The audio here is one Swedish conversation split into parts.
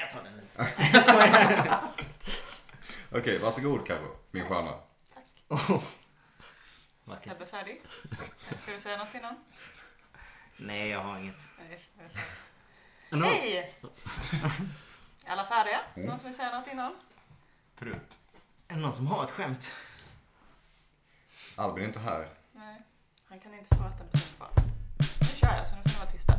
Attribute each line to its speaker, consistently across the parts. Speaker 1: jag tar den inte. Jag skojar.
Speaker 2: Okej, varsågod Carro, min stjärna.
Speaker 1: Vackert.
Speaker 3: Sebbe färdig. Ska du säga något innan?
Speaker 1: Nej, jag har inget.
Speaker 3: Nej.
Speaker 4: No.
Speaker 3: Hej! Är Alla färdiga? Någon som vill säga något innan?
Speaker 5: Prutt.
Speaker 1: Är det någon som har ett skämt?
Speaker 2: Albin är inte här.
Speaker 3: Nej. Han kan inte få vatten på sin kvar. Nu kör jag så nu får ni vara tysta.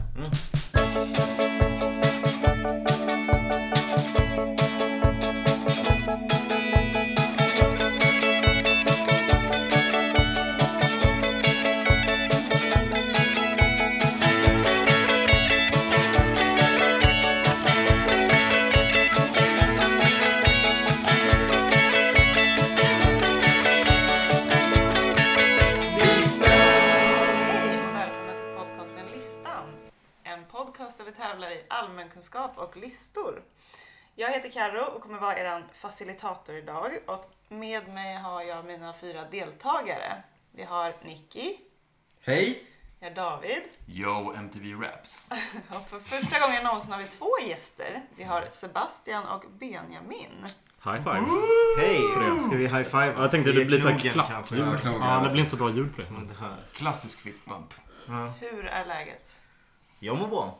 Speaker 3: Hej och välkomna till podcasten Listan. En podcast där vi tävlar i allmänkunskap och listor. Jag heter Karo och kommer vara er facilitator idag. Och med mig har jag mina fyra deltagare. Vi har Nicky,
Speaker 2: Hej!
Speaker 3: vi har David
Speaker 5: Yo MTV Raps.
Speaker 3: och för första gången någonsin har vi två gäster. Vi har Sebastian och Benjamin.
Speaker 4: High five.
Speaker 6: Hej på det. Ska vi high five?
Speaker 4: Ja, jag tänkte det blir ett sånt här
Speaker 6: kanske.
Speaker 4: klappljud.
Speaker 2: Ja, knogen.
Speaker 4: Ja, det blir inte så bra ljud på det.
Speaker 6: Man hör.
Speaker 5: Klassisk fistbump.
Speaker 6: Ja.
Speaker 3: Hur är läget?
Speaker 6: Jag mår bra.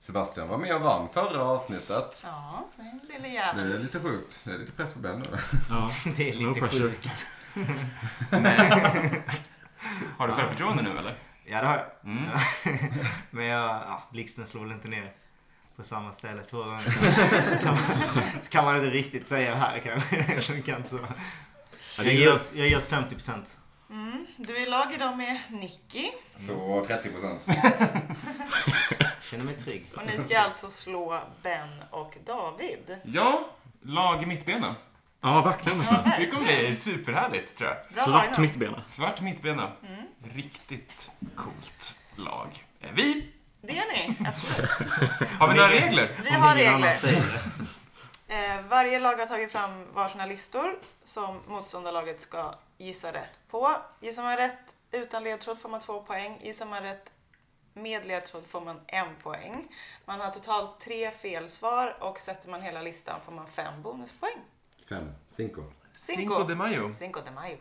Speaker 2: Sebastian var med och vann förra avsnittet.
Speaker 3: Ja, den lille
Speaker 2: Det
Speaker 3: jäveln.
Speaker 2: är lite sjukt. Det är lite press på Ben nu.
Speaker 4: Ja.
Speaker 6: Det är
Speaker 4: No
Speaker 6: lite
Speaker 4: pressure.
Speaker 6: sjukt.
Speaker 5: Har du självförtroende nu eller?
Speaker 6: Ja, det har jag.
Speaker 5: Mm.
Speaker 6: Ja. Men jag, ja, blixten slår väl inte ner på samma ställe två gånger. kan man, så kan man inte riktigt säga här kanske. Det funkar inte så.
Speaker 4: Ja,
Speaker 6: Jag
Speaker 4: det
Speaker 6: ger
Speaker 4: gillar-
Speaker 6: oss, jag ger oss 50 procent.
Speaker 3: Mm, du är i lag idag med Nicky.
Speaker 2: Så 30 procent.
Speaker 6: Känner mig trygg.
Speaker 3: Och ni ska alltså slå Ben och David.
Speaker 5: Ja, lag i mittbena.
Speaker 4: Ja, verkligen nästan.
Speaker 2: Mm.
Speaker 5: Det kommer bli superhärligt tror jag.
Speaker 3: Bra
Speaker 4: Svart
Speaker 3: lineup.
Speaker 4: mittbena.
Speaker 5: Svart mittbena. Riktigt coolt lag. Är vi?
Speaker 3: Det är ni. absolut.
Speaker 5: Har vi några regler?
Speaker 3: Vi har
Speaker 6: ingen annan
Speaker 3: regler.
Speaker 6: säger det.
Speaker 3: Eh, Varje lag har tagit fram varsina listor som motståndarlaget ska gissa rätt på. Gissar man rätt utan ledtråd får man två poäng. Gissar man rätt med ledtråd får man en poäng. Man har totalt tre felsvar och sätter man hela listan får man fem bonuspoäng.
Speaker 2: Fem. Cinco.
Speaker 5: Cinco de Mayo.
Speaker 3: Cinco de Mayo.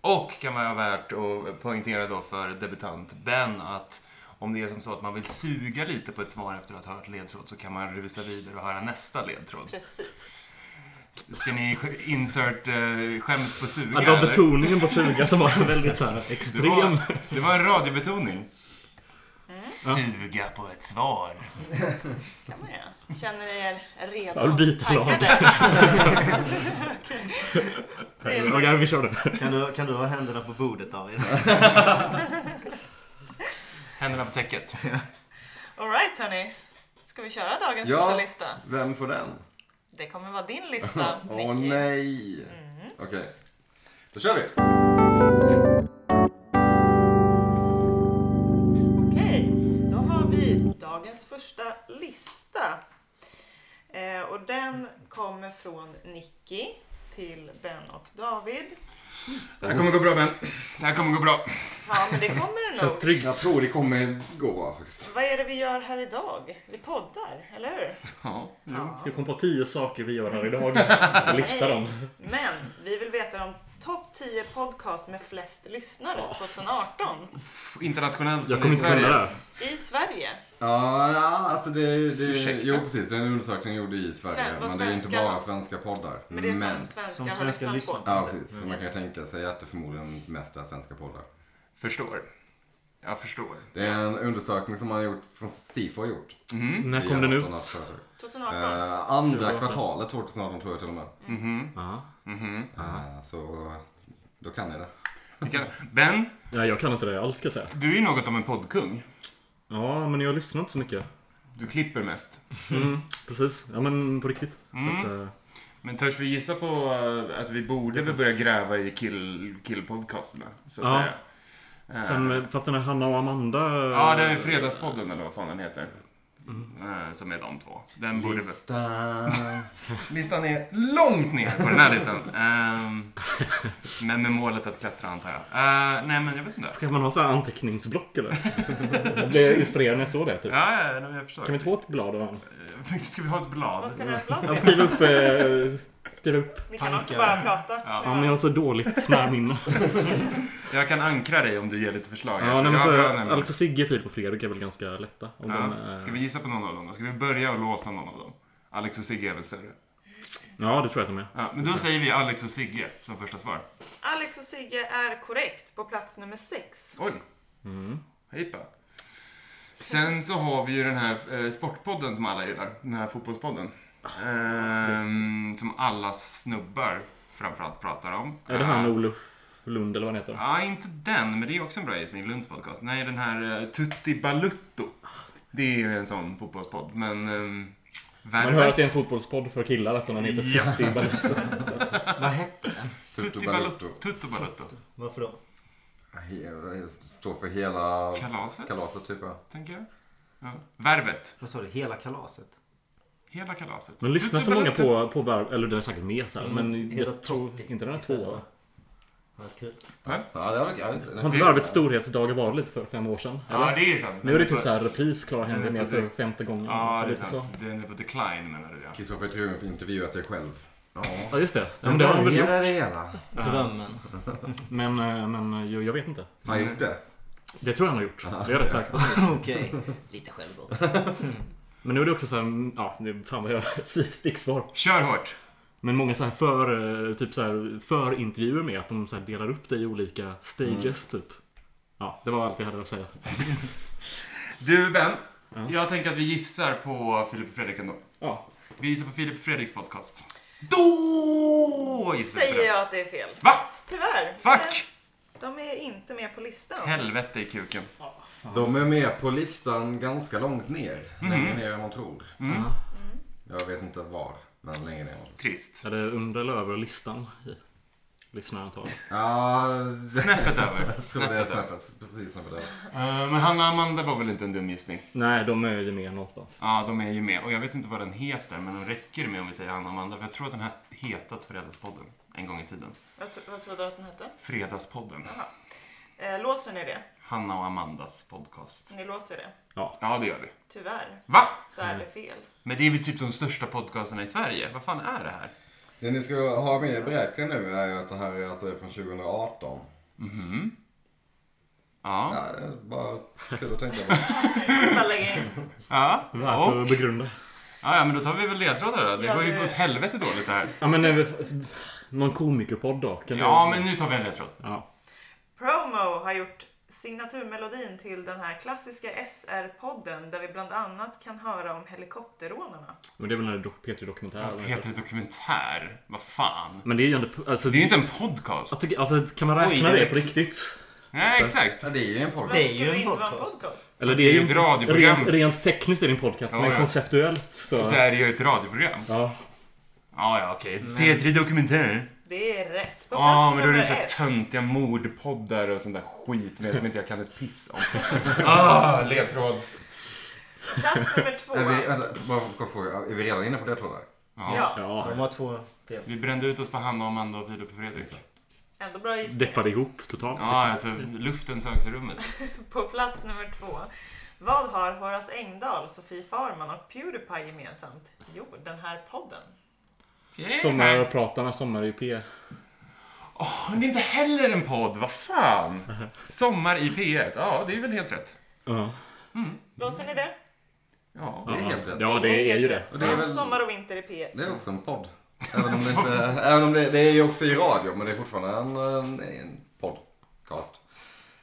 Speaker 5: Och kan vara värt att poängtera då för debutant Ben att om det är som så att man vill suga lite på ett svar efter att ha hört ledtråd så kan man rusa vidare och höra nästa ledtråd.
Speaker 3: Precis.
Speaker 5: Ska ni sk- insert eh, skämt på suga
Speaker 4: Ja, det var
Speaker 5: eller?
Speaker 4: betoningen på suga som var väldigt så här
Speaker 5: Det var,
Speaker 4: extrem.
Speaker 5: det var en radiobetoning. Mm. Suga på ett svar.
Speaker 3: kan man göra. Känner ni er redo?
Speaker 4: Jag vill byta
Speaker 3: Taggade? Det är
Speaker 4: Okej, vi kör det.
Speaker 6: Kan du, kan du ha händerna på bordet David?
Speaker 5: Händerna på täcket.
Speaker 3: Alright hörni. Ska vi köra dagens
Speaker 2: Ja.
Speaker 3: första lista?
Speaker 2: Vem får den?
Speaker 3: Det kommer vara din lista,
Speaker 2: Åh
Speaker 3: Nicky.
Speaker 2: nej!
Speaker 3: Mm.
Speaker 2: Okej. Då kör vi!
Speaker 3: Okej, då har vi dagens första lista. Eh, och den kommer från Nicky till Ben och David.
Speaker 5: Det här kommer gå bra Ben. Det här kommer gå bra.
Speaker 3: Ja, men det kommer det nog.
Speaker 2: Jag tror det kommer gå faktiskt.
Speaker 3: Vad är det vi gör här idag? Vi poddar, eller hur?
Speaker 5: Ja.
Speaker 3: Ja.
Speaker 4: Ska komma på tio saker vi gör här idag. Lista dem.
Speaker 3: Men vi vill veta de topp 10 podcast med flest lyssnare 2018
Speaker 5: Internationellt
Speaker 4: Jag
Speaker 5: och
Speaker 4: kommer
Speaker 5: i
Speaker 4: inte kunna det
Speaker 5: Sverige.
Speaker 4: här.
Speaker 3: i Sverige.
Speaker 2: Ja, ja, alltså det... det
Speaker 5: Ursäkta.
Speaker 2: jo, precis. Det är en undersökning gjord i Sverige.
Speaker 3: Sven- vad
Speaker 2: men det är inte
Speaker 3: svenska-
Speaker 2: bara svenska poddar.
Speaker 3: Men det är som svenskar
Speaker 6: som
Speaker 3: har
Speaker 6: svenskar
Speaker 3: lyssnat på.
Speaker 2: Ja, precis. Så man kan ju tänka sig att det förmodligen mest är svenska poddar.
Speaker 5: Förstår. Jag förstår.
Speaker 2: Det är en undersökning som man har gjort, från Sifo har gjort.
Speaker 4: När kom den ut?
Speaker 3: 2018.
Speaker 2: Eh, andra
Speaker 4: 2018.
Speaker 2: kvartalet 2018 tror jag till och med.
Speaker 4: Ja.
Speaker 2: Eh, så då kan jag det.
Speaker 5: Vi kan- Ben,
Speaker 4: Nej, jag kan inte det alls ska jag säga.
Speaker 5: du är ju något av en poddkung.
Speaker 4: Ja, men jag lyssnar inte så mycket.
Speaker 5: Du klipper mest.
Speaker 4: Mm, precis. Ja, men på riktigt. Så att, eh,
Speaker 5: Men törs vi gissa på... eh, Alltså vi borde väl börja gräva i kill, killpodcasterna. Så att
Speaker 4: Ja.
Speaker 5: säga. Eh,
Speaker 4: Sen, eh, fast den här Hanna och Amanda...
Speaker 5: Ja, det är Fredagspodden eller vad fan den heter.
Speaker 4: Mm.
Speaker 5: eh, som är de två. Den borde väl...
Speaker 2: Listan.
Speaker 5: Listan är långt ner på den här listan. Ehm, men med målet att klättra antar jag. Eh, nej men jag vet inte.
Speaker 4: Kan man ha så här anteckningsblock eller? jag blev inspirerad när jag såg det. Typ.
Speaker 5: Ja, ja, nej, jag förstår.
Speaker 4: Kan vi ta ett blad av honom?
Speaker 5: Eh, Faktiskt, ska vi ha ett blad?
Speaker 3: Vad ska det här blad
Speaker 4: Ja,
Speaker 3: till?
Speaker 4: skriv upp... Eh, skriv upp.
Speaker 3: Ni kan också
Speaker 6: Tankar.
Speaker 3: bara prata.
Speaker 5: Ja.
Speaker 4: Ja, men jag har så dåligt närminne.
Speaker 5: Jag kan ankra dig om du ger lite förslag.
Speaker 4: Ja, nej, men
Speaker 5: Jag har
Speaker 4: så,
Speaker 5: bra nämligen.
Speaker 4: Alex och Sigge, Filip och Fredrik är väl ganska lätta. Om de, eh,
Speaker 5: ja.
Speaker 4: är-
Speaker 5: Ska vi gissa på någon av dem då? Ska vi börja och låsa någon av dem? Alex och Sigge är väl större?
Speaker 4: ja, det tror jag att de är.
Speaker 5: Ja, men då säger vi Alex och Sigge som första svar.
Speaker 3: Alex och Sigge är korrekt på plats nummer sex.
Speaker 5: Oj!
Speaker 4: Mm.
Speaker 5: Hejpa. Sen så har vi ju den här eh, sportpodden som alla gillar. Den här fotbollspodden. Ehm, som alla snubbar framförallt pratar om. Eh,
Speaker 4: Är det han Olof Lund eller vad han heter?
Speaker 5: Ja, inte den, men det är också en bra gissning. Lunds podcast. Nej, den här eh, Tutti Balutto. Det är ju en sån fotbollspodd, men... Um,
Speaker 4: Man hör att det är en fotbollspodd för killar, alltså när han heter
Speaker 5: Ja.
Speaker 4: Tutti Balotto.
Speaker 6: Vad hette
Speaker 5: Tutti Balutto. Tutto Balutto.
Speaker 6: Varför då?
Speaker 2: He- Står för hela
Speaker 5: Kalaset,
Speaker 2: kalaset typ ja.
Speaker 5: tänker jag. Ja. Värvet.
Speaker 6: Vad sa du? Hela kalaset?
Speaker 5: Hela kalaset.
Speaker 4: Men lyssnar så
Speaker 5: Tutti
Speaker 4: många
Speaker 5: Balutto.
Speaker 4: på, på varv, eller det är säkert mer
Speaker 5: Mm,
Speaker 4: så här, men
Speaker 6: Hela
Speaker 4: jag tror
Speaker 6: Totti
Speaker 4: inte den här
Speaker 6: istället,
Speaker 4: tvåa.
Speaker 6: va? Vad kul.
Speaker 2: Ja, det har jag visst.
Speaker 4: Har inte Varvets storhetsdagar varit för fem år sedan?
Speaker 5: Ja,
Speaker 4: Eller?
Speaker 5: det är sant.
Speaker 4: Nu är det typ såhär repris, Clara
Speaker 5: Den är
Speaker 4: händer med
Speaker 5: på
Speaker 4: för
Speaker 5: det.
Speaker 4: femte gången.
Speaker 5: Ja, det är
Speaker 4: Lite så.
Speaker 5: sant. Den är på decline menar du ja.
Speaker 2: Kristoffer Triumf intervjuar sig själv. Ja,
Speaker 4: Ja, just det. Ja, men det har han väl gjort.
Speaker 2: det hela.
Speaker 6: Drömmen.
Speaker 4: Men, eh, men eh, jag jag vet inte.
Speaker 2: Har han gjort det?
Speaker 4: Det tror jag han har gjort. Det är jag rätt säker på.
Speaker 6: Okej. Lite självgott.
Speaker 4: Men nu är det också såhär, ja, nu- fan vad jag sticksvar.
Speaker 5: Kör hårt!
Speaker 4: Men många så här för, eh, typ så här förintervjuer med att de så här delar upp det i olika stages typ. Ja, det var allt jag hade att säga.
Speaker 5: Du Ben,
Speaker 4: Ja.
Speaker 5: jag tänker att vi gissar på Filip och Fredrik ändå.
Speaker 4: Ja.
Speaker 5: Vi gissar på Filip och Fredriks podcast. Då gissar vi på
Speaker 3: Säger
Speaker 5: den.
Speaker 3: jag att det är fel.
Speaker 5: Va?
Speaker 3: Tyvärr.
Speaker 5: Fuck!
Speaker 3: De är inte med på listan.
Speaker 5: Helvete i kuken.
Speaker 2: De är med på listan ganska långt ner. Längre ner än man tror.
Speaker 4: Mm.
Speaker 2: Jag vet inte var, men längre ner. än man tror.
Speaker 5: Trist.
Speaker 4: Är det under eller över listan? i Lyssnarantalet.
Speaker 2: Ja,
Speaker 5: Snäppet över.
Speaker 2: så det är
Speaker 5: Snäppet över.
Speaker 2: snäppet. Precis som för det.
Speaker 5: Eh, men Hanna och Amanda var väl inte en dum gissning?
Speaker 4: Nej, de är ju med någonstans.
Speaker 5: Ja, de är ju med. Och jag vet inte vad den heter, men den räcker med om vi säger Hanna och Amanda. För jag tror att den här hetat Fredagspodden en gång i tiden.
Speaker 3: Vad, tro- vad trodde du att den hette?
Speaker 5: Fredagspodden.
Speaker 3: Eh, låser ni det?
Speaker 5: Hanna och Amandas podcast.
Speaker 3: Ni låser det.
Speaker 5: Ja, det gör vi.
Speaker 3: Tyvärr
Speaker 5: Va?
Speaker 3: så
Speaker 5: Mm.
Speaker 3: är det fel.
Speaker 5: Men det är väl typ de största podcasterna i Sverige? Vad fan är det här?
Speaker 2: Det ni ska ha med i beräkningen nu är ju att det här är alltså från 2018.
Speaker 5: Ja.
Speaker 2: Ja, det är bara kul att tänka på.
Speaker 3: Bara lägga in.
Speaker 5: Ja.
Speaker 4: Värt
Speaker 5: Och,
Speaker 4: att begrunda.
Speaker 5: ja, ja men då tar vi väl ledtrådar då. Det
Speaker 3: Ja,
Speaker 5: går ju
Speaker 3: det-
Speaker 5: åt helvete dåligt det här.
Speaker 4: Ja, men eh, någon komikerpodd då? Kan
Speaker 5: Ja,
Speaker 4: du...
Speaker 5: men nu tar vi en ledtråd.
Speaker 4: Ja.
Speaker 3: Promo har gjort signaturmelodin till den här klassiska SR-podden där vi bland annat kan höra om helikopterrånarna.
Speaker 4: Men det är väl den här P3 Dokumentär?
Speaker 5: Heter det dokumentär? Vad fan?
Speaker 4: Men det är ju ändå... Alltså,
Speaker 5: Det är ju inte en podcast.
Speaker 4: jag tycker, alltså, kan man räkna
Speaker 6: Oj,
Speaker 4: det
Speaker 6: det-
Speaker 4: på riktigt?
Speaker 5: Nej, exakt.
Speaker 2: Ja, det är ju en podcast.
Speaker 3: Varför
Speaker 6: Det är ju
Speaker 3: skulle
Speaker 6: en
Speaker 3: det inte vara en
Speaker 6: podcast.
Speaker 3: podcast?
Speaker 4: Eller
Speaker 5: Det är ju ett radioprogram.
Speaker 4: rent, rent tekniskt är det en podcast,
Speaker 5: Ja,
Speaker 4: men
Speaker 5: ja.
Speaker 4: konceptuellt så...
Speaker 5: Så är det ju ett radioprogram.
Speaker 4: Ja.
Speaker 5: Ja, ja, okej. P3 Dokumentär.
Speaker 3: Det är rätt på plats
Speaker 5: Ja, men då är
Speaker 3: nummer
Speaker 5: det så här
Speaker 3: ett.
Speaker 5: töntiga mordpoddar och sånt där skit med som inte jag kan ett piss om. ah, ledtråd.
Speaker 3: Plats nummer två.
Speaker 2: Är vi, vänta, bara en kort fråga. Är vi redan inne på det tror jag?
Speaker 3: Ja,
Speaker 4: Ja,
Speaker 6: De var två fel.
Speaker 5: Vi brände ut oss på Hanna, Amanda och Filip och Fredrik.
Speaker 3: ändå bra gissning.
Speaker 4: deppade ihop totalt.
Speaker 5: Ja, alltså luften sögs ur rummet.
Speaker 3: På plats nummer två. Vad har Horace Engdahl, Sofie Farman och Pewdiepie gemensamt? Jo, den här podden.
Speaker 4: liksom. Sommarpratarna, sommar i P.
Speaker 5: Åh, det är inte heller en podd, vad fan! Sommar i P1, ja det är väl helt rätt.
Speaker 4: Ja.
Speaker 3: Låser ni det?
Speaker 5: Ja.
Speaker 2: Det är helt rätt.
Speaker 4: Ja, det är ju det.
Speaker 3: helt rätt.
Speaker 2: Det är väl-
Speaker 3: Sommar och vinter i E. P1.
Speaker 2: Det är också en podd. Även om det inte... även om det, det är ju också i radio, men det är fortfarande en, en, en podcast.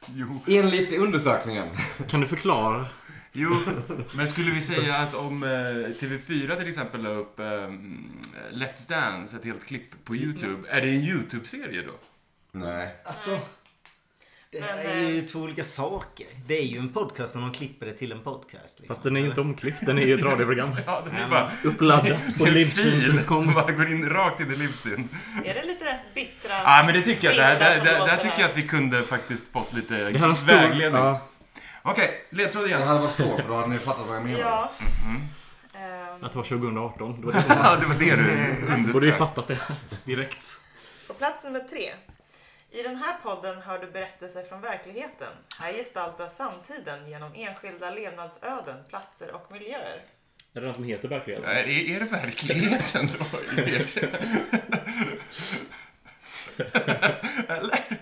Speaker 5: Jo.
Speaker 2: Enligt undersökningen.
Speaker 4: Kan du förklara?
Speaker 5: jo, men skulle vi säga att om eh, TV4 till exempel la upp eh, Let's Dance, ett helt klipp på YouTube, är det en YouTube-serie då?
Speaker 2: Nej.
Speaker 6: Alltså. Det
Speaker 3: Men,
Speaker 6: är ju två olika saker. Det är ju en podcast när man klipper det till en podcast. Liksom.
Speaker 4: Fast den är ju inte omklippt, den är ju ett radioprogram.
Speaker 5: Ja, det är bara
Speaker 4: Uppladdat på
Speaker 5: en fil
Speaker 4: livsyn.com.
Speaker 5: som bara går in rakt in i Libsyn.
Speaker 3: Är det lite bittra?
Speaker 5: Ah, Ja, men det tycker jag. Där, där, där, där
Speaker 3: Bilder som
Speaker 5: tycker jag att vi kunde faktiskt fått lite
Speaker 4: Det här är en stor...
Speaker 5: vägledning.
Speaker 4: Ja,
Speaker 5: Okej, ledtråd
Speaker 2: Det
Speaker 5: igen.
Speaker 2: hade varit svårt för då hade ni fattat vad jag menade.
Speaker 3: Ja.
Speaker 5: Mhm.
Speaker 3: Ehm,
Speaker 4: Att det var 2018. Det var det som
Speaker 5: Ja, det var det du
Speaker 4: Du borde ju
Speaker 5: underströk.
Speaker 4: fattat det direkt.
Speaker 3: På plats nummer tre. I den här podden hör du berättelser från verkligheten. Här gestaltas samtiden genom enskilda levnadsöden, platser och miljöer.
Speaker 4: Är det något som heter verkligen?
Speaker 5: Ja, Är, är det verkligheten då? Jag vet ju. Eller?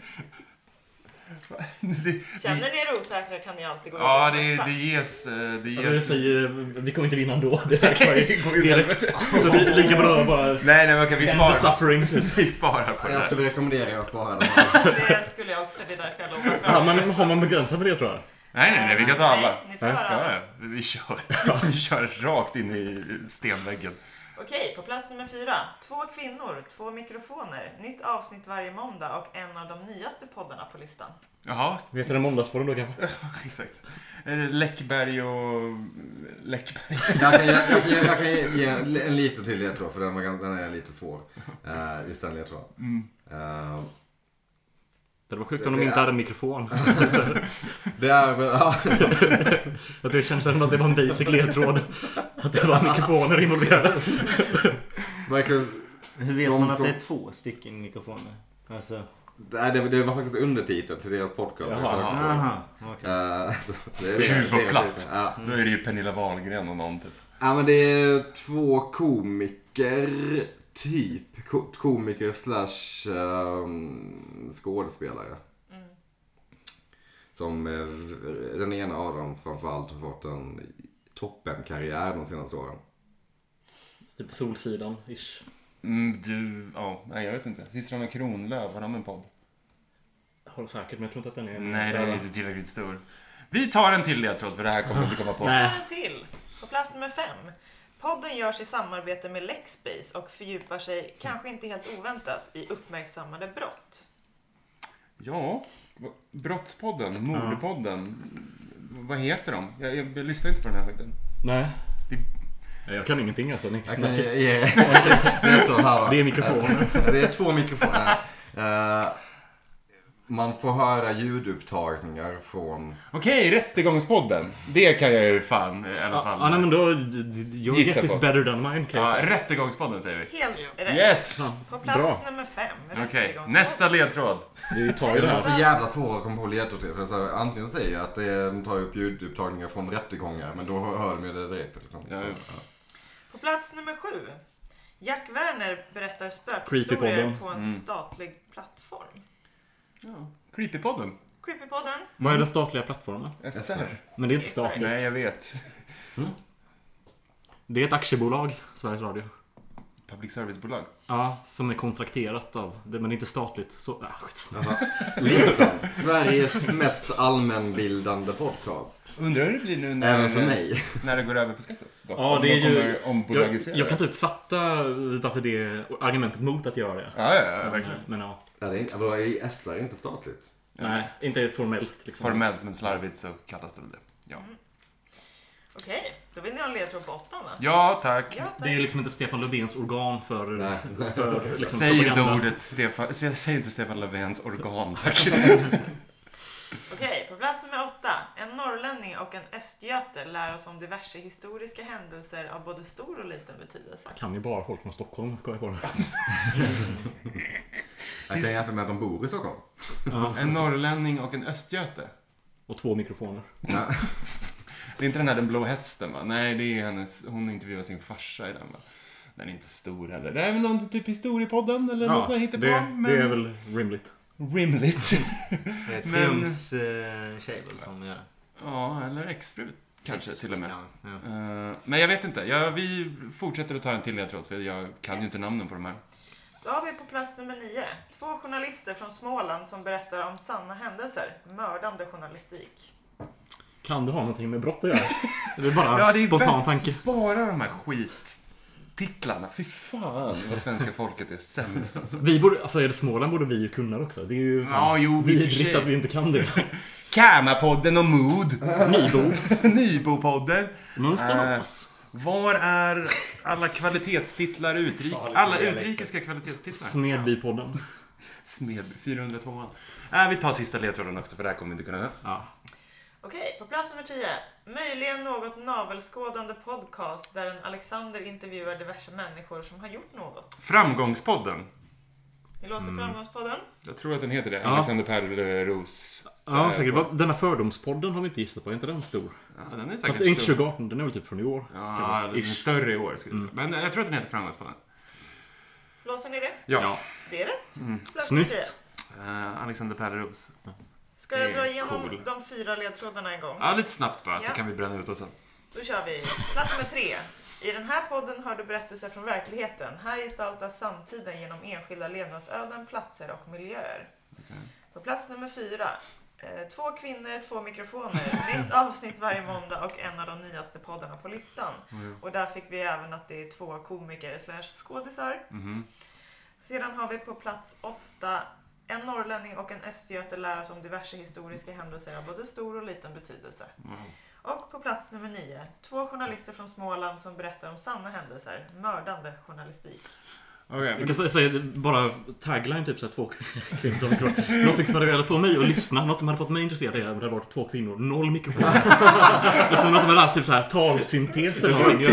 Speaker 5: Det,
Speaker 3: Känner ni er osäkra kan ni alltid gå
Speaker 5: ja,
Speaker 3: vidare
Speaker 5: det,
Speaker 3: till
Speaker 5: det
Speaker 3: nästa.
Speaker 5: ges... eh, Det
Speaker 4: Alltså, det
Speaker 5: ges.
Speaker 4: säger, vi kommer inte vinna ändå. Det verkar ju
Speaker 5: Det går ju åt
Speaker 4: direkt.
Speaker 5: helvete.
Speaker 4: Så det är lika bra att bara...
Speaker 5: Nej, nej, men okej, vi
Speaker 4: End the
Speaker 5: sparar.
Speaker 4: suffering, typ.
Speaker 5: Vi sparar på det
Speaker 2: Jag
Speaker 5: här.
Speaker 2: skulle rekommendera er att spara i alla fall.
Speaker 3: det skulle jag också, det är därför jag lovar.
Speaker 4: Ja, men har man begränsat med det tror jag?
Speaker 5: Nej, nej, nej, vi kan ta alla.
Speaker 3: Nej, ni får höra alla.
Speaker 5: Ja, ja, vi- vi kör. Vi kör rakt in i stenväggen.
Speaker 3: Okej, på plats nummer fyra. Två kvinnor, två mikrofoner, nytt avsnitt varje måndag och en av de nyaste poddarna på listan.
Speaker 4: Äh.
Speaker 5: Jaha,
Speaker 4: Vet du den måndagsporren då kanske?
Speaker 5: exakt. Är det Läckberg och... Läckberg?
Speaker 2: Jag kan, jag, jag, jag, jag kan ge en, en liten till ledtråd för den, var, ganska- den är lite svår. Uh, just den ledtråden. Eh,
Speaker 4: Det var sjukt om
Speaker 2: Det-
Speaker 4: de
Speaker 2: det
Speaker 4: inte
Speaker 2: är-
Speaker 4: hade en mikrofon.
Speaker 2: det är väl... ja.
Speaker 4: Att det känns som att det var en basic ledtråd. Att det var mikrofoner involverade.
Speaker 2: Marcus,
Speaker 6: Hur vet
Speaker 2: De
Speaker 6: man att
Speaker 2: som-
Speaker 6: det är två stycken mikrofoner? Alltså,
Speaker 2: nej, det, det var faktiskt undertiteln till deras podcast.
Speaker 4: Jaha.
Speaker 2: jag sökte på.
Speaker 6: aha, okej.
Speaker 2: Eh, så det är-
Speaker 5: Tjuv och platt.
Speaker 2: Ja.
Speaker 5: Då är det ju Pernilla Wahlgren och någon typ.
Speaker 2: Ja men det är två komiker, typ. Ko- komiker slash ehm, skådespelare. Som eh, den ena av dem framförallt har fått en toppenkarriär de senaste åren.
Speaker 4: Typ Solsidan-ish.
Speaker 5: Mm, du, ja, nej jag vet inte. Systrarna Kronlöf, har de en podd?
Speaker 4: Håller säkert, men jag tror inte att den är...
Speaker 5: Nej, den är inte tillräckligt stor. Vi tar en till ledtråd för det här kommer vi inte komma på.
Speaker 4: Nej.
Speaker 3: Här en till. På plats nummer fem. Podden görs i samarbete med Lexbase och fördjupar sig, kanske inte helt oväntat, i uppmärksammade brott.
Speaker 5: Ja, v- Brottspodden, Mordpodden. Vad heter de? Jag, jag, lyssnar inte på den här skiten.
Speaker 4: Nej.
Speaker 5: Det-
Speaker 4: Nej, Jag kan ingenting alltså. Ni...
Speaker 2: Jag kan ge er ledtråd här va?
Speaker 4: Det är mikrofoner.
Speaker 2: Det är två mikrofoner. Eh, man får höra ljudupptagningar från...
Speaker 5: Okej, Rättegångspodden. Det kan jag ju fan i alla fall.
Speaker 4: Ja, nej men då... Your
Speaker 5: Gissa
Speaker 4: guess is
Speaker 5: på.
Speaker 4: better than mine kan jag
Speaker 5: Ja,
Speaker 4: säga.
Speaker 5: rättegångspodden säger vi.
Speaker 3: Helt rätt.
Speaker 5: Yes!
Speaker 3: På plats
Speaker 4: Bra.
Speaker 3: nummer fem.
Speaker 5: Okej,
Speaker 3: Rättegångspodden.
Speaker 5: nästa ledtråd.
Speaker 4: Vi tar ju
Speaker 2: Det
Speaker 4: det
Speaker 2: är
Speaker 4: här.
Speaker 2: så jävla svårt att komma på ledtråd till. För det är så här, antingen säger jag att det är, de tar upp ljudupptagningar från rättegångar, men då hör de ju det direkt. Liksom.
Speaker 5: Ja,
Speaker 2: Så,
Speaker 5: ja.
Speaker 3: På plats nummer sju. Jack Werner berättar spökhistorier
Speaker 4: Creepypodden.
Speaker 3: på en
Speaker 5: Mm.
Speaker 3: statlig plattform.
Speaker 5: Ja. Creepypodden.
Speaker 3: Creepypodden.
Speaker 4: Vad är den statliga plattformen?
Speaker 5: SR.
Speaker 4: Men det är inte statligt.
Speaker 5: Nej, jag vet.
Speaker 4: Det är ett aktiebolag, Sveriges Radio.
Speaker 5: Public service-bolag.
Speaker 4: Ja, som är kontrakterat av, det- men det är inte statligt. Så, ah, skitsamma.
Speaker 2: Jaha. Listan. Sveriges mest allmänbildande podcast.
Speaker 5: Undrar hur det blir nu när...
Speaker 2: Även för mig.
Speaker 5: När det går över på skatten? Dock,
Speaker 4: Ja,
Speaker 5: om
Speaker 4: det
Speaker 5: de
Speaker 4: är ju-
Speaker 5: kommer
Speaker 4: jag,
Speaker 5: ombolagisera
Speaker 4: jag kan
Speaker 5: det.
Speaker 4: typ fatta varför det är argumentet mot att göra det.
Speaker 5: Ja, ja, ja,
Speaker 4: Men,
Speaker 5: verkligen.
Speaker 4: men ja,
Speaker 2: Ja, det är inte, vadå, är SR inte statligt?
Speaker 4: nej, inte formellt liksom.
Speaker 5: Formellt men slarvigt så kallas det väl det. Ja,
Speaker 3: Okej, då vill ni ha en ledtråd på åttan va?
Speaker 5: ja tack.
Speaker 3: Ja,
Speaker 4: Det är
Speaker 3: tack.
Speaker 4: liksom inte Stefan Löfvens organ för,
Speaker 2: Nej.
Speaker 4: för liksom,
Speaker 5: Säg inte
Speaker 4: propaganda.
Speaker 5: ordet Stefan, sä- säg inte Stefan Löfvens organ tack.
Speaker 3: Okej, på plats nummer åtta. En norrlänning och en östgöte lär oss om diverse historiska händelser av både stor och liten betydelse.
Speaker 4: Jag kan ju bara folk från Stockholm, kom jag på nu.
Speaker 2: Jag kan jämföra med att de bor i Stockholm.
Speaker 5: En norrlänning och en östgöte.
Speaker 4: Och två mikrofoner.
Speaker 2: Ja.
Speaker 5: Det är inte den här Den blå hästen va? Nej, det är hennes, hon intervjuar sin farsa i den va? Den är inte stor heller. Det är väl någon typ historiepodden eller något sånt där hittepå.
Speaker 4: det,
Speaker 5: men...
Speaker 4: det är väl rimligt.
Speaker 5: rimligt.
Speaker 6: Det är
Speaker 5: men-
Speaker 6: Triumfs eh, tjej väl som gör det?
Speaker 5: ja, eller exfru kanske till och med.
Speaker 6: Ja, ja.
Speaker 5: Eh, men jag vet inte. Jag, vi fortsätter att ta en till ledtråd för jag kan ju inte namnen på de här.
Speaker 3: Då har vi på plats nummer nio. Två journalister från Småland som berättar om sanna händelser. Mördande journalistik.
Speaker 4: Kan det ha någonting med brott att göra? Det är bara
Speaker 5: Ja, det
Speaker 4: en
Speaker 5: är
Speaker 4: spontan
Speaker 5: väl-
Speaker 4: tanke.
Speaker 5: Bara de här skittitlarna. Fy fan vad svenska folket är sämst alltså.
Speaker 4: Vi borde, alltså är det Småland borde vi ju kunna det också. Det är ju
Speaker 5: Ja, jo, i och för
Speaker 4: vidrigt
Speaker 5: sig.
Speaker 4: att vi inte kan det.
Speaker 5: Kamapodden och Mood.
Speaker 4: Nybo.
Speaker 5: Nybopodden.
Speaker 4: Men det stämmer
Speaker 5: Eh,
Speaker 4: oss.
Speaker 5: Var är alla kvalitetstitlar utrik... Alla utrikiska kvalitetstitlar?
Speaker 4: Smedbypodden.
Speaker 5: Eh, Smed 402. Äh, vi tar sista ledtråden också för det här kommer vi inte kunna.
Speaker 4: Ja.
Speaker 3: Okej, på plats nummer 10. Möjligen något navelskådande podcast där en Alexander intervjuar diverse människor som har gjort något.
Speaker 5: Framgångspodden.
Speaker 3: Vi låser
Speaker 5: Mm.
Speaker 3: Framgångspodden.
Speaker 5: Jag tror att den heter det.
Speaker 4: Ja.
Speaker 5: Alexander Perleros.
Speaker 4: Ja,
Speaker 5: Eh,
Speaker 4: säkert.
Speaker 5: podd.
Speaker 4: Va- Denna fördomspodden har vi inte gissat på. Är inte den stor?
Speaker 5: Ja, den är
Speaker 4: Fast
Speaker 5: säkert
Speaker 4: det är inte
Speaker 5: stor.
Speaker 4: 2018, den är väl typ från i år. kan
Speaker 5: Ja,
Speaker 4: man-
Speaker 5: den är
Speaker 4: ish. Mm.
Speaker 5: större i år. skulle jag säga. Men eh, jag tror att den heter Framgångspodden.
Speaker 3: Låser ni det?
Speaker 5: Ja.
Speaker 3: Det är rätt.
Speaker 5: Mm.
Speaker 3: Plats nummer
Speaker 4: Snyggt.
Speaker 3: 10.
Speaker 5: Eh, Alexander Perleros.
Speaker 3: Ska jag
Speaker 5: Det är
Speaker 3: dra igenom
Speaker 5: cool.
Speaker 3: de fyra ledtrådarna en gång?
Speaker 5: Ja, lite snabbt bara så
Speaker 3: Ja.
Speaker 5: kan vi bränna ut oss sen.
Speaker 3: Då kör vi. Plats nummer tre. I den här podden hör du berättelser från verkligheten. Här gestaltas samtiden genom enskilda levnadsöden, platser och miljöer. På plats nummer fyra. eh, Två kvinnor, två mikrofoner. Nytt avsnitt varje måndag och en av de nyaste poddarna på listan. Och där fick vi även att det är två komiker slash skådisar.
Speaker 5: Mhm.
Speaker 3: Sedan har vi på plats åtta en norrlänning och en östgöte lär oss om diverse historiska händelser av både stor och liten betydelse.
Speaker 5: Mm.
Speaker 3: Och på plats nummer nio, två journalister från Småland som berättar om sanna händelser. Mördande journalistik.
Speaker 5: Okej,
Speaker 4: Jag kan sä- säga bara tagline typ såhär två kvin- kvinnor, två mikrofoner. Någonting som hade velat få mig att lyssna, något som hade fått mig intresserad är om det hade varit två kvinnor, noll mikrofoner. liksom något man hade haft typ såhär talsyntes eller någonting.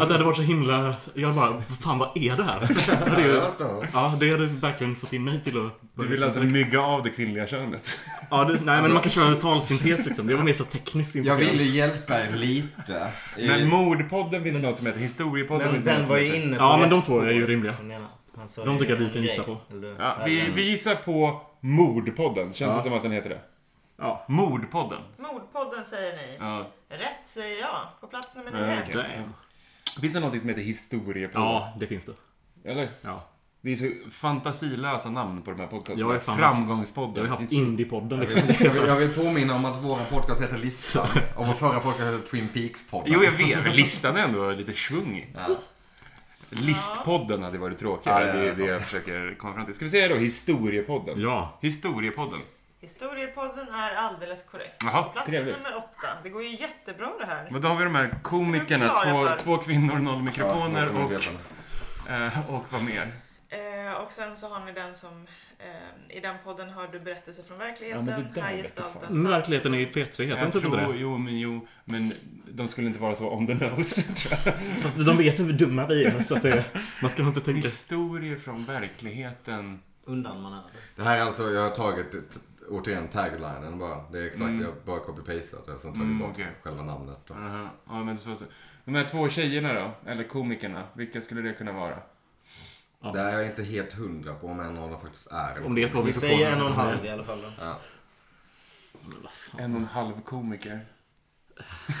Speaker 4: Att det hade varit så himla... Jag bara, fan vad är det här? Ja,
Speaker 2: Det
Speaker 4: det, är-
Speaker 2: var spännande.
Speaker 4: ja, det hade verkligen fått in mig till att...
Speaker 5: Du vill alltså mygga av det kvinnliga könet?
Speaker 4: Ja, det, nej men man kan köra talsyntes liksom. Jag var mer så tekniskt
Speaker 2: Jag
Speaker 4: intresserad.
Speaker 2: ville hjälpa er lite. I-
Speaker 5: Men Mordpodden vill något som heter Historiepodden.
Speaker 6: Den,
Speaker 5: vill något
Speaker 6: den
Speaker 5: som
Speaker 6: var ju
Speaker 5: heter-
Speaker 6: inne på
Speaker 4: Ja, men
Speaker 6: rätt
Speaker 4: de två är ju
Speaker 6: spår.
Speaker 4: rimliga.
Speaker 6: Jag menar, han sa
Speaker 4: De
Speaker 6: ju
Speaker 4: tycker jag vi
Speaker 6: en
Speaker 4: kan
Speaker 6: grej,
Speaker 4: gissa på.
Speaker 6: eller-
Speaker 5: Ja, vi,
Speaker 6: eller-
Speaker 5: vi gissar på Mordpodden. Känns det som att den heter det?
Speaker 4: Ja.
Speaker 5: Mordpodden.
Speaker 3: Mordpodden säger ni.
Speaker 5: Ja.
Speaker 3: Rätt säger jag. På plats nummer
Speaker 5: Ja,
Speaker 3: nio.
Speaker 5: okej.
Speaker 4: Damn.
Speaker 5: Finns det något som heter Historiepodden?
Speaker 4: Ja, det finns det.
Speaker 5: Eller?
Speaker 4: Ja.
Speaker 5: Det är så fantasilösa namn på de här podcasterna.
Speaker 4: Jag är fan-
Speaker 5: Framgångspodden.
Speaker 4: Jag har ju haft
Speaker 5: Finns-
Speaker 4: Indiepodden
Speaker 2: Jag
Speaker 4: liksom.
Speaker 2: vill, jag, vill, jag vill påminna om att våra podcast heter Listan och vår förra podcast hette Twin Peaks-podden.
Speaker 5: Jo, jag vet. Men listan är ändå lite svung i.
Speaker 2: Ja.
Speaker 5: Listpodden hade varit tråkigare.
Speaker 2: Ja, det är
Speaker 5: det är det
Speaker 2: sant.
Speaker 5: jag försöker komma fram till. Ska vi säga då Historiepodden?
Speaker 4: Ja.
Speaker 5: Historiepodden.
Speaker 3: Historiepodden är alldeles korrekt.
Speaker 5: Jaha,
Speaker 3: På plats
Speaker 5: trevligt.
Speaker 3: nummer åtta. Det går ju jättebra det här.
Speaker 5: Men då har vi de här
Speaker 3: Det
Speaker 5: komikerna.
Speaker 3: är de klara
Speaker 5: Två,
Speaker 3: för.
Speaker 5: två kvinnor, noll mikrofoner
Speaker 2: Ja, kommer
Speaker 5: och,
Speaker 2: att veta.
Speaker 5: eh, och vad mer?
Speaker 3: Eh, och sen så har ni den som... Eh, I den podden hör du berättelser från
Speaker 5: Ja,
Speaker 3: verkligheten.
Speaker 5: men det där
Speaker 3: Här
Speaker 5: vet
Speaker 3: gestaltas...
Speaker 5: jag
Speaker 4: Men Verkligheten är i P3, heter den
Speaker 5: Jag
Speaker 4: typ inte
Speaker 5: tror,
Speaker 4: det?
Speaker 5: jo, men jo, men de skulle inte vara så on the nose, tror jag.
Speaker 4: Fast de vet hur dumma vi är, så att det, man ska nog inte tänka...
Speaker 5: Historier från verkligheten.
Speaker 6: Undan man över.
Speaker 2: Det här är alltså, jag har tagit t- återigen taglinen bara. Det är exakt, jag bara copy-pastat det. Sen tar vi
Speaker 5: Mm,
Speaker 2: bort
Speaker 5: okej.
Speaker 2: själva namnet. Då.
Speaker 5: Aha. Ja, men så, så. De här två tjejerna då, eller komikerna, vilka skulle det kunna vara?
Speaker 4: Ja.
Speaker 2: Det är jag inte helt hundra på om en av dem faktiskt är.
Speaker 4: Om det är två
Speaker 6: Vi
Speaker 4: mikrofoner.
Speaker 6: säger en och en halv i alla fall då.
Speaker 2: Ja.
Speaker 5: En och en halv komiker.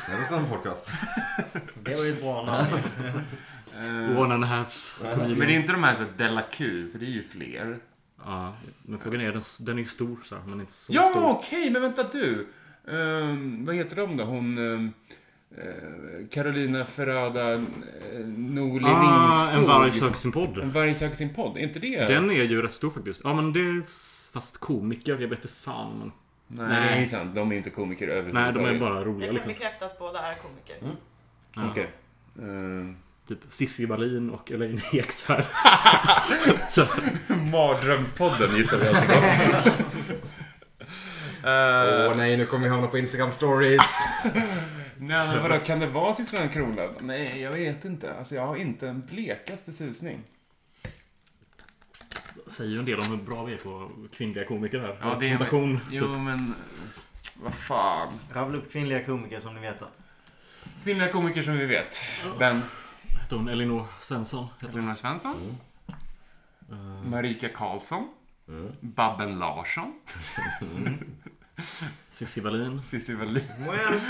Speaker 2: Det är väl sån podcast.
Speaker 6: Det var ju ett bra namn.
Speaker 5: Eh,
Speaker 4: One and a half
Speaker 5: men
Speaker 4: comedian.
Speaker 5: det är inte de här så här Della Q, för det är ju fler.
Speaker 4: Ja, men frågan är, den, den är ju stor så här, men inte så
Speaker 5: Ja, Ah,
Speaker 4: stor.
Speaker 5: okej, men vänta du. Ehm, vad heter de då? Hon... ehm, eh, Carolina Ferrada uh, Norli
Speaker 4: Ah,
Speaker 5: Ringskog.
Speaker 4: en varg söker sin podd.
Speaker 5: En varg söker sin podd. Är inte det...
Speaker 4: Den är ju rätt stor faktiskt. Ja, men det är... Fast komiker, jag vet inte fan. Men...
Speaker 5: Nej,
Speaker 4: Nej.
Speaker 5: det är sant. De är inte komiker
Speaker 4: Nej,
Speaker 5: överhuvudtaget.
Speaker 4: de Mm, är bara
Speaker 3: Jag
Speaker 5: Mm,
Speaker 4: roliga
Speaker 3: kan
Speaker 4: liksom.
Speaker 3: bekräfta att båda är komiker.
Speaker 4: Ja.
Speaker 5: Okej. Eh,
Speaker 4: Typ Cissi Wallin och Elaine Eksvärd. så,
Speaker 5: Mardrömspodden gissar vi alltså på.
Speaker 2: Åh
Speaker 5: Eh,
Speaker 2: nej, nu kommer vi hamna på Instagram stories.
Speaker 5: nej men vadå, kan det vara Siskan Kronlöf? Nej, jag vet inte. Alltså jag har inte en blekaste susning.
Speaker 4: säger ju en del om hur bra vi är på kvinnliga komiker här. Representation. Typ.
Speaker 5: men...
Speaker 4: eh,
Speaker 5: Vad fan.
Speaker 6: Rabbla upp kvinnliga komiker som ni vet då.
Speaker 5: Kvinnliga komiker som vi vet. Ben.
Speaker 4: Hette hon typ, Elinor Svensson? Heter
Speaker 5: Gunnar Svensson. Mm. Marika Karlsson. Babben Larsson.
Speaker 4: Cissi Wallin.
Speaker 5: Cissi Wallin.
Speaker 6: Well.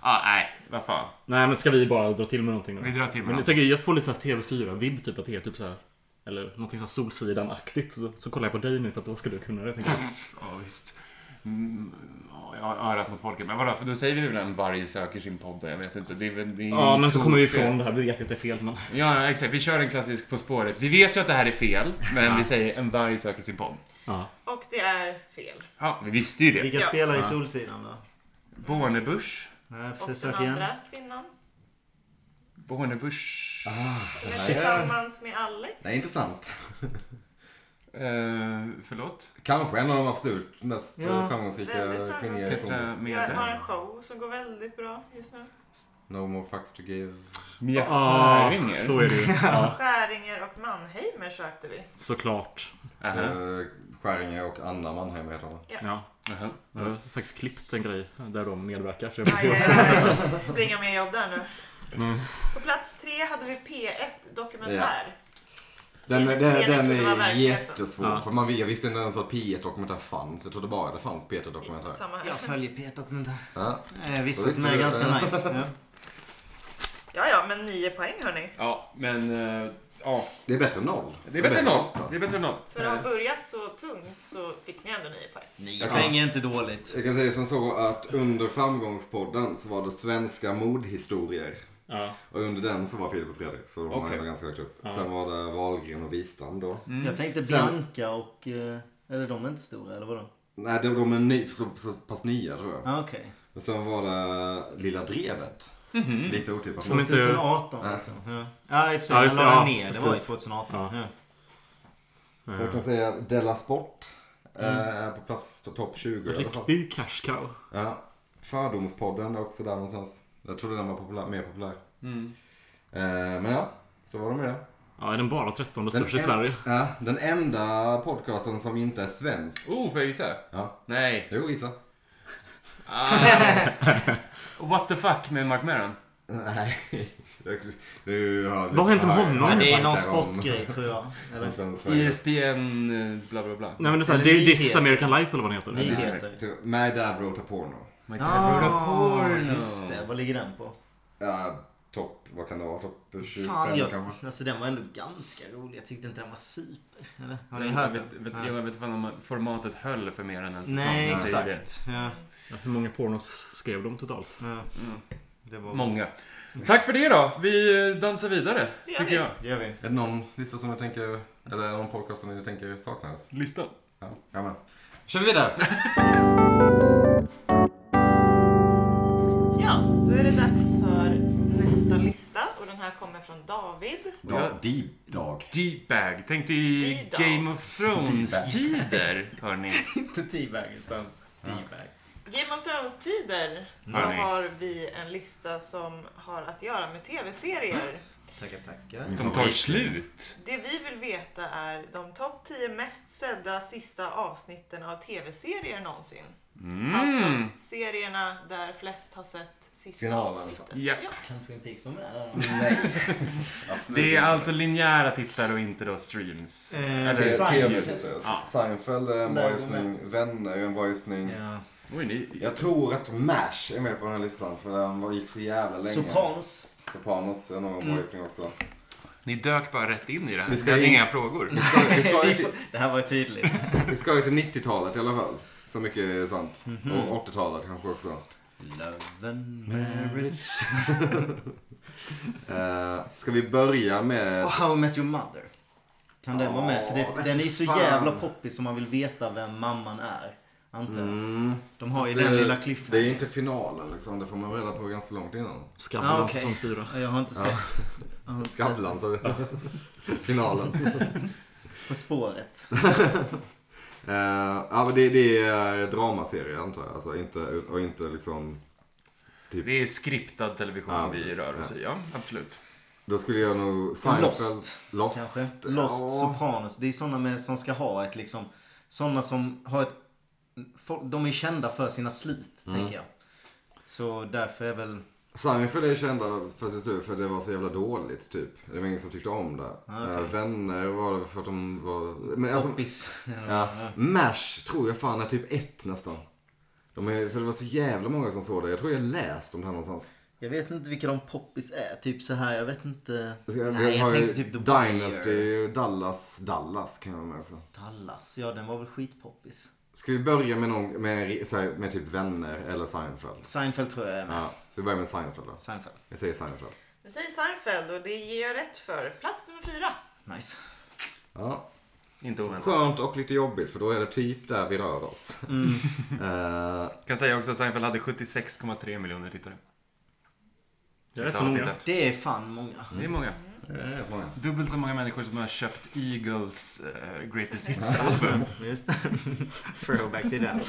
Speaker 5: Ah, nej, vad fan.
Speaker 4: Nej men ska vi bara dra till med någonting nu?
Speaker 5: Vi drar till med
Speaker 4: Men jag
Speaker 5: något.
Speaker 4: tänker, jag får lite såhär TV4-vibb typ att det är typ såhär Eller någonting såhär Solsidan-aktigt så, så kollar jag på dig nu för att då ska du kunna det tänker jag.
Speaker 5: Ja, visst. Mm, ja, jag har örat mot folket. Men vadå, för då säger vi väl en varje söker sin podd. Jag vet inte. Det är väl, det är
Speaker 4: Ja men så kommer vi
Speaker 5: tokfel.
Speaker 4: ifrån det här, vi vet ju att det är fel men
Speaker 5: Ja, ja, exakt. Vi kör en klassisk På spåret. Vi vet ju att det här är fel, men vi säger en varg söker sin podd.
Speaker 4: ja.
Speaker 3: Och det är fel.
Speaker 5: Ja, vi visste ju det.
Speaker 6: Vilka
Speaker 3: Ja.
Speaker 6: spelar i Solsidan då?
Speaker 5: Bornebusch.
Speaker 6: Nej,
Speaker 3: Och den
Speaker 6: försök igen.
Speaker 3: andra kvinnan.
Speaker 5: Bornebusch.
Speaker 3: Som är tillsammans med Alex.
Speaker 2: Det är intressant.
Speaker 5: Eh, förlåt?
Speaker 2: Kanske en av de absolut mest
Speaker 4: Ja.
Speaker 2: eh, framgångsrika
Speaker 3: Väldigt framgångsrik.
Speaker 2: kvinnliga konstnärer.
Speaker 5: Petra
Speaker 3: Jag har en
Speaker 5: Mede.
Speaker 3: show som går väldigt bra just nu.
Speaker 2: No more fucks to give.
Speaker 5: Mia
Speaker 4: Ah,
Speaker 5: Skäringer.
Speaker 4: så är det ju. Ja,
Speaker 3: Skäringer och Mannheimer sökte vi.
Speaker 4: såklart.
Speaker 5: Aha,
Speaker 2: Eh, Skäringe och Anna Mannheim heter hon.
Speaker 4: Ja.
Speaker 5: aha.
Speaker 4: Jag har faktiskt klippt en grej där de medverkar. Så jag
Speaker 3: Aj, aj, aj. Det blir inga mer jobb där nu. På plats tre hade vi P1 Dokumentär.
Speaker 2: Den,
Speaker 3: Det-
Speaker 2: den,
Speaker 3: det
Speaker 2: den
Speaker 3: trodde jag var
Speaker 2: är
Speaker 3: verkligheten.
Speaker 2: jättesvår.
Speaker 4: Ja.
Speaker 2: För man, vet- jag visste inte ens att P1-dokumentär fanns. Jag trodde bara det fanns P1-dokumentär.
Speaker 3: Samma här.
Speaker 6: Jag följer P1-dokumentär.
Speaker 2: Ja.
Speaker 6: Eh, vissa
Speaker 2: Då visste
Speaker 6: som är
Speaker 2: du-
Speaker 6: ganska nice. Ja.
Speaker 3: Ja, ja, men nio poäng hörni.
Speaker 5: Ja, men... eh, Ja,
Speaker 2: Det är bättre än noll.
Speaker 5: det är bättre än noll.
Speaker 2: Ja.
Speaker 5: Det är bättre än Eh, noll.
Speaker 3: För att ha börjat så tungt så fick ni ändå nio poäng.
Speaker 6: Nio
Speaker 2: Jag kan-
Speaker 6: poäng är inte dåligt.
Speaker 2: Jag kan säga som så att under framgångspodden så var det svenska mordhistorier.
Speaker 4: Ja.
Speaker 2: Och under den så var Filip och Fredrik. Så de var
Speaker 5: Okej. Mm.
Speaker 2: ändå ganska högt upp. Sen var det Wahlgren och Wistam då.
Speaker 6: Jag tänkte
Speaker 2: Sen-
Speaker 6: Bianca och... eh, Eller de är inte stora, eller vadå?
Speaker 2: Nej, de, de är ny, så, så pass nya tror jag.
Speaker 6: Ah, Okej.
Speaker 2: Och sen var det Lilla Drevet.
Speaker 5: Mhm.
Speaker 2: Lite otippat.
Speaker 4: Som inte-
Speaker 6: 2018 alltså. Ja, ja i och för sig.
Speaker 4: Ja,
Speaker 6: Ja, jag
Speaker 4: just det,
Speaker 6: la
Speaker 4: ja,
Speaker 6: den ner. Det var ju
Speaker 4: precis.
Speaker 6: 2018. Ja.
Speaker 2: Jag kan säga Della Sport.
Speaker 5: Mm.
Speaker 2: Eh, på plats to- topp 20 i alla fall.
Speaker 4: Riktig cash cow.
Speaker 2: Ja. Fördomspodden är också där någonstans. Jag trodde den var populär, mer populär.
Speaker 5: Mm.
Speaker 2: Eh, men ja, så var de med det.
Speaker 4: Ja, är den bara 13
Speaker 2: Den
Speaker 4: största i
Speaker 2: en-
Speaker 4: Sverige?
Speaker 2: Ja, den enda podcasten som inte är svensk.
Speaker 5: Oh, får jag gissa?
Speaker 2: Ja.
Speaker 5: Nej.
Speaker 2: Jo, gissa.
Speaker 5: What the fuck med Mark Maron?
Speaker 2: Nej. Du har
Speaker 4: Vad har hänt med honom?
Speaker 6: Men det är någon sportgrej tror jag. Eller
Speaker 2: Mm.
Speaker 5: ISPN eh, bla bla bla.
Speaker 4: Nej men det är såhär,
Speaker 6: Eller
Speaker 4: det är ju
Speaker 6: nyheter.
Speaker 4: This American Life eller vad den heter.
Speaker 6: nyheter.
Speaker 2: My dad wrote a porno.
Speaker 5: My dad wrote a
Speaker 6: Ah,
Speaker 5: porno.
Speaker 6: just det. Vad ligger den på?
Speaker 2: Ja, topp, vad kan det vara? Topp 25
Speaker 6: Fan, jag,
Speaker 2: kanske?
Speaker 6: alltså, den var ändå ganska rolig. Jag tyckte inte den var super. Eller? Har ni
Speaker 5: Jag
Speaker 6: hört
Speaker 5: vet,
Speaker 6: den?
Speaker 5: vet, vet,
Speaker 6: Ja.
Speaker 5: jag vet inte om formatet höll för mer än en
Speaker 2: Alltså,
Speaker 5: säsong.
Speaker 6: Nej,
Speaker 5: Det är
Speaker 6: exakt. Ja,
Speaker 4: Ja, Hur många pornos skrev de totalt?
Speaker 6: ja. Det
Speaker 5: det.
Speaker 6: var...
Speaker 5: Många. Tack för det då. Vi eh, dansar vidare,
Speaker 3: Det gör
Speaker 5: tycker
Speaker 3: vi.
Speaker 5: jag.
Speaker 6: Det gör vi.
Speaker 2: Är det någon lista som jag tänker, eller någon podcast som ni tänker saknades?
Speaker 5: Listan.
Speaker 2: Ja, jag med. kör vi vidare!
Speaker 3: Ja, då är det dags för nästa lista och den här kommer från David.
Speaker 2: Dag, D-dag.
Speaker 5: D-bag. Tänk dig
Speaker 3: D-bag.
Speaker 5: Game of Thrones-tider, hörni.
Speaker 6: Inte T-bag utan D-bag.
Speaker 3: Game of Thrones-tider så
Speaker 5: Hörni.
Speaker 3: har vi en lista som har att göra med tv-serier.
Speaker 6: Tackar, tackar.
Speaker 5: Som tar slut.
Speaker 3: Det vi vill veta är de topp 10 mest sedda sista avsnitten av tv-serier någonsin.
Speaker 5: Mm.
Speaker 3: Alltså serierna där flest har sett sista
Speaker 2: Finalen.
Speaker 3: avsnittet.
Speaker 5: Ja.
Speaker 6: Kan Twin Peaks vara med där?
Speaker 2: Absolut.
Speaker 5: Det är alltså linjära tittare och inte då streams.
Speaker 6: Eh,
Speaker 5: Eller-
Speaker 6: det- Seinfeld.
Speaker 5: Ja.
Speaker 2: Seinfeld är en
Speaker 6: Nej,
Speaker 2: bra
Speaker 6: de
Speaker 2: gissning. Vänner är en bra gissning.
Speaker 6: Ja.
Speaker 5: Oj, ni...
Speaker 2: Jag tror att MASH är med på den här listan för den var- gick så jävla länge.
Speaker 6: Sopranos.
Speaker 2: Sopranos är nog en
Speaker 6: Mm.
Speaker 2: bra gissning också.
Speaker 5: Ni dök bara rätt in i det här.
Speaker 2: Vi
Speaker 5: Vi
Speaker 2: ska
Speaker 5: hade
Speaker 2: in-
Speaker 5: inga frågor.
Speaker 2: Vi ska, vi ska,
Speaker 6: Vi
Speaker 2: ju till,
Speaker 6: får- Det här var ju tydligt.
Speaker 2: vi ska ju till 90-talet i alla fall. Så mycket är sant.
Speaker 6: Mhm.
Speaker 2: Och 80-talet kanske också.
Speaker 6: Love and marriage.
Speaker 2: Eh, ska vi börja med...
Speaker 6: Och How I Met Your Mother. Kan den vara med? För
Speaker 2: Åh,
Speaker 6: det,
Speaker 2: vet
Speaker 6: den är
Speaker 2: du
Speaker 6: ju så
Speaker 2: fan.
Speaker 6: jävla poppis som man vill veta vem mamman är. Antar jag.
Speaker 2: Mm.
Speaker 6: De har ju
Speaker 2: Fast
Speaker 6: den
Speaker 2: det-
Speaker 6: lilla
Speaker 2: Det är ju
Speaker 6: cliffhangern.
Speaker 2: inte finalen liksom. Det får man reda på ganska långt innan.
Speaker 4: Skavlan
Speaker 6: Ah, okej.
Speaker 4: säsong 4.
Speaker 6: Ja, Jag har inte sett. Jag har inte sett
Speaker 2: Skavlan sa du. Finalen.
Speaker 6: På spåret.
Speaker 2: Eh, ja, men det, det är dramaserie antar jag. Alltså, inte, och inte liksom...
Speaker 5: Det är skriptad television
Speaker 2: Ja,
Speaker 5: vi
Speaker 2: precis.
Speaker 5: rör oss i. Ja, absolut.
Speaker 2: Då skulle jag nog... Seinfeld.
Speaker 6: Lost,
Speaker 2: Lost.
Speaker 6: Kanske. Lost,
Speaker 2: Ja.
Speaker 6: Sopranos. Det är sådana med, som ska ha ett liksom. Sådana som har ett. folk- De är kända för sina slut,
Speaker 2: Mm.
Speaker 6: tänker jag. Så därför är väl.
Speaker 2: Seinfeld är kända för sin tur för att det var så jävla dåligt typ. Det var ingen som tyckte om det.
Speaker 6: Ah, okej.
Speaker 2: Eh, vänner var det för att de var... Men alltså,
Speaker 6: Poppis.
Speaker 2: ja. MASH tror jag fan är typ ett nästan. De är, för det var så jävla många som såg det. Jag tror jag läst om det här någonstans.
Speaker 6: Jag vet inte vilka de poppis är. Typ så här, jag vet inte.
Speaker 2: Jag, jag,
Speaker 6: Nej, jag
Speaker 2: har ju
Speaker 6: tänkte typ The Wire.
Speaker 2: Dynasty, Dallas, Dallas kan jag ha med också.
Speaker 6: Dallas. Ja, den var väl skitpoppis.
Speaker 2: Ska vi börja med någon, med, så här, med typ vänner eller Seinfeld?
Speaker 6: Seinfeld tror jag är med.
Speaker 2: Ja, så vi börjar med Seinfeld då.
Speaker 6: Seinfeld.
Speaker 2: Jag säger Seinfeld.
Speaker 3: Nu säger Seinfeld och det ger jag rätt för. Plats nummer fyra.
Speaker 6: Nice.
Speaker 2: Ja,
Speaker 5: Inte oväntat.
Speaker 2: skönt och lite jobbigt för då är det typ där vi rör oss.
Speaker 6: Mm.
Speaker 2: Eh,
Speaker 5: Kan säga också att Seinfeld hade 76,3 miljoner tittare.
Speaker 4: Det är rätt
Speaker 5: Sista
Speaker 4: så många.
Speaker 5: avsnittet.
Speaker 6: Det är fan många.
Speaker 5: Det är många.
Speaker 2: Det är rätt många.
Speaker 5: Dubbelt så många människor som har köpt Eagles eh, Greatest Hits-album.
Speaker 6: Just det. Throwback till den.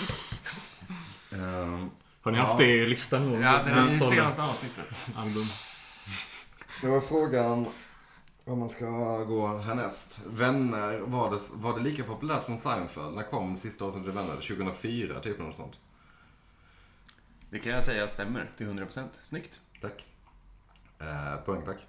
Speaker 2: Ehm,
Speaker 4: Har ni
Speaker 2: Ja.
Speaker 4: haft det i listan? någon
Speaker 5: ja,
Speaker 4: gång?
Speaker 5: det är det
Speaker 4: Sålda
Speaker 5: senaste avsnittet.
Speaker 4: Album.
Speaker 2: Det var frågan vad man ska gå härnäst. Vänner, var det, var det lika populärt som Seinfeld? När kom sista avsnittet av Vänner? 2004 typ något sånt.
Speaker 5: Det kan jag säga stämmer till 100%. Snyggt.
Speaker 2: Tack. Eh, poäng tack.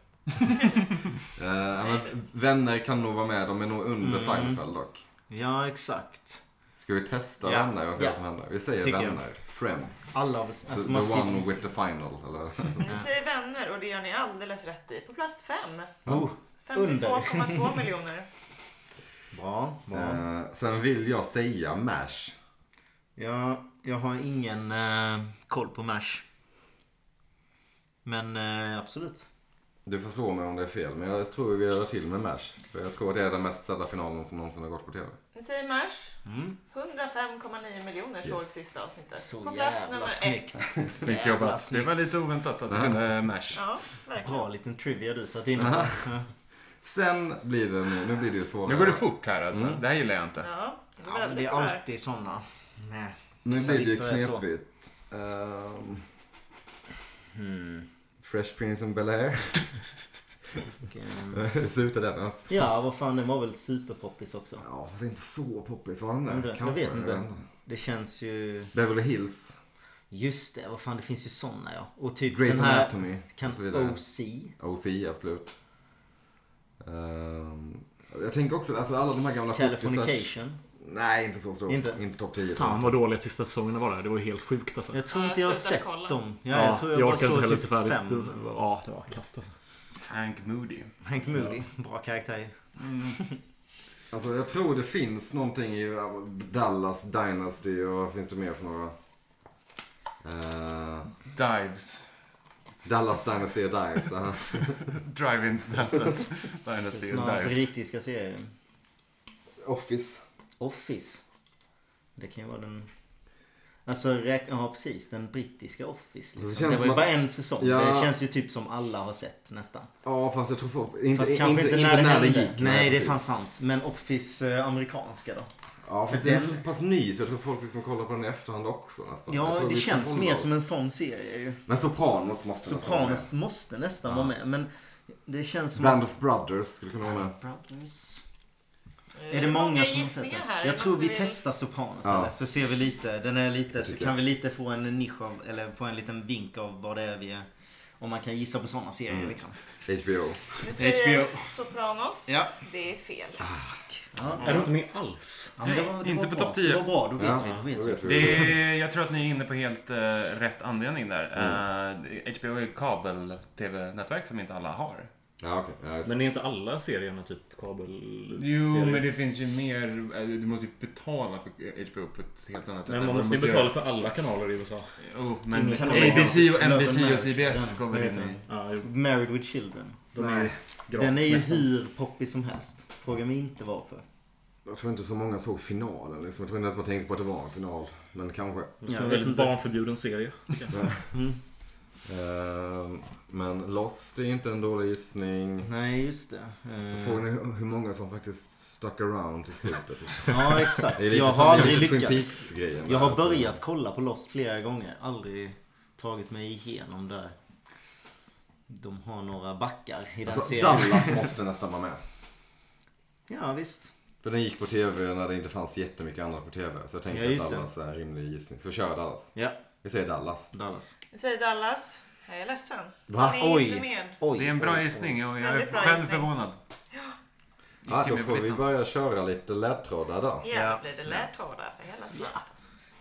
Speaker 2: eh, ja, men vänner kan nog vara med, de är nog
Speaker 6: Mm.
Speaker 2: under Seinfeld dock.
Speaker 6: Ja, exakt.
Speaker 2: Ska vi testa
Speaker 6: Ja.
Speaker 2: vänner och se
Speaker 6: Ja.
Speaker 2: vad som händer? Vi säger
Speaker 6: Tycker jag.
Speaker 2: vänner, friends.
Speaker 6: Alla av oss.
Speaker 2: The,
Speaker 6: Alltså, man
Speaker 2: the one
Speaker 6: ser...
Speaker 2: with the final, eller?
Speaker 3: Ni säger vänner och det gör ni alldeles rätt i. På plats fem.
Speaker 2: Oh.
Speaker 3: 52,2 miljoner.
Speaker 6: Bra, bra.
Speaker 2: Eh, sen vill jag säga MASH.
Speaker 6: Ja, jag har ingen eh, koll på MASH. Men eh, absolut.
Speaker 2: Du får slå mig om det är fel, men jag tror vi gör till med MASH. För jag tror det är den mest sedda finalen som någonsin har gått på TV.
Speaker 3: Ni säger mars. 105,9 miljoner såg
Speaker 2: Yes.
Speaker 3: sista avsnittet.
Speaker 6: Mm. Så
Speaker 3: på plats
Speaker 6: jävla
Speaker 3: nummer
Speaker 6: snyggt.
Speaker 3: ett.
Speaker 5: Snyggt
Speaker 6: Jävla
Speaker 5: jobbat. Det
Speaker 6: snyggt.
Speaker 5: var lite oväntat att du kunde eh, mash.
Speaker 3: Ja, verkligen.
Speaker 6: Bra liten trivia du satt in på.
Speaker 2: Sen blir det nu, nu blir det ju svårare.
Speaker 5: Nu går det fort här alltså. Det här gillar jag inte.
Speaker 3: Ja,
Speaker 6: Ja, men
Speaker 3: väldigt
Speaker 6: det är
Speaker 3: bra.
Speaker 6: alltid såna. Nej.
Speaker 2: Nu
Speaker 6: Vissa
Speaker 2: blir det ju
Speaker 6: listor är så.
Speaker 2: knepigt. Ehm, hmm. Fresh Prince of Bel-Air.
Speaker 6: Okej.
Speaker 2: Sluta den alltså.
Speaker 6: Ja, vad fan, den var väl superpoppis också.
Speaker 2: Ja, fast inte så poppis var den där.
Speaker 6: Undrar, jag
Speaker 2: Kanske,
Speaker 6: vet inte. Det känns ju...
Speaker 2: Beverly Hills,
Speaker 6: Just det, vad fan, det finns ju såna ja. Och typ
Speaker 2: Grey's
Speaker 6: den här...
Speaker 2: Anatomy
Speaker 6: Kan
Speaker 2: och så vidare.
Speaker 6: OC?
Speaker 2: OC, absolut. Ehm, jag tänker också, alltså alla de här gamla 70s
Speaker 6: Californication?
Speaker 2: Nej, inte så stor.
Speaker 6: Inte?
Speaker 2: inte topp 10.
Speaker 4: Fan vad dåliga sista säsongerna var det. Det var helt sjukt alltså.
Speaker 6: Jag tror
Speaker 3: Ja,
Speaker 6: inte jag har
Speaker 3: jag slutade
Speaker 6: sett
Speaker 3: kolla.
Speaker 6: dem. Ja, jag tror jag, bara
Speaker 4: orkade
Speaker 6: såg
Speaker 4: heller
Speaker 6: typ
Speaker 4: se färdigt.
Speaker 6: fem.
Speaker 4: Ja, det var kast alltså.
Speaker 5: Hank Moody.
Speaker 6: Hank Moody, bra karaktär
Speaker 2: Alltså jag tror det finns någonting i ja, Dallas Dynasty och vad finns det mer för några? Eh,
Speaker 5: Dives.
Speaker 2: Dallas Dynasty och Dives. aha.
Speaker 5: Drive-ins Dallas.
Speaker 6: Det
Speaker 5: Dynasty
Speaker 6: är
Speaker 5: and
Speaker 6: snarare
Speaker 5: Dives.
Speaker 6: brittiska serien.
Speaker 2: Office.
Speaker 6: Office. Det kan ju vara den... Alltså, räkna, ja precis. Den brittiska Office.
Speaker 2: Det
Speaker 6: Liksom.
Speaker 2: känns
Speaker 6: Det, var ju
Speaker 2: som
Speaker 6: bara
Speaker 2: att-
Speaker 6: en säsong.
Speaker 2: Ja.
Speaker 6: Det känns ju typ som alla har sett nästan.
Speaker 2: Ja fast jag tror folk, inte,
Speaker 6: Fast
Speaker 2: inte,
Speaker 6: kanske
Speaker 2: inte,
Speaker 6: inte, när, det, hände.
Speaker 2: gick.
Speaker 6: Nej, det är
Speaker 2: precis.
Speaker 6: fan sant. Men Office eh, amerikanska då?
Speaker 2: Ja fast
Speaker 6: För
Speaker 2: den är så
Speaker 6: den-
Speaker 2: pass ny så jag tror folk liksom kollar på den i efterhand också nästan. Jag
Speaker 6: Ja,
Speaker 2: tror
Speaker 6: det
Speaker 2: vi ska
Speaker 6: känns
Speaker 2: hålla
Speaker 6: mer
Speaker 2: oss.
Speaker 6: som en sån serie ju.
Speaker 2: Men Sopranos måste nästan vara med.
Speaker 6: Sopranos måste nästan vara med. Men det känns som
Speaker 2: Band of Brothers skulle kunna vara med.
Speaker 6: Brothers.
Speaker 3: Nu
Speaker 6: Är det många som har sett
Speaker 3: Eh, gissningar här?
Speaker 6: den?
Speaker 3: Är
Speaker 6: Jag
Speaker 3: det
Speaker 6: tror
Speaker 3: någon
Speaker 6: vi
Speaker 3: vill-
Speaker 6: testar Sopranos
Speaker 2: Ja.
Speaker 6: eller? Så ser vi lite, den är lite, så
Speaker 2: tycker
Speaker 6: kan
Speaker 2: jag.
Speaker 6: vi lite få en nisch av, eller få en liten vink av vad det är vi är. Om man kan gissa på sådana serier
Speaker 2: Mm.
Speaker 6: liksom.
Speaker 2: HBO.
Speaker 3: Ni säger
Speaker 6: HBO.
Speaker 3: Sopranos.
Speaker 6: Ja.
Speaker 3: Det är fel.
Speaker 4: Är de inte med alls?
Speaker 6: Ja, men det var, det
Speaker 5: Inte
Speaker 6: var
Speaker 5: på
Speaker 6: bra.
Speaker 5: topp 10.
Speaker 6: Det var bra, då vet
Speaker 2: Ja,
Speaker 6: vi. Då vet
Speaker 2: då
Speaker 6: vi.
Speaker 2: vet vi.
Speaker 5: Det är, jag tror att ni är inne på helt eh, rätt anledning där. Eh, HBO är ett kabel-tv-nätverk som inte alla har.
Speaker 2: Ja okej. Ja, just det.
Speaker 4: Men är inte alla serierna typ kabel...
Speaker 5: Jo,
Speaker 4: serier?
Speaker 5: men det finns ju mer. eh, Du måste ju betala för HBO på ett helt annat sätt.
Speaker 4: Men
Speaker 5: än vad
Speaker 4: man
Speaker 5: du
Speaker 4: måste ju
Speaker 5: göra.
Speaker 4: betala för alla kanaler i USA.
Speaker 5: Jo, men
Speaker 4: Kan det
Speaker 5: ABC och
Speaker 6: vara-
Speaker 5: NBC och
Speaker 6: Love
Speaker 5: CBS
Speaker 6: and
Speaker 5: går väl
Speaker 6: Marriage,
Speaker 5: in
Speaker 6: ja.
Speaker 5: i...
Speaker 4: Ja, jo,
Speaker 6: Married with Children.
Speaker 4: de är ju gratis
Speaker 6: Den är ju
Speaker 4: nästan.
Speaker 6: hur poppig som helst. Fråga mig inte varför.
Speaker 2: Mm. Jag tror inte så många såg finalen liksom. Jag tror inte ens man tänkte på att det var en final. Men kanske.
Speaker 4: Det är
Speaker 6: Jag
Speaker 4: en
Speaker 6: vet
Speaker 4: väldigt
Speaker 6: inte.
Speaker 4: barnförbjuden serie. tycker jag.
Speaker 2: Ehm, men Lost är ju inte en dålig gissning.
Speaker 6: Nej, just det.
Speaker 2: Mm.
Speaker 6: Eh,
Speaker 2: Såg ni hur många som faktiskt stuck around till slutet?
Speaker 6: Eh, Ja, exakt.
Speaker 2: Det är lite
Speaker 6: Jag
Speaker 2: som
Speaker 6: har aldrig
Speaker 2: Twin
Speaker 6: lyckats.
Speaker 2: Peaks-grejen
Speaker 6: Jag
Speaker 2: där. eh,
Speaker 6: har börjat kolla på Lost flera gånger. Aldrig tagit mig igenom där. De har några backar i den
Speaker 2: Alltså,
Speaker 6: serien.
Speaker 2: Dallas måste nästan vara med.
Speaker 6: Ja, visst.
Speaker 2: För den gick på TV när det inte fanns jättemycket annat på TV. Så jag tänker
Speaker 6: Ja, just
Speaker 2: att
Speaker 6: det.
Speaker 2: Dallas är en rimlig gissning. Ska vi köra Dallas?
Speaker 6: Ja,
Speaker 2: Vi säger Dallas.
Speaker 6: Dallas.
Speaker 3: Ni säger Dallas. Jag är ledsen.
Speaker 2: Va?
Speaker 3: Ni är
Speaker 6: Oj.
Speaker 3: inte med.
Speaker 6: Oj.
Speaker 5: Det är en bra gissning och jag är
Speaker 3: Väldigt bra
Speaker 5: själv
Speaker 3: gissning.
Speaker 5: förvånad.
Speaker 2: Ja,
Speaker 5: Gick ju
Speaker 2: då
Speaker 5: med på
Speaker 2: får vi
Speaker 5: listan.
Speaker 2: börja köra lite ledtrådar då.
Speaker 3: Ja, blir det ledtrådar för hela slanten.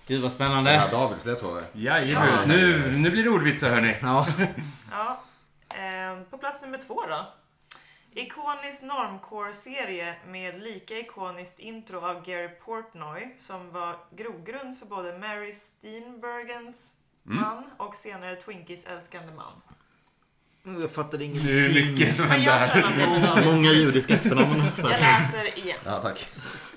Speaker 6: Gud vad
Speaker 2: Ja,
Speaker 6: spännande.
Speaker 2: Davids ledtrådar.
Speaker 5: Jajebus, nu, nu blir det ordvitsar hörni.
Speaker 6: Ja.
Speaker 3: Ja. ehm, på plats nummer två då. Ikonisk normcore-serie med lika ikoniskt intro av Gary Portnoy som var grogrund för både Mary Steenburgens man och senare Twinkies älskande man.
Speaker 1: Jag fattade
Speaker 5: Det är
Speaker 1: ingenting.
Speaker 5: mycket som
Speaker 3: Vad
Speaker 5: händer
Speaker 3: gör
Speaker 5: här.
Speaker 3: sällan mina
Speaker 4: Många
Speaker 3: dagar?
Speaker 4: judiska efternamn. alltså. Så
Speaker 3: Jag
Speaker 4: här.
Speaker 3: läser igen.
Speaker 2: Ja, tack.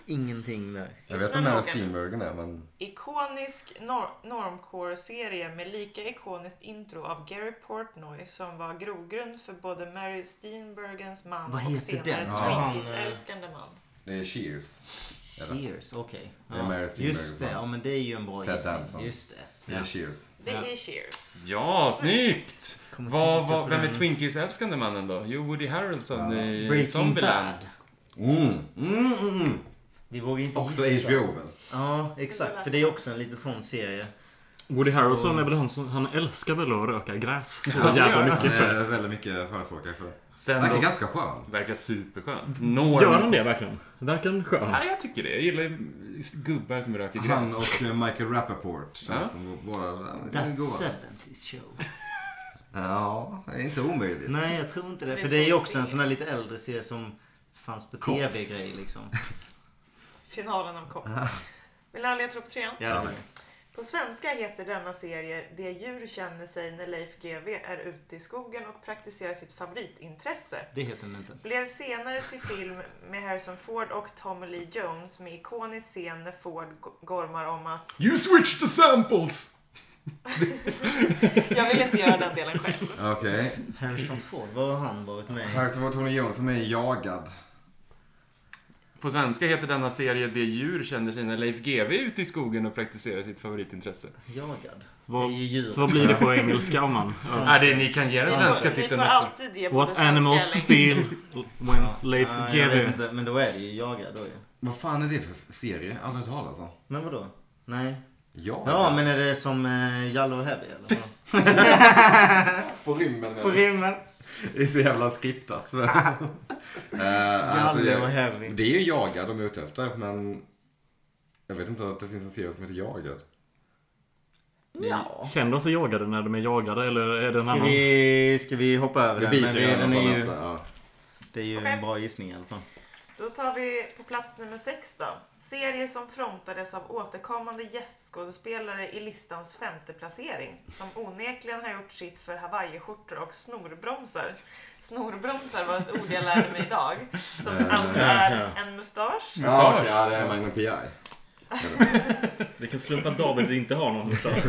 Speaker 1: Ingenting där.
Speaker 2: Jag
Speaker 3: Just
Speaker 2: vet vem
Speaker 3: den
Speaker 2: den här
Speaker 3: boken.
Speaker 2: Steamburgern är, men...
Speaker 3: Ikonisk nor- normcore-serie med lika ikoniskt intro av Gary Portnoy som var grogrund för både Mary Steenburgens man
Speaker 1: Vad
Speaker 3: och
Speaker 1: heter
Speaker 3: senare
Speaker 1: den?
Speaker 2: Ja.
Speaker 3: Twinkies-älskande man.
Speaker 2: Det är Cheers. Är det?
Speaker 6: Cheers, okej.
Speaker 2: Det är Mary
Speaker 6: Ja, just det,
Speaker 2: Steenburgen.
Speaker 6: ja men det är ju en bra
Speaker 2: Ted
Speaker 6: gissning.
Speaker 2: Danson.
Speaker 6: Just det.
Speaker 2: Det
Speaker 6: Ja.
Speaker 2: är Cheers.
Speaker 3: Det
Speaker 6: Ja.
Speaker 3: är Cheers.
Speaker 5: Ja, snyggt!
Speaker 1: Kommer
Speaker 5: Vad,
Speaker 1: tänka
Speaker 5: vad,
Speaker 1: på
Speaker 5: vem är
Speaker 1: den.
Speaker 5: Twinkies-älskande mannen då? Jo, Woody Harrelson
Speaker 2: Ja.
Speaker 5: i
Speaker 6: Breaking
Speaker 5: Zombieland.
Speaker 6: Bad.
Speaker 2: Mm, mm, mm, mm.
Speaker 6: Vi vågar inte
Speaker 2: Också
Speaker 6: gissa.
Speaker 2: HBO väl?
Speaker 6: Ja, exakt. För det är också en liten sån serie.
Speaker 4: Woody Harrelson är väl han som... Han älskar väl att röka gräs så jävla mycket.
Speaker 2: Han
Speaker 4: tror jag.
Speaker 2: är väldigt mycket förespråkare för.
Speaker 5: Sen
Speaker 2: Verkar
Speaker 5: då-
Speaker 2: ganska skön.
Speaker 5: Verkar superskön. Norm.
Speaker 4: Gör han det verkligen? Verkar han skön?
Speaker 5: Ja, jag tycker det. Jag gillar ju gubbar som röker
Speaker 2: Han
Speaker 5: gräs.
Speaker 2: och eh, Michael Rappaport känns
Speaker 5: Ja.
Speaker 2: som båda... de är
Speaker 6: That
Speaker 2: goa.
Speaker 6: 70s show.
Speaker 2: Ja, det är inte omöjligt.
Speaker 6: Nej, jag tror inte det.
Speaker 3: Vi
Speaker 6: För det är ju
Speaker 3: får
Speaker 6: också en
Speaker 3: se.
Speaker 6: sån här lite äldre serie som fanns på
Speaker 2: Cops.
Speaker 6: tv-grej liksom.
Speaker 3: Finalen av Kopp. Vill alla leta upp trean?
Speaker 6: Ja, det var
Speaker 2: men-
Speaker 6: det.
Speaker 3: På svenska heter denna serie Det djur känner sig när Leif GW är ute i skogen och praktiserar sitt favoritintresse.
Speaker 6: det heter den inte.
Speaker 3: Blev senare till film med Harrison Ford och Tommy Lee Jones med ikonisk scen när Ford g- gormar om att
Speaker 5: You switch the samples!
Speaker 3: Jag vill inte göra den delen själv.
Speaker 2: Okej.
Speaker 6: Harrison Ford, vad har han varit med i?
Speaker 2: Här så var Tony Jones som är jagad.
Speaker 5: På svenska heter denna serie Det djur känner sig när Leif GW är ute i skogen och praktiserar sitt favoritintresse.
Speaker 6: Jagad. Det är
Speaker 4: Vad-
Speaker 6: ju djur.
Speaker 4: Så vad blir det på engelska om man...
Speaker 5: Ja. Äh, det, ni kan ge den
Speaker 3: Ni får,
Speaker 5: svenska
Speaker 3: ni får
Speaker 5: titeln också.
Speaker 3: alltid ge både
Speaker 4: What
Speaker 3: svenska
Speaker 4: animals
Speaker 3: eller
Speaker 4: feel when Leif
Speaker 6: Ja, jag vet
Speaker 4: GW...
Speaker 6: inte, men då är det ju jagad då ju.
Speaker 2: Vad fan är det för serie? Aldrig hört talas om.
Speaker 6: Men vadå? Nej.
Speaker 2: Jagad?
Speaker 6: Ja, men är det som eh, Yellow Heavy eller? vadå?
Speaker 2: På rymmen.
Speaker 6: På rymmen.
Speaker 2: Det är så jävla skriptat. uh,
Speaker 6: Yellow Heavy.
Speaker 2: det är ju jagad de är ute efter, men... Jag vet inte att det finns en serie som heter Jagad.
Speaker 4: Känner de sig jagade när de är jagade eller är det en
Speaker 6: Ska
Speaker 4: annan?
Speaker 6: vi, ska vi hoppa över den?
Speaker 2: Vi
Speaker 6: Men
Speaker 2: biter
Speaker 6: vi,
Speaker 2: i den
Speaker 6: den är ju,
Speaker 2: nästa. Ja.
Speaker 6: det är ju
Speaker 3: Okej.
Speaker 6: en bra gissning i alla fall.
Speaker 3: Då tar vi på plats nummer sex då. Serie som frontades av återkommande gästskådespelare i listans femte placering. Som onekligen har gjort sitt för hawaiiskjortor och snorbromsar. Snorbromsar var ett ord jag lärde mig idag. Som alltså är en mustasch.
Speaker 2: Ja, okej, ja, det är Magnum P.I.
Speaker 4: Vilken slump att David inte har någon mustasch.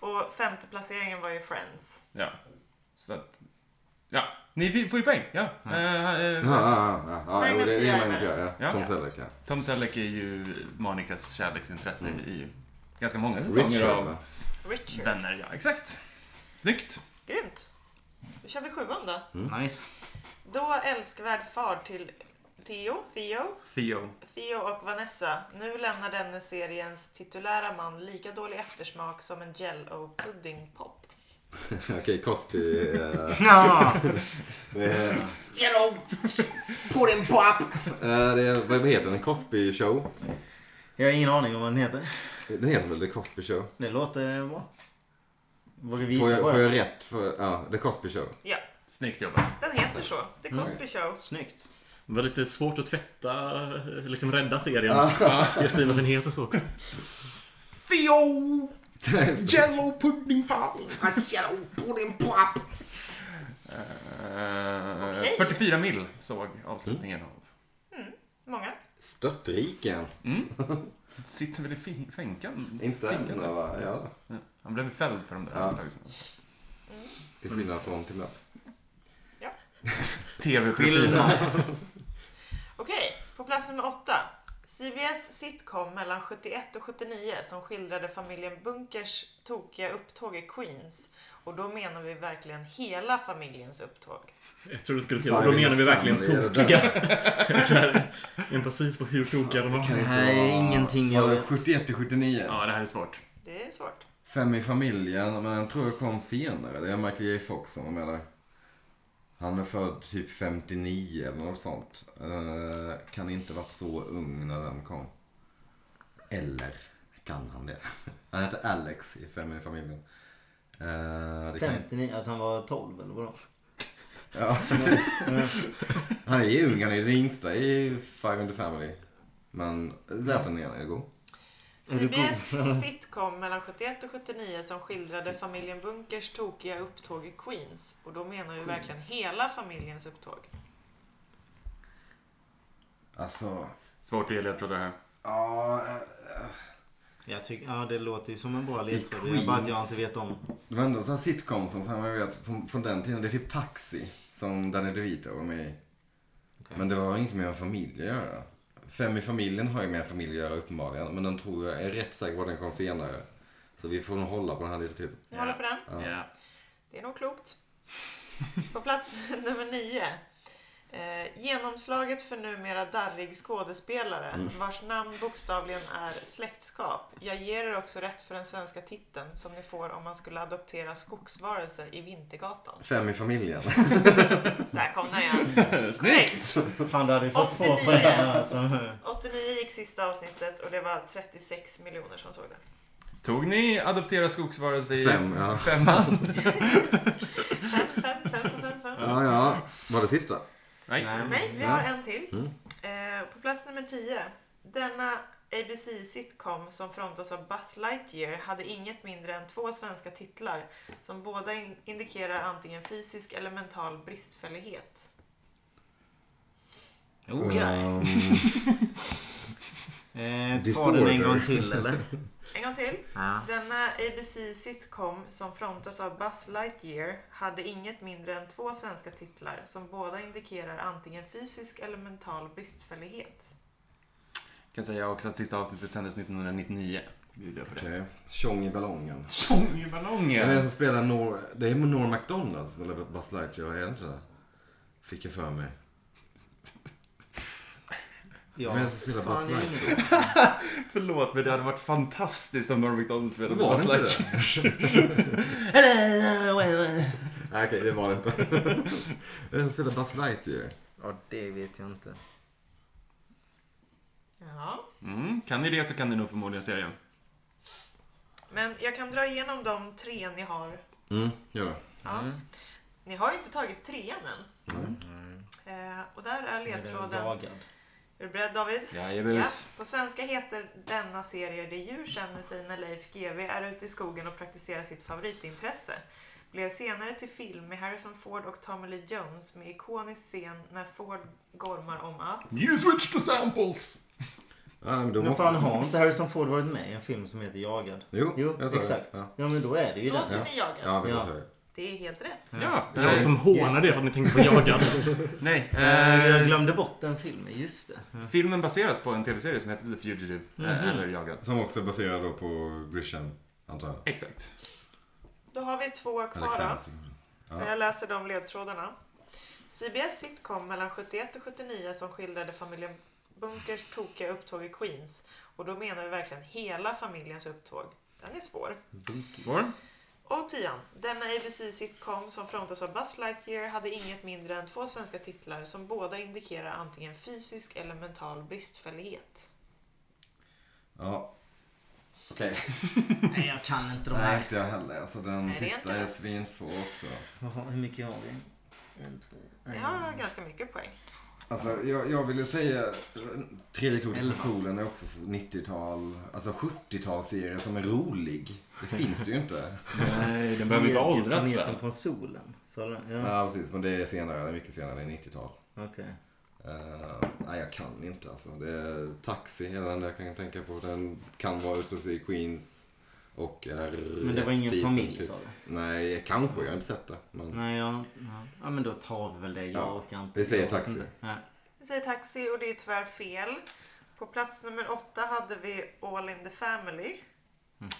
Speaker 3: Och femte placeringen var ju Friends.
Speaker 5: Ja. Så att, ja. Ni får ju poäng. Ja. Eh, eh,
Speaker 2: Ja, ja, ja, ja, jo, det det är Magnum
Speaker 3: Magnum
Speaker 2: P.I.
Speaker 5: Ja.
Speaker 2: ja. Tom Selleck, ja.
Speaker 5: Tom Selleck är ju Monikas kärleksintresse
Speaker 2: Mm.
Speaker 5: i ganska många säsonger
Speaker 2: Richard,
Speaker 5: av
Speaker 2: va?
Speaker 3: Richard.
Speaker 5: Vänner. Ja, exakt. Snyggt.
Speaker 3: Grymt. Då kör vi sjuan då.
Speaker 2: Mm.
Speaker 6: Nice.
Speaker 3: Då älskvärd far till Theo, Theo,
Speaker 5: Theo.
Speaker 3: Theo och Vanessa. Nu lämnar denne seriens titulära man lika dålig eftersmak som en jello pudding pop.
Speaker 2: Okej, Cosby. eh,
Speaker 6: Ja.
Speaker 2: det är-
Speaker 1: Yellow! På din pop!
Speaker 2: eh, det är- Vad heter den? Cosby Show?
Speaker 6: Jag har ingen aning om vad den heter.
Speaker 2: Den heter väl The Cosby Show?
Speaker 6: Det låter bra. Vågar vi
Speaker 2: Får
Speaker 6: gissa
Speaker 2: jag,
Speaker 6: på
Speaker 2: får jag
Speaker 6: det?
Speaker 2: rätt för... Ja, The Cosby Show.
Speaker 3: Ja,
Speaker 5: Snyggt jobbat.
Speaker 3: den heter så. The Cosby Show.
Speaker 6: Snyggt.
Speaker 4: Det var lite svårt att tvätta, liksom rädda serien. Just i och med att den heter så också.
Speaker 5: Theo!
Speaker 2: Just det.
Speaker 5: Jello pudding pop!
Speaker 3: Okej.
Speaker 5: 44 Eh, mil såg
Speaker 2: Mm.
Speaker 5: avslutningen av.
Speaker 3: Många.
Speaker 2: Störtriken.
Speaker 5: Sitter väl i fin- finkan?
Speaker 2: Inte
Speaker 5: finkan.
Speaker 2: än, va? Ja.
Speaker 5: Ja. Han blev fälld för de där
Speaker 2: Ja.
Speaker 5: anklagelserna.
Speaker 2: Till skillnad från till ibland.
Speaker 5: TV-profilen.
Speaker 3: Okej, på plats nummer åtta. CBS sitcom mellan 71 och 79 som skildrade familjen Bunkers tokiga upptåg i Queens. Och då menar vi verkligen hela familjens upptåg.
Speaker 4: Jag tror du skulle till. Då menar vi verkligen tokiga. Så här, En precis på hur tokiga de var.
Speaker 6: Det här är ingenting
Speaker 2: Mm.
Speaker 6: jag vet.
Speaker 2: 71 till 79.
Speaker 5: ja, det här är svårt.
Speaker 3: Det är svårt.
Speaker 2: Fem i familjen, men den tror jag kom senare. Det är Michael J Fox som var med där. Han är född typ 59 eller något sånt. Eh, kan inte varit så ung när den kom. Eller kan han det? Han heter Alex i Fem i familjen. Eh, det kan,
Speaker 6: 59, att han var 12 eller vadå?
Speaker 2: ja. han är ju ung, han är den yngsta i Five in the Family. Men läs den igen, är det god?
Speaker 3: CBS sitcom mellan 71 och 79 som skildrade familjen Bunkers tokiga upptåg i Queens. Och då menar vi verkligen hela familjens upptåg.
Speaker 2: Alltså,
Speaker 5: Svårt att ge ledtrådar här.
Speaker 2: ja... eh,
Speaker 6: Jag tycker, ja det låter ju som en bra ledtråd.
Speaker 2: I
Speaker 6: Det är bara att
Speaker 2: Queens.
Speaker 6: jag inte vet om.
Speaker 2: Det var ändå en sån här sitcom som, som jag vet, som från den tiden, det är typ Taxi som Danny DeVito var med i.
Speaker 6: Okej.
Speaker 2: Men det har inget med familj att göra. Fem i familjen har ju med familj att göra uppenbarligen, men den tror jag är rätt säker på att den kom senare. Så vi får nog hålla på den här lite till.
Speaker 3: Ni håller på den?
Speaker 5: Ja.
Speaker 3: Det är nog klokt. På plats nummer nio. Eh, genomslaget för numera darrig skådespelare vars namn bokstavligen är släktskap. Jag ger er också rätt för den svenska titeln som ni får om man skulle adoptera skogsvarelse i Vintergatan.
Speaker 2: Fem i familjen.
Speaker 3: Där kom den igen. Korrekt!
Speaker 6: Fan du hade ju fått två
Speaker 3: 89.
Speaker 6: på den här. Alltså.
Speaker 3: 89 gick sista avsnittet och det var 36 miljoner som såg det.
Speaker 5: Tog ni adoptera skogsvarelse i
Speaker 2: Fem, ja.
Speaker 5: femman?
Speaker 3: Fem, fem, fem, fem, fem, fem.
Speaker 2: Ja, ja. Var det sista?
Speaker 5: Nej.
Speaker 3: Nej, vi har en till. Eh, på plats nummer 10. Denna ABC-sitcom som frontas av Buzz Lightyear hade inget mindre än två svenska titlar som båda in- indikerar antingen fysisk eller mental bristfällighet.
Speaker 6: Okej.
Speaker 2: Ehm,
Speaker 6: Eh, ta
Speaker 2: Disorder.
Speaker 6: den en gång till eller?
Speaker 3: En gång till.
Speaker 6: Ja.
Speaker 3: Denna ABC-sitcom som frontas av Buzz Lightyear hade inget mindre än två svenska titlar som båda indikerar antingen fysisk eller mental bristfällighet.
Speaker 5: Jag kan säga också att sista avsnittet sändes 1999. Bjuder jag på det.
Speaker 2: Okej. Tjong i ballongen. Vem är det
Speaker 5: Tjongeballongen!
Speaker 2: som spelar Nor... Det är Norm Macdonald som spelar Buzz Lightyear, är det inte det? Fick jag för mig.
Speaker 6: Ja.
Speaker 2: Vem är det som spelar Buzz
Speaker 6: Fan, jag är
Speaker 2: Lightyear?
Speaker 6: inne på-
Speaker 5: Förlåt, men det hade varit fantastiskt om Norm MacDonald spelade
Speaker 2: Var det inte
Speaker 5: Buzz
Speaker 2: det?
Speaker 5: Lightyear.
Speaker 2: Nej, okej, det var det inte. Vem är det som spelar Buzz Lightyear?
Speaker 6: Ja det vet jag inte.
Speaker 3: Ja.
Speaker 5: Mm, kan ni det så kan ni nog förmodligen serien.
Speaker 3: Men jag kan dra igenom de tre ni har
Speaker 2: Mm, gör det.
Speaker 3: Ja. Ni har ju inte tagit trean än. Eh, och där är ledtråden.
Speaker 6: Jagad.
Speaker 3: Är du beredd David? Ja.
Speaker 5: Jajebus.
Speaker 3: På svenska heter denna serie Det djur känner sig när Leif GW är ute i skogen och praktiserar sitt favoritintresse. Blev senare till film med Harrison Ford och Tommy Lee Jones med ikonisk scen när Ford gormar om att...
Speaker 5: You switch to samples!
Speaker 2: Ja, men då
Speaker 6: Men
Speaker 2: måste...
Speaker 6: fan har inte Harrison Ford varit med i en film som heter Jagad?
Speaker 2: Jo, jag sa det.
Speaker 6: exakt.
Speaker 2: Ja.
Speaker 6: Ja. men då är det ju
Speaker 3: Då
Speaker 6: den.
Speaker 3: måste ni jaga.
Speaker 2: Ja, vi
Speaker 6: Ja.
Speaker 2: tar det.
Speaker 3: Det är helt rätt.
Speaker 5: Ja.
Speaker 4: Det var som hånar det för att ni tänkte på jagad.
Speaker 5: Nej.
Speaker 6: Eh, jag
Speaker 5: eh,
Speaker 6: glömde bort den filmen, just det.
Speaker 5: Filmen baseras på en tv-serie som heter The Fugitive, eh, eller Jagad.
Speaker 2: Som också är baserad då på Grisham, antar jag.
Speaker 5: Exakt.
Speaker 3: Då har vi två
Speaker 2: Eller
Speaker 3: kvar. alltså. då.
Speaker 2: Clancy.
Speaker 3: Och Jag läser de ledtrådarna. CBS sitcom mellan 71 och 79 som skildrade familjen Bunkers tokiga upptåg i Queens. Och då menar vi verkligen hela familjens upptåg. Den är svår.
Speaker 5: Svår?
Speaker 3: Och tian. Denna ABC-sitcom som frontas av Buzz Lightyear hade inget mindre än två svenska titlar som båda indikerar antingen fysisk eller mental bristfällighet.
Speaker 2: Ja. Okej.
Speaker 6: Nej, jag kan inte de
Speaker 2: Nej,
Speaker 6: här.
Speaker 2: inte jag heller. Alltså den
Speaker 3: Nej, det är
Speaker 2: sista
Speaker 3: inte
Speaker 2: är
Speaker 3: lätt.
Speaker 2: svinsvår också.
Speaker 6: Jaha, hur mycket har vi? En, två,
Speaker 3: Jag har ganska mycket poäng.
Speaker 2: Alltså jag, jag ville säga eh, Tredje klotet för solen är också 90-tal, alltså 70-talsserie som är rolig. Det finns det ju inte.
Speaker 5: Nej, den behöver inte ha åldrats väl?
Speaker 6: Planeten från solen. Så, den- ja,
Speaker 2: Ja precis, men det är senare, det är mycket senare, det är 90-tal.
Speaker 6: okej.
Speaker 2: Eh, nej, jag kan inte alltså. Det är Taxi är den enda jag kan tänka på. Den kan vara utslussad i Queens och är
Speaker 6: Men det var
Speaker 2: rätt
Speaker 6: ingen
Speaker 2: tidpunkt,
Speaker 6: familj Mm.
Speaker 2: typ.
Speaker 6: sa du?
Speaker 2: Nej, kanske. Jag har inte sett det. Men
Speaker 6: Nej, ja, ja. ja, men då tar vi väl det. Jag
Speaker 2: Ja,
Speaker 6: orkar inte.
Speaker 2: vi säger
Speaker 6: Jag orkar
Speaker 2: taxi.
Speaker 6: inte. Ja.
Speaker 3: Vi säger taxi och det är tyvärr fel. På plats nummer åtta hade vi All in the family.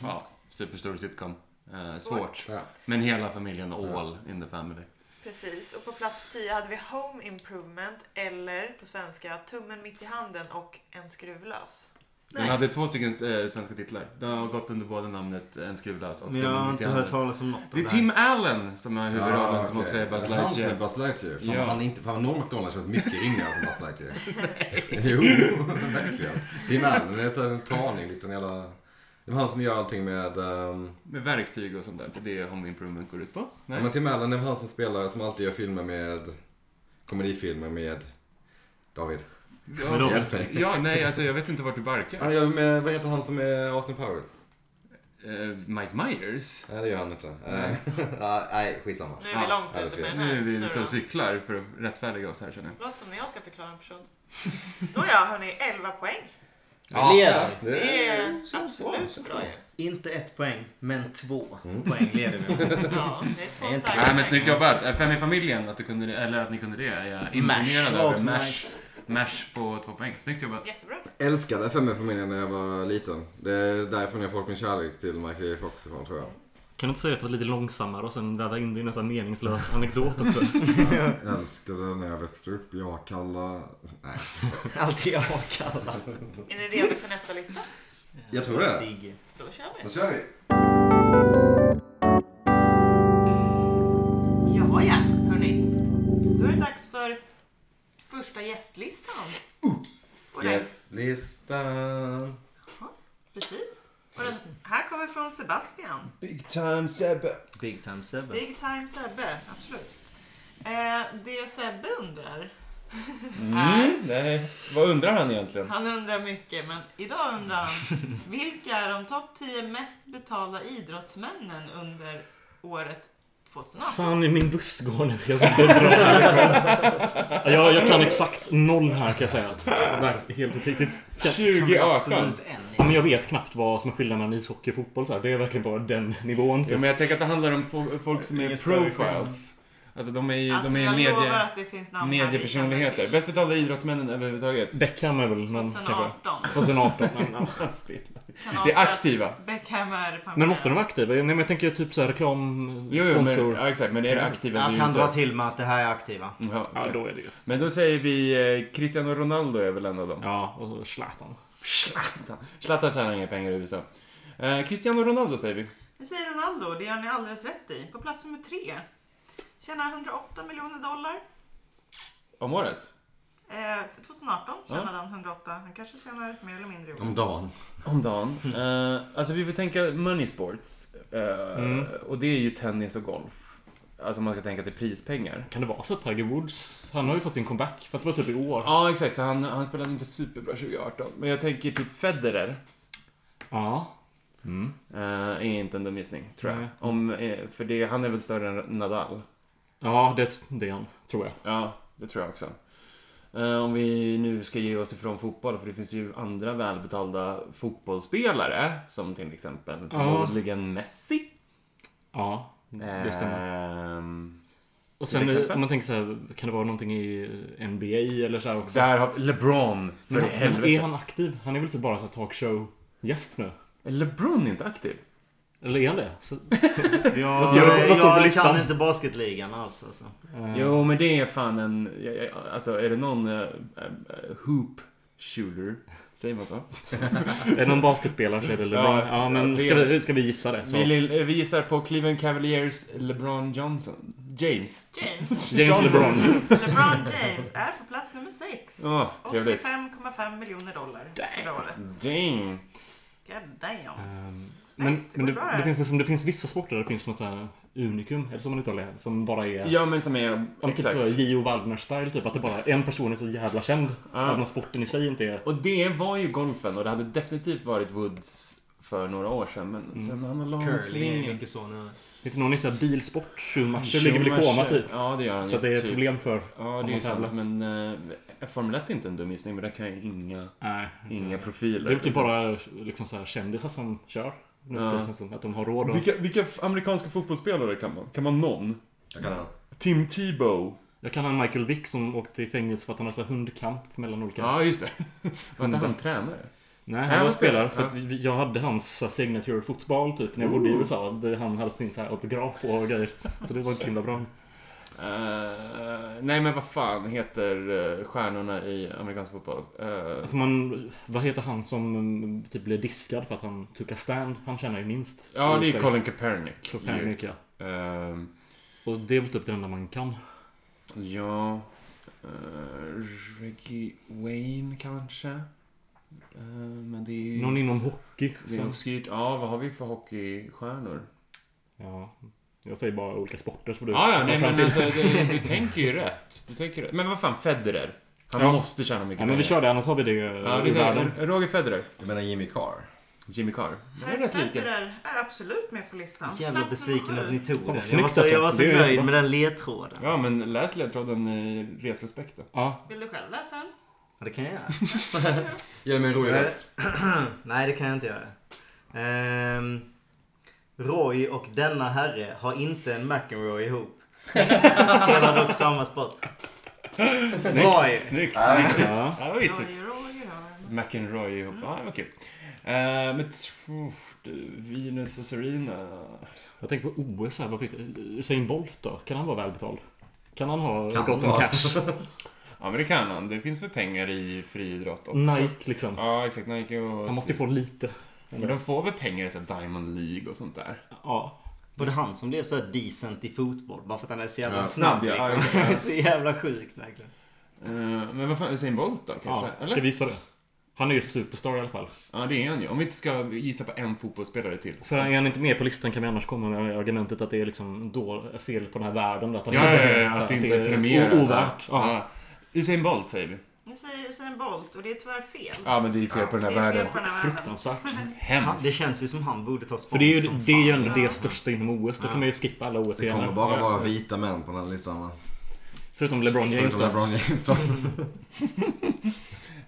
Speaker 5: Ja, superstor sitcom. Eh, svårt.
Speaker 2: ja.
Speaker 5: Men hela familjen All in the family.
Speaker 3: Precis, och på plats 10 hade vi Home Improvement eller på svenska Tummen mitt i handen och En skruv lös.
Speaker 5: Den hade två stycken eh, svenska titlar. Den har gått under både namnet En skruvlös och
Speaker 6: Men jag
Speaker 5: Den
Speaker 6: har
Speaker 5: mitt
Speaker 6: inte
Speaker 5: i handen.
Speaker 6: hört talas om något av
Speaker 5: Det är
Speaker 6: här.
Speaker 5: Tim Allen som är huvudrollen
Speaker 2: Ja,
Speaker 5: som
Speaker 2: okej.
Speaker 5: också är
Speaker 2: Han
Speaker 5: Buzz
Speaker 2: som är
Speaker 5: Lightyear.
Speaker 2: Buzz Lightyear. Fan,
Speaker 5: Ja.
Speaker 2: han är inte, fan Norm MacDonald känns mycket ringare som Buzz Lightyear. jo, verkligen. Tim Allen är så här en tanig liten jävla... Det var han som gör allting med... ehm,
Speaker 5: Med verktyg och sånt där. Det är Home Improvement går ut på.
Speaker 2: Ja, men Tim Allen är han som spelar, som alltid gör filmer med komedifilmer med David.
Speaker 4: Men då-
Speaker 2: Hjälp mig.
Speaker 5: Ja, nej, alltså jag vet inte vart du barkar.
Speaker 2: Ja, jag är med, vad heter han som är Austin Powers?
Speaker 5: Eh, Mike Myers?
Speaker 2: Nej, det gör han inte. Eh, ja, Nej, skitsamma.
Speaker 3: Nu är vi
Speaker 5: Ja,
Speaker 3: långt
Speaker 2: det är
Speaker 3: ute
Speaker 2: fel.
Speaker 3: med den
Speaker 5: Nu är vi
Speaker 3: här
Speaker 5: ute och
Speaker 3: snurran.
Speaker 5: cyklar för att rättfärdiga oss här känner jag.
Speaker 3: Låter som när jag ska förklara en person. Nåja, hörni, 11 poäng.
Speaker 6: Ja. Leder.
Speaker 3: Det är
Speaker 2: känns bra,
Speaker 3: absolut
Speaker 2: känns
Speaker 3: bra
Speaker 2: bra.
Speaker 3: ju.
Speaker 1: Inte ett poäng, men två.
Speaker 6: Poäng leder vi.
Speaker 3: Ja, det är
Speaker 1: Det är
Speaker 3: två
Speaker 1: inte-
Speaker 5: Nej,
Speaker 3: starka
Speaker 5: men
Speaker 3: poäng.
Speaker 5: snyggt jobbat. Eh, Fem i familjen, att, du kunde det, eller att ni kunde det, är jag
Speaker 1: Mash
Speaker 5: imponerad
Speaker 1: var
Speaker 5: över.
Speaker 1: också
Speaker 5: Mash,
Speaker 1: nice.
Speaker 5: mash på två poäng. Snyggt jobbat.
Speaker 3: Jättebra.
Speaker 2: Älskade Femmifamiljen när jag var liten. Det är därifrån jag fått min kärlek till Michael J. Fox ifrån tror jag.
Speaker 4: Kan du inte säga att det var lite långsammare och sen väva in det i en nästan meningslös anekdot också?
Speaker 2: Jag älskade när jag växte upp. Jag kalla... Nej.
Speaker 6: Alltid jag kallar.
Speaker 3: Är ni redo för nästa lista?
Speaker 2: Jag tror det.
Speaker 6: Sigge.
Speaker 3: Då kör vi.
Speaker 2: Då kör vi.
Speaker 3: Ja, ja, hörni. Då är det dags för första gästlistan. Och den-
Speaker 2: Gästlistan.
Speaker 3: Precis. Och den här kommer från Sebastian.
Speaker 2: Big time Sebbe.
Speaker 6: Big time Sebbe.
Speaker 3: Big time Sebbe, absolut. Eh, det Sebbe undrar är,
Speaker 5: Nej, vad undrar han egentligen?
Speaker 3: han undrar mycket, men idag undrar han vilka är de topp 10 mest betalda idrottsmännen under året 2018?
Speaker 4: Fan, min buss går nu. Jag måste dra härifrån. Ja, jag, jag kan exakt noll här kan jag säga. Ver- Helt uppriktigt. Kan-
Speaker 6: Kan vi
Speaker 5: 2018.
Speaker 6: absolut en i.
Speaker 4: Ja, Men jag vet knappt vad som är skillnaden mellan ishockey och fotboll. Så här. Det är verkligen bara den nivån.
Speaker 5: Ja,
Speaker 4: Typ.
Speaker 5: men jag tänker att det handlar om fo- folk som är
Speaker 6: Ingen större
Speaker 5: profiles. Alltså de är ju
Speaker 3: Alltså,
Speaker 5: de är ju
Speaker 3: jag lovar
Speaker 5: medie,
Speaker 3: att det finns namn här vi
Speaker 5: mediepersonligheter.
Speaker 3: känner
Speaker 5: Bäst typ. betalda idrottsmännen överhuvudtaget.
Speaker 4: Beckham är väl
Speaker 3: till.
Speaker 4: någon kanske.
Speaker 3: 2018.
Speaker 4: 2018. men, ja.
Speaker 3: Kan
Speaker 5: Det
Speaker 3: avslöja
Speaker 5: är
Speaker 3: att
Speaker 5: aktiva.
Speaker 3: Beckham är pensionär.
Speaker 4: Men måste de vara aktiva? Nej, men jag tänker typ så här reklam,
Speaker 5: Jo, jo men,
Speaker 4: sponsor.
Speaker 5: ja, exakt. Men är det aktiva?
Speaker 6: Jag
Speaker 5: blir
Speaker 6: kan
Speaker 5: inte-
Speaker 6: dra till med att det här är aktiva.
Speaker 5: Ja, okej.
Speaker 4: Ja, då är det ju.
Speaker 5: Men då säger vi eh, Cristiano Ronaldo är väl en av dem.
Speaker 4: Ja, och så Zlatan.
Speaker 5: Zlatan. Zlatan tjänar inga pengar i USA. Eh, Cristiano Ronaldo säger vi.
Speaker 3: Det säger Ronaldo, det gör ni alldeles rätt i. På plats nummer tre. Tjänar 108 miljoner dollar.
Speaker 5: Om året.
Speaker 3: Eh, för 2018 tjänade han 108. Han kanske tjänar mer eller mindre i
Speaker 4: Mm.
Speaker 3: år.
Speaker 2: Om dagen.
Speaker 5: Om dagen. Eh, alltså vi får tänka money sports. Eh, Och det är ju tennis och golf. Alltså om man ska tänka till prispengar.
Speaker 4: Kan det vara så att Tiger Woods, han har ju fått sin comeback. Fast det var typ i år.
Speaker 5: Ja, exakt. Så Han, han spelade inte superbra 2018. Men jag tänker typ Federer.
Speaker 4: Ja.
Speaker 5: eh, är inte en dum gissning, tror jag.
Speaker 4: Nej.
Speaker 5: Om, eh, för det, han är väl större än Nadal?
Speaker 4: Ja, det, det är han. Tror jag.
Speaker 5: Ja, det tror jag också. Eh, om vi nu ska ge oss ifrån fotboll, för det finns ju andra välbetalda fotbollsspelare. Som till exempel förmodligen Messi.
Speaker 4: Ja, det stämmer.
Speaker 5: Ehm,
Speaker 4: Och
Speaker 5: Till
Speaker 4: sen
Speaker 5: exempel?
Speaker 4: eh, om man tänker så här, kan det vara någonting i eh, NBA eller så här också?
Speaker 5: där har vi LeBron, för
Speaker 4: men, men
Speaker 5: helvete.
Speaker 4: är han aktiv? Han är väl typ bara så här talkshow-gäst nu?
Speaker 5: Är LeBron inte aktiv?
Speaker 4: Eller är han det? Så, eh,
Speaker 6: Jag,
Speaker 4: Vad står- vad står på
Speaker 6: jag
Speaker 4: listan?
Speaker 6: kan inte basketligan alls. Alltså.
Speaker 4: eh,
Speaker 5: Jo, men det är fan en... ja, ja, Alltså, är det någon eh, eh, hoop shooter? Säger man så?
Speaker 4: Är det någon basketspelare så är det LeBron.
Speaker 5: Ja,
Speaker 4: Ja, men
Speaker 5: det
Speaker 4: ska
Speaker 5: är det.
Speaker 4: vi, ska vi gissa det? Så.
Speaker 5: Vi, li- vi gissar på Cleveland Cavaliers LeBron Johnson. James.
Speaker 3: James.
Speaker 4: James LeBron.
Speaker 3: LeBron James är på plats nummer sex.
Speaker 5: Åh, trevligt.
Speaker 3: 85,5 miljoner dollar förra året.
Speaker 5: Dang.
Speaker 3: God damn.
Speaker 4: Ehm, Men,
Speaker 3: Snyggt, det går
Speaker 4: men det,
Speaker 3: bra
Speaker 4: det, finns, liksom- det finns vissa sporter där det finns något här unikum, eller som man uttalar det, som bara är...
Speaker 5: Ja, men som är...
Speaker 4: om typ
Speaker 5: Exakt.
Speaker 4: så J.O. Waldner-style, typ att det bara en person är så jävla känd.
Speaker 5: Ja.
Speaker 4: Att man sporten i sig inte är...
Speaker 5: Och det var ju golfen och det hade definitivt varit Woods för några år sedan. Men
Speaker 4: Mm.
Speaker 5: sen han la en
Speaker 6: Curling är
Speaker 5: sling.
Speaker 6: mycket så nu.
Speaker 4: Finns det någon i så här bilsport? Schumacher ligger väl i koma typ.
Speaker 5: Ja, det gör han
Speaker 4: Så att det är ett
Speaker 5: typ.
Speaker 4: problem för...
Speaker 5: Ja,
Speaker 4: om
Speaker 5: det är
Speaker 4: man
Speaker 5: ju sant.
Speaker 4: tävlar.
Speaker 5: Men eh, Formel 1 är inte en dum gissning, men där kan jag inga,
Speaker 4: Nej.
Speaker 5: inga profiler.
Speaker 4: Mm. Det är väl typ bara liksom så här, kändisar som kör. Nu
Speaker 5: Ja.
Speaker 4: ja. känns det som att de har råd att...
Speaker 5: Vilka, vilka f- amerikanska fotbollsspelare kan man? Kan man någon?
Speaker 2: Jag kan han.
Speaker 5: Tim Tebow.
Speaker 4: Jag kan han Michael Vick som åkte i fängelse för att han hade så här hundkamp mellan olika...
Speaker 5: Ja, just det. Var inte han tränare?
Speaker 4: Nej,
Speaker 5: Nej,
Speaker 4: han
Speaker 5: han
Speaker 4: var spelare. För
Speaker 5: spelar.
Speaker 4: att vi- jag hade hans så här, signature fotboll typ när jag bodde i USA. Där han hade sin så här, autograf på och grejer. Så det var inte så himla bra.
Speaker 5: Eh, nej men vad fan heter uh, stjärnorna i amerikansk fotboll? Eh,
Speaker 4: Alltså man... Vad heter han som mm, typ blev diskad för att han tog a stand? Han tjänar ju minst.
Speaker 5: ja, det är
Speaker 4: Så-
Speaker 5: Colin Kaepernick.
Speaker 4: Kaepernick, ja.
Speaker 5: Ehm,
Speaker 4: Och det är väl typ det enda man kan.
Speaker 5: Mm. ja... Uh, Ricky Wayne kanske? Eh, men det är ju...
Speaker 4: Någon inom hockey.
Speaker 5: det är
Speaker 4: Som,
Speaker 5: obskyrt. Ja, vad har vi för hockeystjärnor?
Speaker 4: ja. Jag säger bara olika sporter så får du
Speaker 5: Ja, ja,
Speaker 4: komma
Speaker 5: nej
Speaker 4: fram
Speaker 5: men
Speaker 4: till.
Speaker 5: alltså, det, du tänker ju rätt. Du tänker rätt. Men vad fan, Federer? Han
Speaker 4: Ja.
Speaker 5: måste tjäna mycket
Speaker 4: Ja, men vi
Speaker 5: pengar.
Speaker 4: kör det, annars har vi det eh,
Speaker 5: Ja,
Speaker 4: i
Speaker 5: vi
Speaker 4: världen.
Speaker 5: säger Roger Federer.
Speaker 2: Jag menar Jimmy Carr.
Speaker 5: Jimmy Carr. De är
Speaker 3: Herr
Speaker 5: rätt lika.
Speaker 3: Federer är absolut med på listan.
Speaker 6: Jävla
Speaker 3: Plats nummer
Speaker 6: besviken att
Speaker 3: sju.
Speaker 6: ni tog
Speaker 4: Fan,
Speaker 6: den. Jag
Speaker 4: snyggt
Speaker 6: var så, jag var så
Speaker 4: alltså. Det är
Speaker 6: nöjd
Speaker 4: bra.
Speaker 6: med den ledtråden.
Speaker 5: Ja, men läs ledtråden i retrospekt då.
Speaker 4: Ja,
Speaker 3: Vill du själv läsa den?
Speaker 6: Ja, det kan jag göra.
Speaker 2: Ge mig en rolig
Speaker 6: Nej.
Speaker 2: röst.
Speaker 6: Nej, det kan jag inte göra. Ehm, Roy och denna herre har inte en McEnroe ihop. Spelar dock samma sport. Roy.
Speaker 5: Snyggt!
Speaker 4: ja.
Speaker 5: Ja, det var vitsigt.
Speaker 3: Roger, Roger, Roger.
Speaker 5: McEnroy ihop. Ja, det var kul. Eh, men tro- du, Venus och Serena.
Speaker 4: Jag tänker på OS här. Vad fick Usain Bolt då? Kan han vara välbetald? Kan han ha
Speaker 2: Kan
Speaker 4: gott om
Speaker 2: vara.
Speaker 4: cash?
Speaker 5: Ja, men det kan han. Det finns väl pengar i friidrott också?
Speaker 4: Nike liksom.
Speaker 5: Ja, exakt. Nike och...
Speaker 4: Han måste ju få lite.
Speaker 5: Men de får väl pengar i så här Diamond League och sånt där?
Speaker 4: Ja.
Speaker 6: Både han som blev så här decent i fotboll bara för att han är så jävla
Speaker 2: Ja,
Speaker 6: snabb
Speaker 5: snabb, ja.
Speaker 6: liksom. Det är så jävla sjukt verkligen.
Speaker 5: Eh, men vad fan, Usain Bolt då kanske?
Speaker 4: ja. Ska
Speaker 5: Eller?
Speaker 4: vi visa det? Han är ju superstar i alla fall.
Speaker 5: Ja, det är han ju. Om vi inte ska gissa på en fotbollsspelare till.
Speaker 4: För är han inte med på listan kan vi annars komma med argumentet att det är liksom då fel på den här världen. Att han
Speaker 5: Ja, ja, ja,
Speaker 4: så här,
Speaker 5: ja att det inte
Speaker 4: är
Speaker 5: premieras.
Speaker 4: o- Ovärt. Ja.
Speaker 5: Ja. Usain Bolt säger vi.
Speaker 3: Jag säger Usain Bolt och det är tyvärr fel.
Speaker 5: Ja, men det är fel på den
Speaker 3: Det
Speaker 5: här
Speaker 3: är fel
Speaker 5: världen.
Speaker 3: på den här världen.
Speaker 4: Fruktansvärt.
Speaker 5: Mm.
Speaker 6: Han,
Speaker 5: Hemskt.
Speaker 6: det känns ju som han borde ta
Speaker 4: För
Speaker 6: spons
Speaker 4: det är ju,
Speaker 6: som
Speaker 4: det, är ju
Speaker 6: fan.
Speaker 4: ändå det största inom OS. Då kan man ju skippa alla os
Speaker 2: Det kommer
Speaker 4: grenar
Speaker 2: bara vara vita män på den här listan va?
Speaker 4: Förutom LeBron James
Speaker 2: Förutom
Speaker 4: då.
Speaker 2: LeBron James då.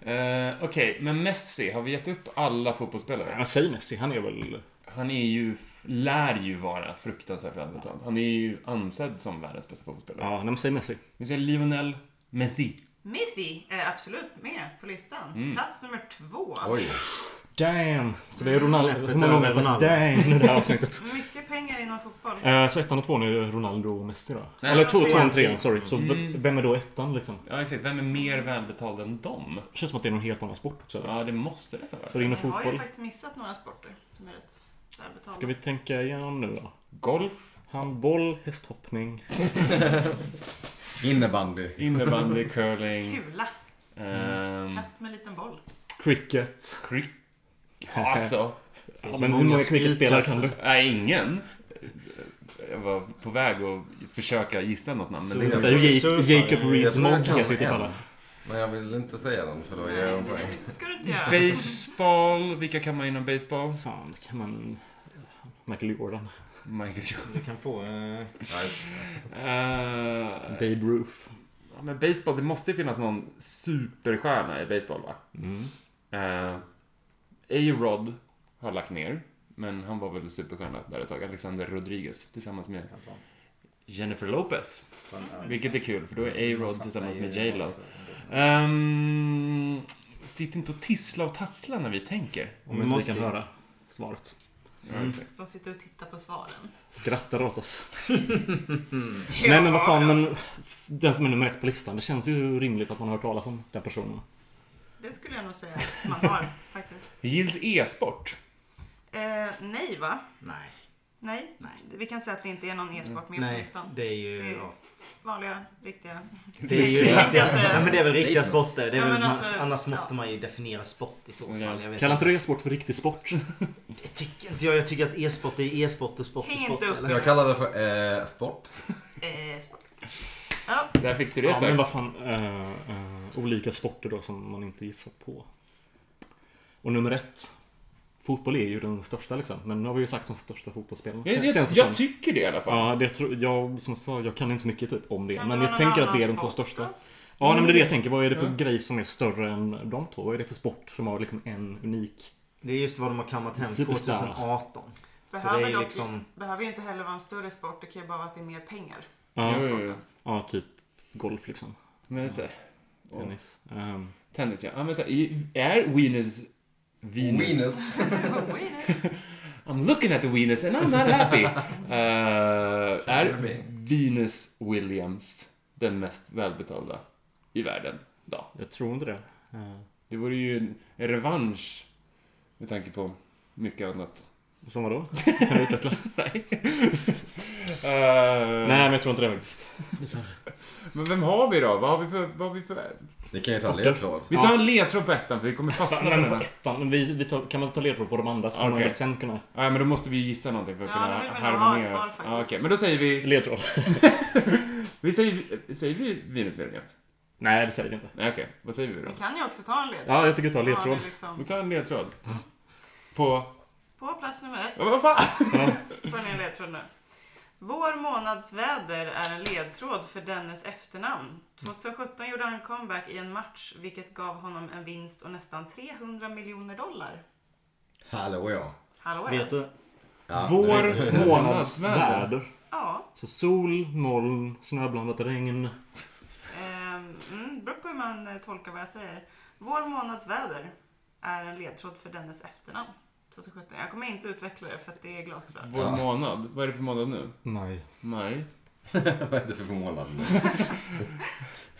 Speaker 5: Eh, Okej, men Messi, har vi gett upp alla fotbollsspelare?
Speaker 4: Ja, säg Messi. Han är väl...
Speaker 5: Han är ju, lär ju vara fruktansvärt välbetald. Han är ju ansedd som världens bästa fotbollsspelare.
Speaker 4: Ja, nej, men säg Messi.
Speaker 5: Vi säger Lionel Messi.
Speaker 3: Mithy är absolut med på listan.
Speaker 4: Mm.
Speaker 3: Plats nummer två.
Speaker 2: Oj.
Speaker 4: Damn! Så det är Ronaldo.
Speaker 6: Snäppet
Speaker 4: Hur många gånger
Speaker 6: över
Speaker 4: sa jag
Speaker 6: Ronaldo.
Speaker 4: damn i det här avsnittet?
Speaker 3: Mycket pengar inom fotboll.
Speaker 4: Eh, Så ettan och tvåan är Ronaldo och Messi då.
Speaker 5: Nej,
Speaker 4: Eller
Speaker 5: jag
Speaker 4: två,
Speaker 5: tror
Speaker 4: tvåan,
Speaker 6: att det-
Speaker 4: trean. Sorry. Så v- vem är då ettan liksom?
Speaker 5: Ja, exakt. Vem är mer välbetald än dem?
Speaker 4: Känns som att det är någon helt annan sport också. eller?
Speaker 5: Ja, det måste det vara.
Speaker 4: För inom
Speaker 3: Jag har ju
Speaker 4: fotboll.
Speaker 3: faktiskt missat några sporter som är rätt välbetalda.
Speaker 4: Ska vi tänka igenom nu då?
Speaker 5: Golf,
Speaker 4: Handboll, hästhoppning.
Speaker 2: Innebandy.
Speaker 5: innebandy, curling,
Speaker 3: Kula.
Speaker 4: Alltså, Mm.
Speaker 5: ehm,
Speaker 3: Kast med liten boll.
Speaker 4: Cricket.
Speaker 5: cricket. Alltså,
Speaker 4: Ja, men hur många cricketspelare kan du?
Speaker 5: nej, ingen. Jag var på väg att försöka gissa något namn, men det är
Speaker 4: Det
Speaker 5: inte...
Speaker 4: är ju
Speaker 6: surfare.
Speaker 4: Jacob Rees-Mogg heter ju typ
Speaker 2: en.
Speaker 4: alla.
Speaker 2: Men jag vill inte säga den för då ger jag en poäng.
Speaker 3: det ska du inte göra.
Speaker 5: Baseball, vilka kan man inom baseball?
Speaker 4: Fan, kan man... Michael Jordan.
Speaker 5: Michael Jordan.
Speaker 6: Du kan få... eh,
Speaker 5: Eh,
Speaker 4: Babe Ruth.
Speaker 5: ja, men baseball, det måste ju finnas någon superstjärna i baseball va?
Speaker 4: Mm.
Speaker 5: Eh, A-Rod har lagt ner, men han var väl superstjärna där ett tag. Alexander Rodriguez tillsammans med Jennifer Lopez. Vilket är kul, för då är A-Rod tillsammans med J-Lo. Um, sitt inte och tissla och tassla när vi tänker. Mm.
Speaker 4: Om inte vi
Speaker 6: Måste
Speaker 4: kan
Speaker 6: ju.
Speaker 4: höra svaret.
Speaker 5: Ja, exakt.
Speaker 3: Som sitter och tittar på svaren.
Speaker 4: Skrattar åt oss. Nej men vad fan, men den som är nummer ett på listan. Det känns ju rimligt att man har hört talas om den personen.
Speaker 3: Det skulle jag nog säga att man har faktiskt.
Speaker 5: Gills e-sport.
Speaker 3: Eh, nej va?
Speaker 6: Nej.
Speaker 3: Nej.
Speaker 6: Nej.
Speaker 3: Vi kan säga att det inte är någon e-sport med på
Speaker 6: Nej,
Speaker 3: listan.
Speaker 6: det är ju... ja.
Speaker 3: Vanliga, riktiga.
Speaker 6: Det är ju riktiga, nej, men det är väl riktiga
Speaker 2: Statement.
Speaker 6: sporter. Det är
Speaker 3: Ja,
Speaker 6: väl,
Speaker 3: men alltså,
Speaker 6: man, annars
Speaker 3: ja.
Speaker 6: måste man ju definiera sport i så fall.
Speaker 5: Ja.
Speaker 6: Jag, vet
Speaker 4: Kallar
Speaker 6: inte.
Speaker 4: inte det sport för riktig sport?
Speaker 6: jag tycker inte jag. Jag tycker att e-sport är e-sport och sport är
Speaker 3: Häng
Speaker 6: sport.
Speaker 3: inte upp.
Speaker 6: Eller?
Speaker 2: Jag kallar det för eh, sport.
Speaker 3: Eh, sport. Ja,
Speaker 5: Där fick du det
Speaker 4: Ja, men
Speaker 5: sagt.
Speaker 4: vad fan, eh, eh, olika sporter då som man inte gissar på. Och nummer ett. Fotboll är ju den största liksom. Men nu har vi ju sagt de största fotbollsspelarna.
Speaker 5: Jag,
Speaker 4: Känns
Speaker 5: jag,
Speaker 4: det som.
Speaker 5: jag tycker det i alla fall.
Speaker 4: Ja, det tror jag, som jag sa, jag kan inte så mycket typ om det.
Speaker 3: Kan
Speaker 4: men
Speaker 3: det
Speaker 4: jag
Speaker 3: vara
Speaker 4: tänker
Speaker 3: någon
Speaker 4: att det är de
Speaker 3: annan
Speaker 4: två
Speaker 3: sport
Speaker 4: största.
Speaker 3: då?
Speaker 4: Ja, nej, men det är det jag tänker. Vad är det för grej som är större än de två? Vad är det för sport som har liksom en unik...
Speaker 6: Det är just vad de har kammat hem
Speaker 4: Superstar.
Speaker 6: 2018. Så det är
Speaker 3: behöver,
Speaker 6: ju
Speaker 3: dock,
Speaker 6: liksom...
Speaker 3: behöver ju inte heller vara en större sport. Det kan ju bara vara att det är mer pengar.
Speaker 4: Ja,
Speaker 5: Jo, jo, jo.
Speaker 4: ja typ golf liksom.
Speaker 5: Men så,
Speaker 4: Tennis. Ehm,
Speaker 5: tennis ja. ja men så, i- är Venus... Venus.
Speaker 2: Venus.
Speaker 3: Oj, nej.
Speaker 5: I'm looking at the Venus and I'm not happy. Eh,
Speaker 2: Så är
Speaker 5: är
Speaker 2: det.
Speaker 5: Venus Williams den mest välbetalda i världen? Då.
Speaker 4: jag tror inte det. Eh,
Speaker 5: Det vore ju en revansch med tanke på mycket annat.
Speaker 4: som vadå? Kan du utveckla?
Speaker 5: Eh,
Speaker 4: Nej, men jag tror inte det faktiskt.
Speaker 5: Men vem har vi då? Vad har vi för... Vad har vi, för?
Speaker 2: Vi kan ju ta ledtråd.
Speaker 5: vi tar en ledtråd på ettan för vi kommer fastna med
Speaker 4: Fastnar
Speaker 5: den
Speaker 4: på
Speaker 5: här.
Speaker 4: ettan. Men Vi, vi tar, kan man ta ledtråd på de andra så kommer man
Speaker 5: Okej.
Speaker 4: väl sen kunna...
Speaker 5: Nej, men då måste vi gissa någonting för att
Speaker 3: Ja,
Speaker 5: kunna
Speaker 3: då vill vi nog ha ett
Speaker 5: harmonera
Speaker 3: svar
Speaker 5: oss.
Speaker 3: faktiskt.
Speaker 5: Ja, Okej, men då säger vi...
Speaker 4: Ledtråd.
Speaker 5: Vi säger, säger vi Venus Williams?
Speaker 4: Nej, det säger det inte.
Speaker 5: Nej, okej. Vad säger vi då?
Speaker 3: Vi kan ju också ta en ledtråd.
Speaker 4: Ja, jag tycker ta
Speaker 3: Så har vi
Speaker 4: ledtråd.
Speaker 5: Vi
Speaker 3: Liksom,
Speaker 5: tar en ledtråd. På...
Speaker 3: på plats nummer ett
Speaker 5: Ja, Vad fan?
Speaker 3: får ni en ledtråd nu. Vår månadsväder är en ledtråd för dennes efternamn. 2017 gjorde han comeback i en match vilket gav honom en vinst och nästan 300 miljoner dollar.
Speaker 2: Hallå ja.
Speaker 3: Hallå ja.
Speaker 6: Vet du?
Speaker 2: ja
Speaker 4: Vår
Speaker 2: det-
Speaker 4: månadsväder.
Speaker 3: Ja,
Speaker 4: Så sol, moln, snöblandat regn.
Speaker 3: ehm, mm, beror på hur man eh, tolkar vad jag säger. Vår månadsväder är en ledtråd för dennes efternamn. 2017. Jag kommer inte utveckla det för att det är glasklart.
Speaker 5: Vår
Speaker 2: Ja.
Speaker 5: månad. Vad är det för månad nu?
Speaker 4: Nej.
Speaker 5: Maj.
Speaker 2: Vad är det för månad nu?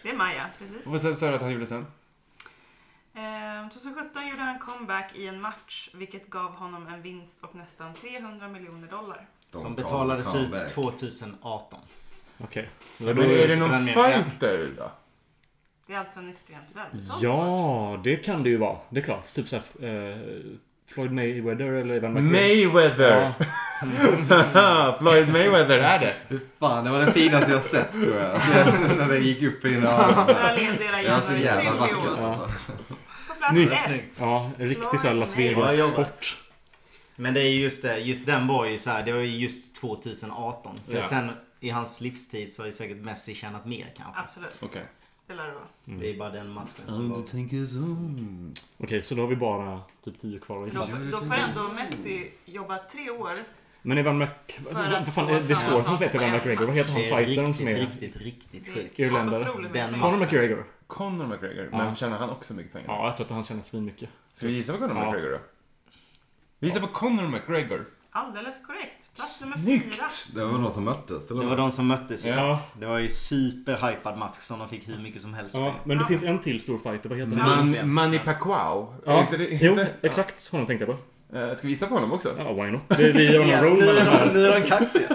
Speaker 3: Det är Maja, precis.
Speaker 5: Och vad sa sa du att han gjorde sen?
Speaker 3: Ehm, 2017 gjorde han comeback i en match vilket gav honom en vinst och nästan 300 miljoner dollar.
Speaker 2: De
Speaker 6: Som
Speaker 2: kom-
Speaker 6: betalades
Speaker 2: kom
Speaker 6: ut
Speaker 2: back.
Speaker 6: 2018.
Speaker 4: Okej.
Speaker 6: Så
Speaker 5: Men
Speaker 6: då
Speaker 5: är det någon
Speaker 6: den meningen.
Speaker 5: fighter då?
Speaker 3: Det är alltså en extremt välbetald
Speaker 4: Ja, det kan det ju vara. Det är klart. Typ såhär... Eh, Floyd Mayweather eller vem
Speaker 5: Mayweather! Ah,
Speaker 4: Ja,
Speaker 5: Floyd Mayweather är det.
Speaker 2: Fy Fan, det var det finaste jag sett tror jag. Alltså, jag- när det gick upp i dina ögon.
Speaker 3: Våra ledare
Speaker 2: Det är så
Speaker 3: genom i
Speaker 2: jävla vacker
Speaker 3: symbios.
Speaker 2: alltså.
Speaker 3: På plats
Speaker 6: Snyggt.
Speaker 3: ett.
Speaker 6: Snyggt.
Speaker 4: ja en riktig såhär Las
Speaker 3: Floyd
Speaker 6: Mayweather.
Speaker 4: Vegas-sport.
Speaker 6: Men det är just det. Just den var ju så här. Det var ju just 2018. För
Speaker 5: Ja.
Speaker 6: sen i hans livstid så har ju säkert Messi tjänat mer kanske.
Speaker 3: Absolut,
Speaker 5: Okej.
Speaker 3: det lär det vara.
Speaker 6: Det är bara den matchen som var.
Speaker 4: Okej, så då har vi bara typ 10 kvar att
Speaker 3: Då,
Speaker 4: gissa.
Speaker 3: då får ändå Messi jobba tre år.
Speaker 4: Men Evan Mac... Vad vad fan,
Speaker 3: få
Speaker 4: är det
Speaker 3: samma sak
Speaker 4: skådisen som heter
Speaker 3: på
Speaker 4: Evan
Speaker 3: en
Speaker 4: McGregor? Vad
Speaker 3: match.
Speaker 4: heter han
Speaker 6: Det är
Speaker 4: fightern som
Speaker 6: riktigt,
Speaker 4: är...
Speaker 6: riktigt, riktigt sjukt.
Speaker 3: Det är så
Speaker 4: Irländare.
Speaker 3: otroligt
Speaker 6: Den
Speaker 3: mycket.
Speaker 4: Conor McGregor?
Speaker 5: Conor McGregor.
Speaker 4: Ja.
Speaker 5: Men tjänar han också mycket pengar?
Speaker 4: Ja, jag tror att han tjänar svinmycket.
Speaker 5: Ska vi gissa på Conor
Speaker 4: Ja.
Speaker 5: McGregor då? Vi gissar på Conor McGregor.
Speaker 3: Alldeles korrekt. Plats nummer fyra.
Speaker 5: Snyggt!
Speaker 2: Det var de som möttes eller?
Speaker 6: Det var de som möttes ju.
Speaker 5: Ja.
Speaker 6: Det var ju superhypad match som de fick hur mycket som helst
Speaker 4: Ja,
Speaker 6: för.
Speaker 4: men det finns en till stor fighter. Vad heter han?
Speaker 5: Man, Manny Pacquiao. Är
Speaker 4: Ja,
Speaker 5: inte det-
Speaker 4: jo,
Speaker 5: inte-
Speaker 4: exakt honom tänkte jag på.
Speaker 5: Eh, Ska vi gissa på honom också?
Speaker 4: Ja, why not? Vi, vi gör en
Speaker 6: Ja,
Speaker 4: roll
Speaker 6: nu,
Speaker 4: med
Speaker 6: är
Speaker 4: den
Speaker 6: de,
Speaker 4: här.
Speaker 6: nu är de kaxiga.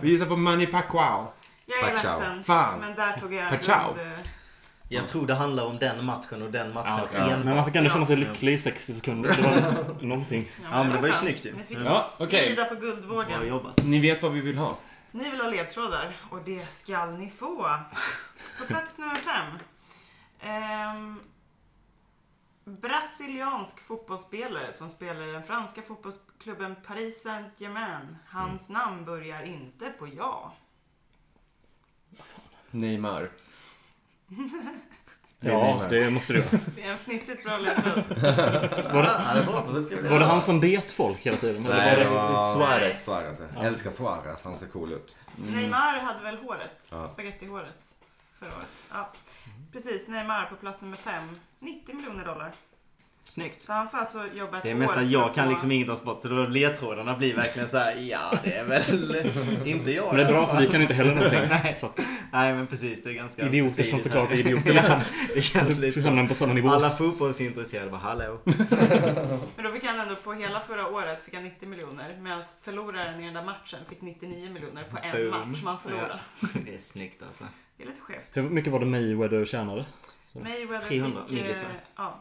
Speaker 5: Vi gissar på Manny Pacquiao.
Speaker 3: Jag är
Speaker 2: Tack, ciao.
Speaker 3: ledsen,
Speaker 5: Fan.
Speaker 3: men där tog jag
Speaker 5: Tack, ciao.
Speaker 6: Jag tror det handlar om den matchen och den matchen.
Speaker 4: Ja,
Speaker 6: och en
Speaker 4: Men
Speaker 6: match.
Speaker 4: man kan ändå känna sig lycklig i 60 sekunder. Det var någonting.
Speaker 6: Ja, men det var ju snyggt ju.
Speaker 3: Ni fick
Speaker 5: Ja, okej.
Speaker 3: rida på
Speaker 6: Bra
Speaker 3: guldvågen.
Speaker 6: jobbat.
Speaker 5: Ni vet vad vi vill ha.
Speaker 3: Ni vill ha ledtrådar och det skall ni få. På plats nummer fem. Ehm, brasiliansk fotbollsspelare som spelar i den franska fotbollsklubben Paris Saint-Germain. Hans
Speaker 5: Mm.
Speaker 3: namn börjar inte på ja.
Speaker 5: Neymar. Det är
Speaker 4: Ja,
Speaker 5: Neymar.
Speaker 4: det måste du göra.
Speaker 3: Det är en fnissigt bra ledtråd.
Speaker 6: Ah,
Speaker 2: Ja, det var bra. Det ska vi-
Speaker 4: Var det han som bet folk hela tiden? Eller
Speaker 2: Nej,
Speaker 4: var
Speaker 2: det
Speaker 4: det...
Speaker 2: var
Speaker 3: Suarez.
Speaker 2: Suarez. ja. Jag älskar Suarez. Han ser cool ut.
Speaker 6: Mm.
Speaker 3: Neymar hade väl håret?
Speaker 2: Ja.
Speaker 3: Spagettihåret. Förra året. Ja. Precis, Neymar på plats nummer fem. 90 miljoner dollar.
Speaker 6: Snyggt.
Speaker 3: Så han får alltså jobba ett
Speaker 6: Det är
Speaker 3: år
Speaker 6: mest
Speaker 3: för
Speaker 6: att jag
Speaker 3: få-
Speaker 6: kan liksom inget om sport så då ledtrådarna blir verkligen så här. ja det är väl inte jag.
Speaker 4: Men det är
Speaker 6: i alla
Speaker 4: bra
Speaker 6: fall.
Speaker 4: för vi kan inte heller någonting.
Speaker 6: Nej.
Speaker 4: Så att
Speaker 6: Nej men precis, det är ganska
Speaker 4: idioter som
Speaker 6: ömsesidigt
Speaker 4: förklarar
Speaker 6: här.
Speaker 4: för idioter liksom.
Speaker 6: Ja, det känns lite
Speaker 4: Vi hamnar
Speaker 6: så.
Speaker 4: på samma nivå.
Speaker 6: Alla fotbollsintresserade bara hallå.
Speaker 3: Men då fick han ändå på hela förra året fick han 90 miljoner medan förloraren i den där matchen fick 99 miljoner på en
Speaker 6: Boom.
Speaker 3: match man förlorade.
Speaker 6: Ja. Det är snyggt alltså.
Speaker 3: Det är lite skevt.
Speaker 4: Hur mycket var det Mayweather tjänade?
Speaker 3: Mayweather
Speaker 6: 300
Speaker 3: fick... eh,
Speaker 6: millisar.
Speaker 3: Ja,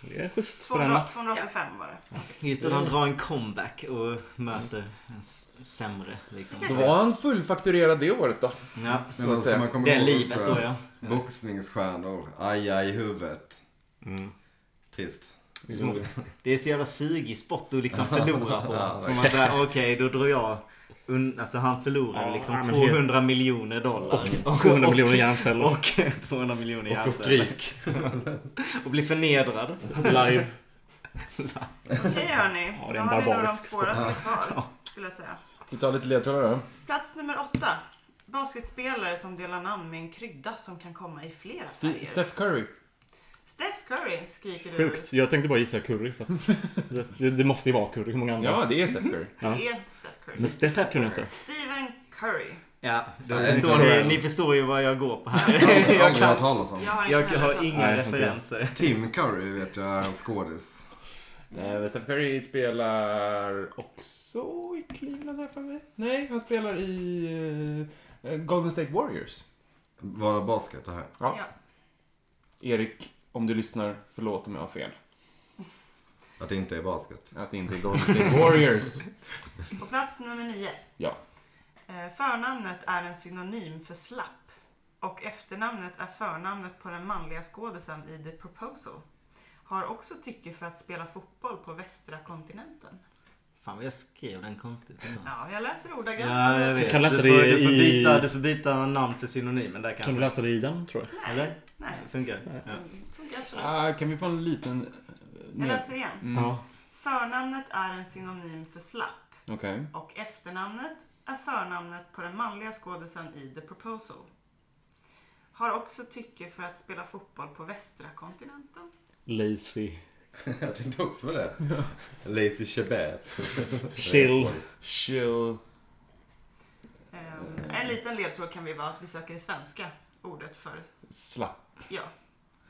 Speaker 4: Det är schysst för en
Speaker 3: 200,
Speaker 4: match.
Speaker 3: 285 var det.
Speaker 6: Just att han
Speaker 2: Mm.
Speaker 6: drar en comeback och möter en s- sämre liksom.
Speaker 5: Då var han fullfakturerad det året då.
Speaker 6: Ja.
Speaker 5: Så att säga.
Speaker 2: komma
Speaker 6: Det är
Speaker 2: ihåg
Speaker 6: livet
Speaker 2: också,
Speaker 6: då ja.
Speaker 2: Boxningsstjärnor. Aj, aj, huvudet.
Speaker 4: Mm.
Speaker 2: Trist.
Speaker 6: Det är så jävla sugig sport att liksom förlora på.
Speaker 2: Ja,
Speaker 6: Får man säga okej då drar jag un- Alltså han förlorade
Speaker 4: Ja,
Speaker 6: liksom
Speaker 4: nej, men
Speaker 6: 200 miljoner dollar. Och
Speaker 4: 200
Speaker 6: och-
Speaker 4: miljoner hjärnceller.
Speaker 6: Och 200 miljoner
Speaker 2: Och få
Speaker 6: hjärnceller.
Speaker 2: stryk.
Speaker 6: Och blir förnedrad.
Speaker 4: Live.
Speaker 3: Okej hörni, då har
Speaker 4: Ja, det är en
Speaker 3: vi nog de
Speaker 4: barbarisk
Speaker 3: svåraste kvar. Skulle jag säga.
Speaker 5: Vi tar lite ledtrådar då.
Speaker 3: Plats nummer åtta. Basketspelare som delar namn med en krydda som kan komma i flera
Speaker 5: Sti-
Speaker 3: färger.
Speaker 5: Steph Curry.
Speaker 3: Steph Curry skriker du
Speaker 4: Sjukt.
Speaker 3: ut.
Speaker 4: Jag tänkte bara gissa curry. För att det, det måste ju vara curry. Hur många andra?
Speaker 5: Ja, det är Steph Curry.
Speaker 4: Ja.
Speaker 3: Det är Steph Curry.
Speaker 4: Men Steph kunde inte.
Speaker 3: Steven Curry.
Speaker 6: Ja, då
Speaker 2: Nej,
Speaker 6: förstår
Speaker 2: det är
Speaker 6: ni,
Speaker 2: inte
Speaker 6: ni förstår ju vad jag går på
Speaker 2: Jag
Speaker 6: här.
Speaker 2: har
Speaker 6: Jag,
Speaker 2: aldrig hört
Speaker 6: kan,
Speaker 2: talas om.
Speaker 3: Jag har,
Speaker 6: jag
Speaker 3: inte
Speaker 6: har
Speaker 3: heller-
Speaker 6: inga
Speaker 4: Nej, inte jag.
Speaker 6: referenser.
Speaker 2: Tim Curry vet jag är en skådis.
Speaker 5: Nej, men Steph Curry spelar också i Cleveland här för mig. Nej, han spelar i eh, Golden State Warriors.
Speaker 2: Var det basket det här?
Speaker 5: Ja.
Speaker 3: Ja.
Speaker 5: Erik, om du lyssnar, förlåt om jag har fel.
Speaker 2: Att det inte är basket.
Speaker 5: Att det inte är Golden State Warriors.
Speaker 3: På plats nummer nio.
Speaker 5: Ja.
Speaker 3: Eh, Förnamnet är en synonym för slapp och efternamnet är förnamnet på den manliga skådisen i The Proposal. Har också tycke för att spela fotboll på västra kontinenten.
Speaker 6: Fan vad jag skrev den konstigt. ändå.
Speaker 3: Ja, jag läser ordagrant.
Speaker 6: Ja, jag
Speaker 4: Du
Speaker 6: vet.
Speaker 4: kan läsa
Speaker 6: du, får,
Speaker 4: det
Speaker 6: du, får
Speaker 4: i-
Speaker 6: byta, du får byta namn för synonymen där kanske.
Speaker 4: Kan du läsa det i den, tror jag?
Speaker 6: Eller?
Speaker 3: Nej,
Speaker 6: Det funkar. Ja.
Speaker 3: det Mm. funkar absolut.
Speaker 5: Ah, kan vi få en liten... eh,
Speaker 3: Jag
Speaker 5: ned-
Speaker 3: läser igen.
Speaker 5: Mm.
Speaker 4: Ja.
Speaker 3: Förnamnet är en synonym för slapp
Speaker 5: Okej.
Speaker 3: och efternamnet är förnamnet på den manliga skådisen i The Proposal. Har också tycke för att spela fotboll på västra kontinenten.
Speaker 4: Lazy.
Speaker 2: Jag tänkte också på det. Lazy Shabbat.
Speaker 4: Chill.
Speaker 5: Chill.
Speaker 3: Ehm, En liten ledtråd kan vi vara att vi söker det svenska ordet för,
Speaker 5: Slapp.
Speaker 3: ja.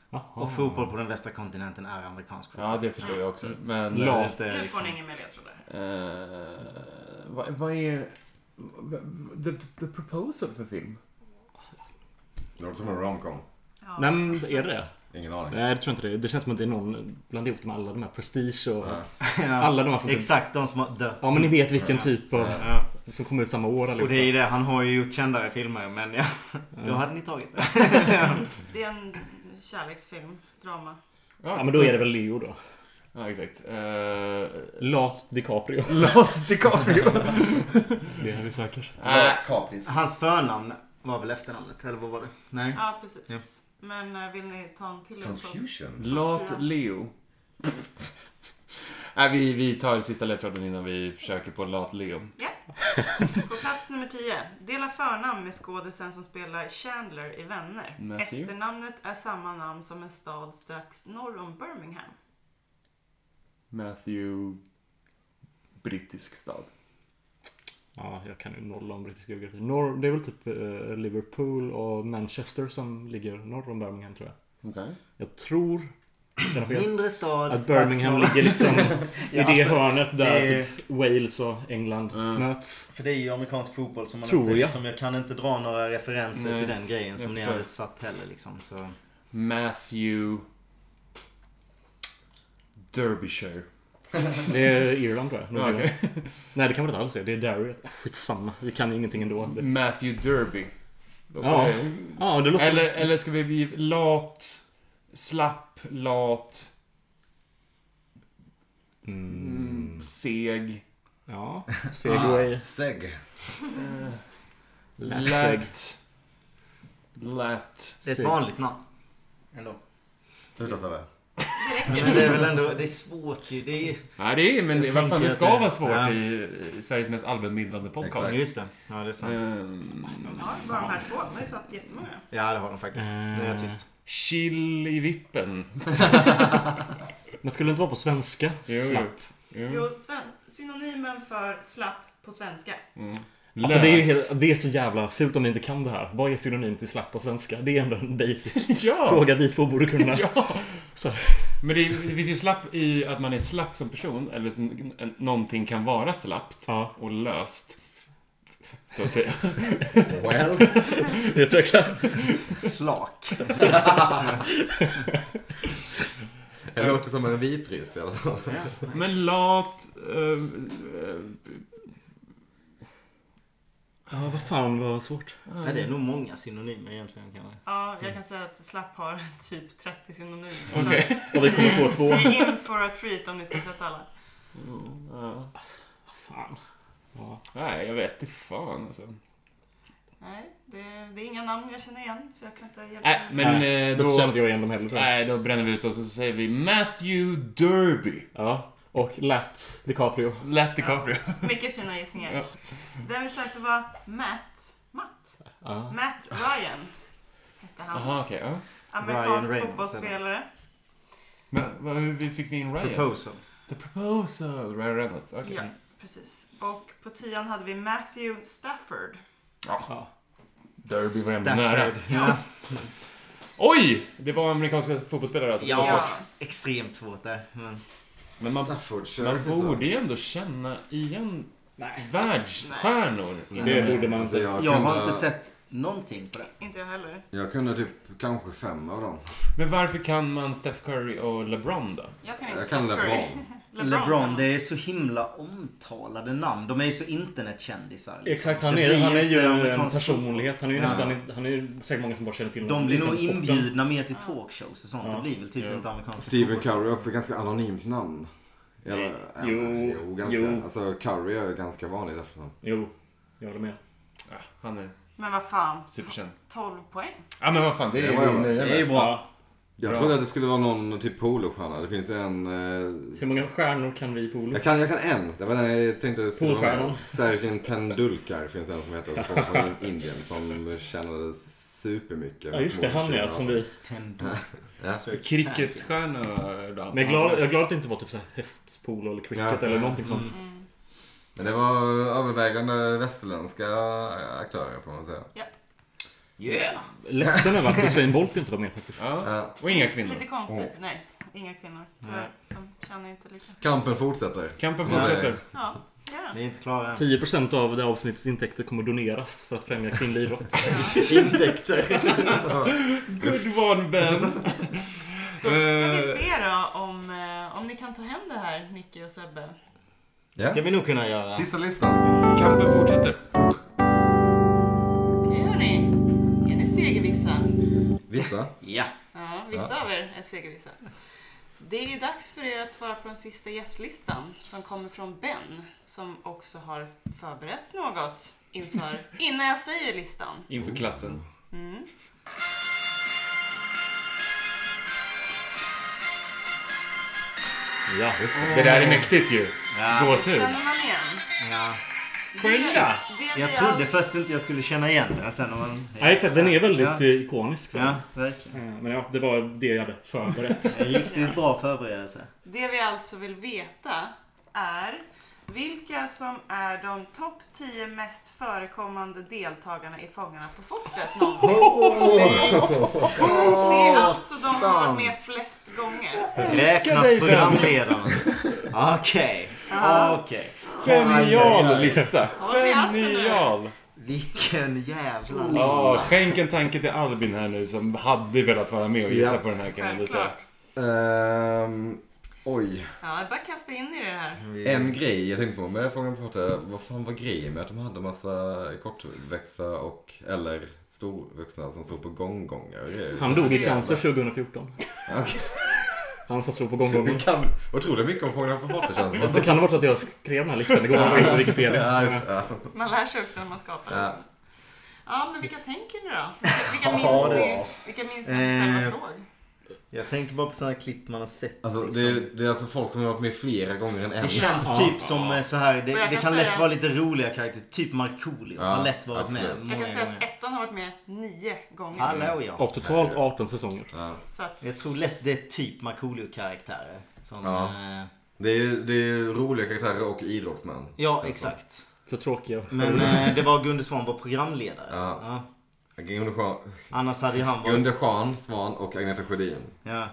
Speaker 4: Ah.
Speaker 6: Och fotboll på den västra kontinenten är amerikansk fotboll.
Speaker 5: Ja, det förstår jag också. Men...
Speaker 6: Så det är
Speaker 4: Lat.
Speaker 6: inte
Speaker 3: Nu får
Speaker 6: liksom-
Speaker 3: ni ingen mer ledtrådar.
Speaker 5: Eh, vad, vad är... The, the proposal för film?
Speaker 2: Det låter som en romcom.
Speaker 3: Ja.
Speaker 4: Nej, men är det det?
Speaker 2: Ingen aning.
Speaker 4: Nej, det tror jag inte det är. Det känns som att det är någon bland ihop med alla de här Prestige och...
Speaker 2: Ja.
Speaker 6: Ja.
Speaker 4: Alla de här från...
Speaker 6: Exakt, de som har dött.
Speaker 4: Ja, men ni vet vilken typ av...
Speaker 6: Ja.
Speaker 4: Som kommer ut samma år
Speaker 6: Och det är
Speaker 4: allihopa.
Speaker 6: ju det, han har ju gjort kändare filmer men ja, då hade ni tagit det.
Speaker 3: Det är en kärleksfilm, drama.
Speaker 4: Ja, men då är det väl Leo då.
Speaker 5: Ja, exakt. Eh,
Speaker 4: Lat DiCaprio.
Speaker 5: Lat DiCaprio.
Speaker 4: Det är det vi söker.
Speaker 5: Nej,
Speaker 2: Kapris.
Speaker 6: Hans förnamn var väl efternamnet, eller vad var det? Nej.
Speaker 3: Ja, precis. Men eh, vill ni ta en till ledtråd?
Speaker 2: Confusion.
Speaker 5: Lat Leo. Nej, vi, vi tar sista ledtråden innan vi försöker på Lat Leo.
Speaker 3: Ja. På plats nummer 10. Dela förnamn med skådisen som spelar Chandler i Vänner.
Speaker 5: Matthew.
Speaker 3: Efternamnet är samma namn som en stad strax norr om Birmingham.
Speaker 5: Matthew. Brittisk stad.
Speaker 4: Ja, jag kan ju noll om brittisk geografi. Norr, det är väl typ eh, Liverpool och Manchester som ligger norr om Birmingham tror jag.
Speaker 5: Okej.
Speaker 4: Jag tror... kan ha fel,
Speaker 6: Mindre stad,
Speaker 4: Att
Speaker 6: strax
Speaker 4: Birmingham
Speaker 6: norr-
Speaker 4: ligger liksom i
Speaker 6: Ja,
Speaker 4: det
Speaker 6: alltså,
Speaker 4: hörnet där
Speaker 6: det är-
Speaker 4: typ Wales och England
Speaker 5: Mm.
Speaker 4: möts.
Speaker 6: För det är ju amerikansk fotboll som man
Speaker 4: Tror
Speaker 6: inte,
Speaker 4: jag.
Speaker 6: liksom, jag kan inte dra några referenser
Speaker 5: Nej,
Speaker 6: till den grejen
Speaker 5: jag
Speaker 6: som ni
Speaker 5: förstår.
Speaker 6: hade satt heller liksom. Så.
Speaker 5: Matthew. Derbyshire.
Speaker 4: Det är Irland tror jag.
Speaker 5: Ja,
Speaker 4: Nordirland. Nej, det kan man inte alls säga. Det är Derry. Ah, skitsamma. Vi kan ju ingenting ändå.
Speaker 5: Mm.
Speaker 4: Det-
Speaker 5: Matthew Derby. Låter
Speaker 4: Ja.
Speaker 5: det-
Speaker 4: Ja, det låter...
Speaker 5: Eller, eller ska vi bli lat, slapp, lat,
Speaker 4: Mm.
Speaker 5: seg,
Speaker 4: Ja, segway.
Speaker 2: Ah, Seg.
Speaker 4: Lätseg.
Speaker 5: lät, lät.
Speaker 6: Det är ett
Speaker 4: Seg.
Speaker 6: vanligt namn. Ändå.
Speaker 2: Sluta Sebbe.
Speaker 3: Det räcker.
Speaker 5: Mm.
Speaker 6: Men det är väl ändå, det är svårt ju. Det är ju...
Speaker 5: Nej, det är, men
Speaker 6: Jag
Speaker 5: det, vad fan,
Speaker 6: tänker
Speaker 5: det
Speaker 6: att
Speaker 5: ska
Speaker 6: det-
Speaker 5: vara svårt
Speaker 6: ja.
Speaker 5: i, i Sveriges mest allmänbildande podcast.
Speaker 2: Exakt.
Speaker 6: Just det. Ja, det är sant.
Speaker 5: Ehm,
Speaker 3: Ja, bara de här två. Nu har ju satt jättemånga.
Speaker 5: Mm.
Speaker 6: Ja, det har de faktiskt. Nu är jag tyst.
Speaker 5: chill i vippen.
Speaker 4: Men skulle det inte vara på svenska?
Speaker 5: Jo, jo.
Speaker 4: Slapp.
Speaker 5: Jo.
Speaker 3: Jo, sven- synonymen för slapp på svenska.
Speaker 4: Alltså det är, ju
Speaker 5: Mm. Lös.
Speaker 4: helt, det är så jävla fult om ni inte kan det här. Vad är synonym till slapp på svenska? Det är ändå en basic
Speaker 5: Ja!
Speaker 4: fråga vi två borde kunna.
Speaker 5: ja.
Speaker 4: Så.
Speaker 5: Men det, är- det finns ju slapp i att man är slapp som person, eller som, en, någonting kan vara slappt
Speaker 4: Ja,
Speaker 5: och löst. Så att säga.
Speaker 2: Well.
Speaker 4: utveckla.
Speaker 6: Slak.
Speaker 2: Det låter som en vitryss i alla fall.
Speaker 5: Men lat... eh, eh,
Speaker 4: Ja, vad fan vad svårt.
Speaker 6: Ja, det är nog många synonymer egentligen kanske.
Speaker 3: Ja,
Speaker 5: Mm.
Speaker 3: jag kan säga att slapp har typ 30 synonymer.
Speaker 5: Okej.
Speaker 4: Och vi kommer på två.
Speaker 3: Så, Ni är in for a treat om ni ska sätta alla.
Speaker 5: ja.
Speaker 4: Fan. Ja.
Speaker 5: Nej, jag vet inte fan alltså.
Speaker 3: Nej, det, det är inga namn jag känner igen, så jag kan inte hjälpa
Speaker 5: Nej,
Speaker 3: er.
Speaker 5: men
Speaker 4: Nej,
Speaker 5: eh,
Speaker 4: då känner
Speaker 5: då...
Speaker 4: inte jag igen dem heller tror jag.
Speaker 5: Nej, då bränner vi ut oss och så säger vi Matthew Derby.
Speaker 4: Ja. Och Lat DiCaprio.
Speaker 5: Lätt DiCaprio.
Speaker 3: Mycket fina gissningar.
Speaker 5: Ja.
Speaker 3: Den vi sökte var Matt. Matt?
Speaker 4: Ja.
Speaker 3: Matt Ryan hette han.
Speaker 5: Jaha, okej. ja.
Speaker 3: Amerikansk
Speaker 6: Ryan Reynolds,
Speaker 3: fotbollsspelare.
Speaker 5: Men vad, hur vi- fick vi in Ryan?
Speaker 6: Proposal.
Speaker 5: The Proposal. Ryan Reynolds. Okej.
Speaker 3: Ja, precis. Och på tian hade vi Matthew Stafford.
Speaker 4: Ja.
Speaker 5: Derby var ändå nära.
Speaker 6: Stafford. Ja.
Speaker 5: Oj! Det var amerikanska fotbollsspelare alltså. Det var
Speaker 6: Ja.
Speaker 5: svårt.
Speaker 6: Extremt svårt där. Men...
Speaker 5: Men man,
Speaker 2: Staffordshire.
Speaker 5: man borde ju ändå känna igen
Speaker 4: Nej.
Speaker 5: världsstjärnor.
Speaker 4: Det borde man
Speaker 2: Alltså,
Speaker 4: inte.
Speaker 2: jag,
Speaker 6: Jag har
Speaker 2: kunde-
Speaker 6: inte sett någonting på det.
Speaker 3: Inte jag heller.
Speaker 2: Jag kunde typ kanske fem av dem.
Speaker 5: Men varför kan man Steph Curry och LeBron då?
Speaker 3: Jag kan inte
Speaker 2: Jag
Speaker 3: Steph
Speaker 2: kan
Speaker 3: Curry.
Speaker 2: LeBron.
Speaker 7: LeBron, det är så himla omtalade namn. De är ju så internetkändisar. liksom.
Speaker 4: Exakt, han
Speaker 7: Det
Speaker 4: är,
Speaker 7: blir
Speaker 4: han är ju
Speaker 7: inte
Speaker 4: en
Speaker 7: amerikansk-
Speaker 4: personlighet. Han är ju
Speaker 7: Ja.
Speaker 4: nästan, han är ju säkert många som bara känner till honom.
Speaker 7: De blir nog
Speaker 4: utanför sporten.
Speaker 7: inbjudna mer till talkshows och sånt.
Speaker 4: Ja.
Speaker 7: Det blir väl typ inte amerikanska
Speaker 2: Stephen
Speaker 7: fotboll.
Speaker 2: Curry är också ett ganska anonymt namn. Eller,
Speaker 4: Jo,
Speaker 2: eh, jo, ganska.
Speaker 4: jo.
Speaker 2: Alltså Curry är ganska vanligt efternamn.
Speaker 4: Jo, jag håller med.
Speaker 5: Ja, Ah, han är
Speaker 3: Men vad fan,
Speaker 5: superkänd.
Speaker 3: 12 poäng?
Speaker 5: Ja, men vad fan, det är
Speaker 2: Det var-
Speaker 5: ju
Speaker 2: det
Speaker 5: nöje
Speaker 7: Det är ju
Speaker 5: med.
Speaker 7: bra.
Speaker 2: Jag
Speaker 5: Bra.
Speaker 2: trodde att det skulle vara någon typ polostjärna. Det finns ju en... Eh,
Speaker 4: Hur många stjärnor kan vi på Olof?
Speaker 2: jag, kan, jag kan en. Det var den jag tänkte det skulle vara
Speaker 4: Polstjärnan.
Speaker 2: med. Sergin Tendulkar finns en som heter som kommer från Indien som tjänade supermycket.
Speaker 4: Ja just det, han är alltså som vi...
Speaker 7: Tendon.
Speaker 2: Ja.
Speaker 7: Sir
Speaker 5: Cricketstjärna då.
Speaker 4: Men jag är glad, jag är glad att det inte var typ så här hästpolo eller cricket
Speaker 2: Ja.
Speaker 4: eller någonting sånt.
Speaker 2: Men det var övervägande västerländska aktörer får man säga.
Speaker 7: Yeah!
Speaker 4: Ledsen över att Usain Bolt inte var med faktiskt.
Speaker 5: Ja.
Speaker 2: Ja.
Speaker 5: Och inga kvinnor.
Speaker 3: Lite konstigt. Nej, inga kvinnor. Tyvärr. De känner inte lika.
Speaker 2: Kampen fortsätter.
Speaker 5: Kampen
Speaker 2: Som man säger.
Speaker 5: fortsätter.
Speaker 3: Ja, ja.
Speaker 6: Ni är inte klara än.
Speaker 4: 10% av det här avsnittets intäkter kommer att doneras för att främja kvinnlig idrott.
Speaker 7: Intäkter.
Speaker 5: Good one Ben!
Speaker 3: Då ska vi se då om, eh, om ni kan ta hem det här, Nicky och Sebbe.
Speaker 2: Ja.
Speaker 6: ska vi nog kunna göra.
Speaker 2: Sista listan.
Speaker 5: Kampen fortsätter.
Speaker 3: Okej hörni, är ni segervissa?
Speaker 2: Vissa.
Speaker 7: Ja.
Speaker 3: Ja, vissa av er är segervissa. Det är dags för er att svara på den sista gästlistan som kommer från Ben som också har förberett något inför, innan jag säger listan.
Speaker 5: Inför klassen.
Speaker 3: Mm.
Speaker 5: Ja, det där är mäktigt ju.
Speaker 6: Ja.
Speaker 5: Gåshud.
Speaker 3: Känner man igen?
Speaker 6: ja.
Speaker 5: Kolla!
Speaker 3: Det vi
Speaker 6: Jag trodde först inte jag skulle känna igen det. Sen när man...
Speaker 4: Nej exakt, den är väldigt
Speaker 6: Ja.
Speaker 4: eh, ikonisk. Så.
Speaker 6: Ja, verkligen.
Speaker 4: Eh, Men ja, det var det jag hade förberett.
Speaker 6: En riktigt bra förberedelse.
Speaker 3: Det vi alltså vill veta är vilka som är de topp 10 mest förekommande deltagarna i Fångarna på fortet någonsin. Det är alltså de som har varit med flest gånger.
Speaker 6: Räknas programledaren? Okej.
Speaker 3: Ja.
Speaker 6: Okej.
Speaker 5: Genial lista!
Speaker 3: Håll i hatten nu.
Speaker 5: Genial!
Speaker 6: Vilken jävla
Speaker 5: Ja,
Speaker 6: lista.
Speaker 5: skänk en tanke till Albin här nu som hade velat vara med och gissa
Speaker 2: Ja.
Speaker 5: på den här kan jag väl säga.
Speaker 3: Självklart.
Speaker 2: Ehm, oj.
Speaker 3: Ja, jag bara kasta in i det här.
Speaker 2: En grej jag tänkte på med Fångarna på fortet. Vad fan var grejen med att de hade massa kortväxta och eller storvuxna som stod på gånggångar och grejer?
Speaker 4: Han
Speaker 2: Det känns
Speaker 4: dog i
Speaker 2: lite
Speaker 4: cancer
Speaker 2: jävla-
Speaker 4: 2014.
Speaker 2: Okej.
Speaker 4: Han som slog på gånggången.
Speaker 2: Vi kan otroligt mycket om Fångarna på fortet känns det som.
Speaker 4: Det kan ha varit att jag skrev den här listan igår när jag var inne på Wikipedia.
Speaker 2: Ja, just det. Ja.
Speaker 3: Man lär sig också när man skapar.
Speaker 2: Ja.
Speaker 3: Ja, ja men vilka tänker ni då? Vilka minns ni, vilka minns ni att ni själva
Speaker 6: Eh.
Speaker 3: såg?
Speaker 6: Jag tänker bara på sådana klipp man har sett.
Speaker 2: Alltså, det,
Speaker 6: liksom.
Speaker 2: är- det är alltså folk som har varit med flera gånger än en.
Speaker 6: Det känns typ som eh, så här.
Speaker 3: Och
Speaker 6: Det,
Speaker 3: jag
Speaker 6: det
Speaker 3: kan
Speaker 6: kan lätt
Speaker 3: säga-
Speaker 6: vara lite roliga karaktärer. Typ Markoolio.
Speaker 2: Ja,
Speaker 6: Har lätt varit med
Speaker 2: absolut.
Speaker 3: Jag
Speaker 6: många
Speaker 3: kan säga att
Speaker 6: gånger.
Speaker 3: ettan har varit med nio gånger.
Speaker 6: Hallå ja.
Speaker 4: Av totalt 18 säsonger.
Speaker 2: Ja.
Speaker 3: Så att,
Speaker 6: Jag tror lätt det är typ Markoolio-karaktärer. Som,
Speaker 2: Ja.
Speaker 6: eh,
Speaker 2: Det är, det är roliga karaktärer och idrottsmän.
Speaker 6: ja, exakt.
Speaker 4: Så tråkiga.
Speaker 6: Men eh, det var Gunde Svan var programledare.
Speaker 2: Ja.
Speaker 6: Ja.
Speaker 2: Gunde Svan,
Speaker 6: Annars hade ju han varit...
Speaker 2: Gunde Svan, Svan och Agneta Sjödin.
Speaker 6: Ja.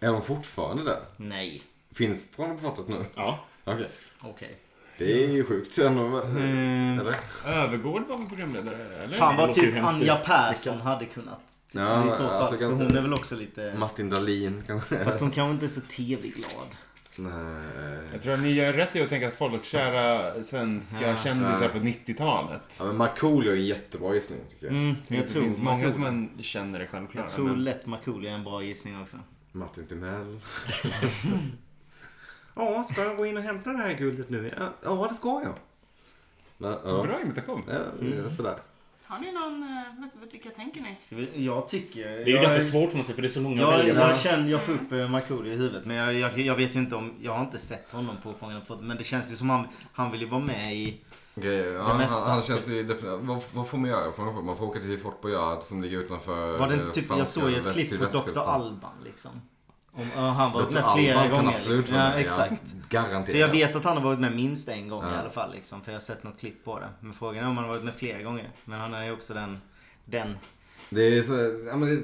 Speaker 2: Är de fortfarande där?
Speaker 6: Nej.
Speaker 2: Finns Fångarna på fortet nu?
Speaker 4: Ja.
Speaker 2: Okej.
Speaker 6: Okej.
Speaker 2: Det är ju sjukt ändå. Eller?
Speaker 5: Övergård var väl programledare? Eller?
Speaker 6: Fan vad
Speaker 4: låter ju
Speaker 6: typ
Speaker 4: Liksom. hemskt.
Speaker 6: Anja Persson hade kunnat.
Speaker 2: Ja,
Speaker 6: I så fall.
Speaker 2: alltså
Speaker 6: för
Speaker 2: ganska- Mm.
Speaker 6: hon är väl också lite...
Speaker 2: Martin Dahlin kanske?
Speaker 6: Fast hon kanske inte är så tv-glad.
Speaker 4: Mm,
Speaker 2: Nej.
Speaker 5: Jag tror att ni gör rätt i att tänka att folkkära svenska kändisar på 90-talet.
Speaker 2: Ja, men Markoolio är en jättebra gissning tycker jag.
Speaker 6: Mm, jag
Speaker 5: det
Speaker 6: tror
Speaker 5: finns många
Speaker 6: Markoolio-
Speaker 5: som man känner är självklara.
Speaker 6: Jag tror
Speaker 5: men-
Speaker 6: lätt Markoolio är en bra gissning också.
Speaker 2: Martin Timell.
Speaker 8: Ja, ska jag gå in och hämta det här guldet nu?
Speaker 2: Ja, ja, det ska jag. Men, ja.
Speaker 5: Bra imitation.
Speaker 2: Ja,
Speaker 6: Mm.
Speaker 2: ja, sådär.
Speaker 3: har ni någon, eh, vet- vet- vilka tänker ni?
Speaker 6: Ska vi- Jag tycker...
Speaker 4: Det är ju ganska svårt för man säga för det är så många
Speaker 6: Jag,
Speaker 4: väljare.
Speaker 6: jag känner, jag får upp eh, Markoolio i huvudet. Men jag, jag, jag vet ju inte om, jag har inte sett honom på Fångarna på fortet, Men det känns ju som han, han vill ju vara med i...
Speaker 2: Okej, ja,
Speaker 6: Det
Speaker 2: han,
Speaker 6: mesta.
Speaker 2: han känns ju definitivt... Vad, vad får man göra? Får Man man får åka till Fort Boyard som ligger utanför...
Speaker 6: Var det
Speaker 2: eh,
Speaker 6: inte typ, jag
Speaker 2: franska
Speaker 6: såg ju ett
Speaker 2: väst-
Speaker 6: klipp på Dr.
Speaker 2: sydvästkusten.
Speaker 6: Alban liksom. Om, ja, han var
Speaker 2: Dr.
Speaker 6: med flera
Speaker 2: Alban kan
Speaker 6: gånger.
Speaker 2: absolut
Speaker 6: Liksom.
Speaker 2: vara
Speaker 6: Ja,
Speaker 2: med,
Speaker 6: exakt.
Speaker 2: Garanterat.
Speaker 6: För jag vet att han har varit med minst en gång
Speaker 2: Ja.
Speaker 6: i alla fall. Liksom, för jag har sett något klipp på det. Men frågan är om han har varit med flera gånger. Men han är ju också den... Den.
Speaker 2: Det är så... Ja, men det,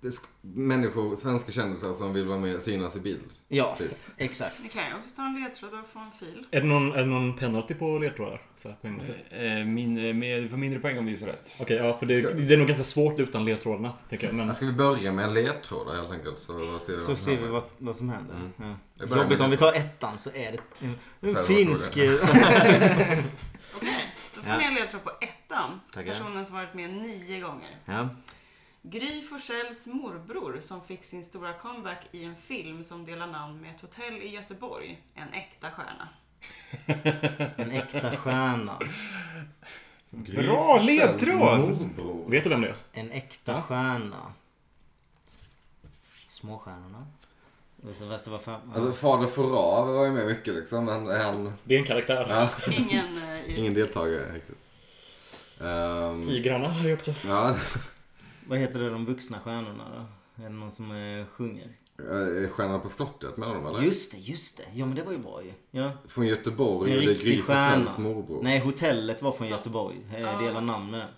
Speaker 2: det är sk- människor, svenska kändisar som vill vara med synas i bild.
Speaker 6: Ja,
Speaker 2: Typ.
Speaker 3: Ni
Speaker 6: exakt.
Speaker 3: kan ju också ta en ledtråd och få en fil.
Speaker 9: Är det någon, är det någon penalty på ledtrådar? Så här, på något sätt?
Speaker 10: Eh, min, eh, med, du får mindre poäng om du gissar rätt.
Speaker 9: Okej, ja, för det,
Speaker 2: Ska- Alltså-
Speaker 9: det är nog ganska svårt utan ledtrådarna, tänker jag. Men
Speaker 2: Ska vi börja med en ledtråd helt enkelt? Så ser vi
Speaker 6: Mm. Så
Speaker 2: vad som
Speaker 6: ser vi
Speaker 2: händer.
Speaker 6: vad, vad som händer.
Speaker 2: Mm.
Speaker 6: Ja.
Speaker 2: Jag börjar
Speaker 6: Jobbigt
Speaker 2: med
Speaker 6: om vi
Speaker 2: det.
Speaker 6: tar ettan så är det en,
Speaker 2: Så är
Speaker 6: en
Speaker 2: det
Speaker 6: finsk...
Speaker 3: Okej, då får
Speaker 6: Ja.
Speaker 3: ni en ledtråd på ettan.
Speaker 6: Tackar.
Speaker 3: Personen som varit med nio gånger.
Speaker 6: ja.
Speaker 3: Gry Forssells morbror som fick sin stora comeback i en film som delar namn med ett hotell i Göteborg. En äkta stjärna.
Speaker 6: En äkta stjärna.
Speaker 10: Bra ledtråd!
Speaker 2: Morbror.
Speaker 9: vet du vem det är?
Speaker 6: En äkta stjärna. Småstjärnorna. Och så Västerbar fem.
Speaker 2: Alltså Fader Fourav var ju med mycket liksom. Men han,
Speaker 9: Det är en karaktär.
Speaker 2: ja,
Speaker 3: Ingen eh, i...
Speaker 2: ingen deltagare riktigt. Um,
Speaker 9: Tigrarna har ju också.
Speaker 2: ja,
Speaker 6: Vad heter det de vuxna stjärnorna då? Är det någon som eh, sjunger?
Speaker 2: eh, Stjärnan på slottet menar de eller?
Speaker 6: Just det, just det. Ja men det var ju bra ju. Ja.
Speaker 2: Från Göteborg
Speaker 6: En
Speaker 2: och det är Gry
Speaker 6: riktig stjärna.
Speaker 2: Forssells morbror.
Speaker 6: Nej, hotellet var från
Speaker 3: Så-
Speaker 6: Göteborg. Eh,
Speaker 3: Ja.
Speaker 6: Delar namn med den.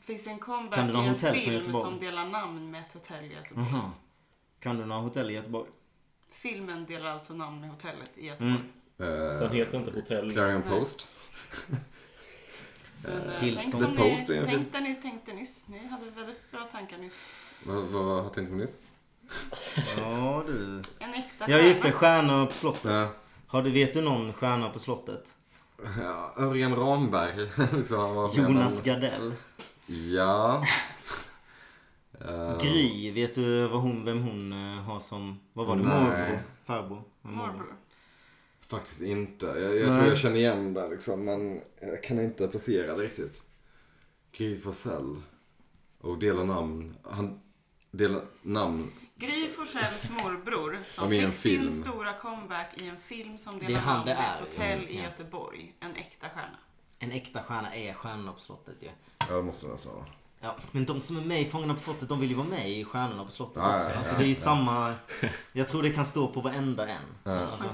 Speaker 3: Fick
Speaker 6: Kan
Speaker 3: sin comeback
Speaker 6: du
Speaker 3: i
Speaker 6: någon
Speaker 3: en
Speaker 6: hotell från
Speaker 3: film
Speaker 6: Göteborg? Mhm.
Speaker 3: som delar namn med ett hotell i Göteborg.
Speaker 6: Aha. Kan du några hotell i Göteborg?
Speaker 3: Filmen delar alltså namn med hotellet i Göteborg.
Speaker 6: Mm.
Speaker 2: Eh,
Speaker 9: Sen heter inte hotell-
Speaker 2: Clarion
Speaker 3: Nej.
Speaker 2: Post.
Speaker 3: Men, eh,
Speaker 6: Hilton.
Speaker 3: tänk som
Speaker 2: The Post är
Speaker 3: ni
Speaker 2: en film.
Speaker 3: tänkte, ni tänkte nyss. Ni hade väldigt bra tankar nyss.
Speaker 2: Vad, vad har tänkt på nyss?
Speaker 6: Ja du.
Speaker 3: En äkta
Speaker 6: Ja just det,
Speaker 3: stjärna.
Speaker 6: stjärnor på slottet.
Speaker 2: Ja.
Speaker 6: Har du, vet du någon stjärna på slottet?
Speaker 2: Ja, Örjan Ramberg. liksom, han var med,
Speaker 6: Jonas
Speaker 2: men-
Speaker 6: Gardell.
Speaker 2: Ja. Eh,
Speaker 6: Gry, vet du vad hon, vem hon eh, har som, vad var det,
Speaker 2: Nej.
Speaker 6: morbror? Farbror? Men morbror.
Speaker 3: Morbror.
Speaker 2: Faktiskt inte. Jag, jag
Speaker 6: Nej.
Speaker 2: tror jag känner igen det liksom, men jag kan inte placera det riktigt. Gry Forssell. Och dela namn. Han delar namn.
Speaker 3: Gry Forssells morbror som
Speaker 2: Var med i en
Speaker 3: fick sin
Speaker 2: film.
Speaker 3: stora comeback i en film som
Speaker 6: Det är
Speaker 3: delar
Speaker 6: han
Speaker 3: namn
Speaker 6: det
Speaker 3: med ett
Speaker 6: är,
Speaker 3: hotell
Speaker 6: mm,
Speaker 3: i
Speaker 6: ja.
Speaker 3: Göteborg. En äkta stjärna.
Speaker 6: En äkta stjärna är Stjärnorna på slottet ju. Ja.
Speaker 2: Ja, det måste det nästan vara.
Speaker 6: men de som är med i Fångarna på slottet, de vill ju vara med i Stjärnorna på slottet
Speaker 2: Ja,
Speaker 6: också.
Speaker 2: ja,
Speaker 6: Alltså
Speaker 2: ja,
Speaker 6: det är ju
Speaker 2: ja.
Speaker 6: samma, jag tror det kan stå på varenda en. Så,
Speaker 2: Ja.
Speaker 6: alltså,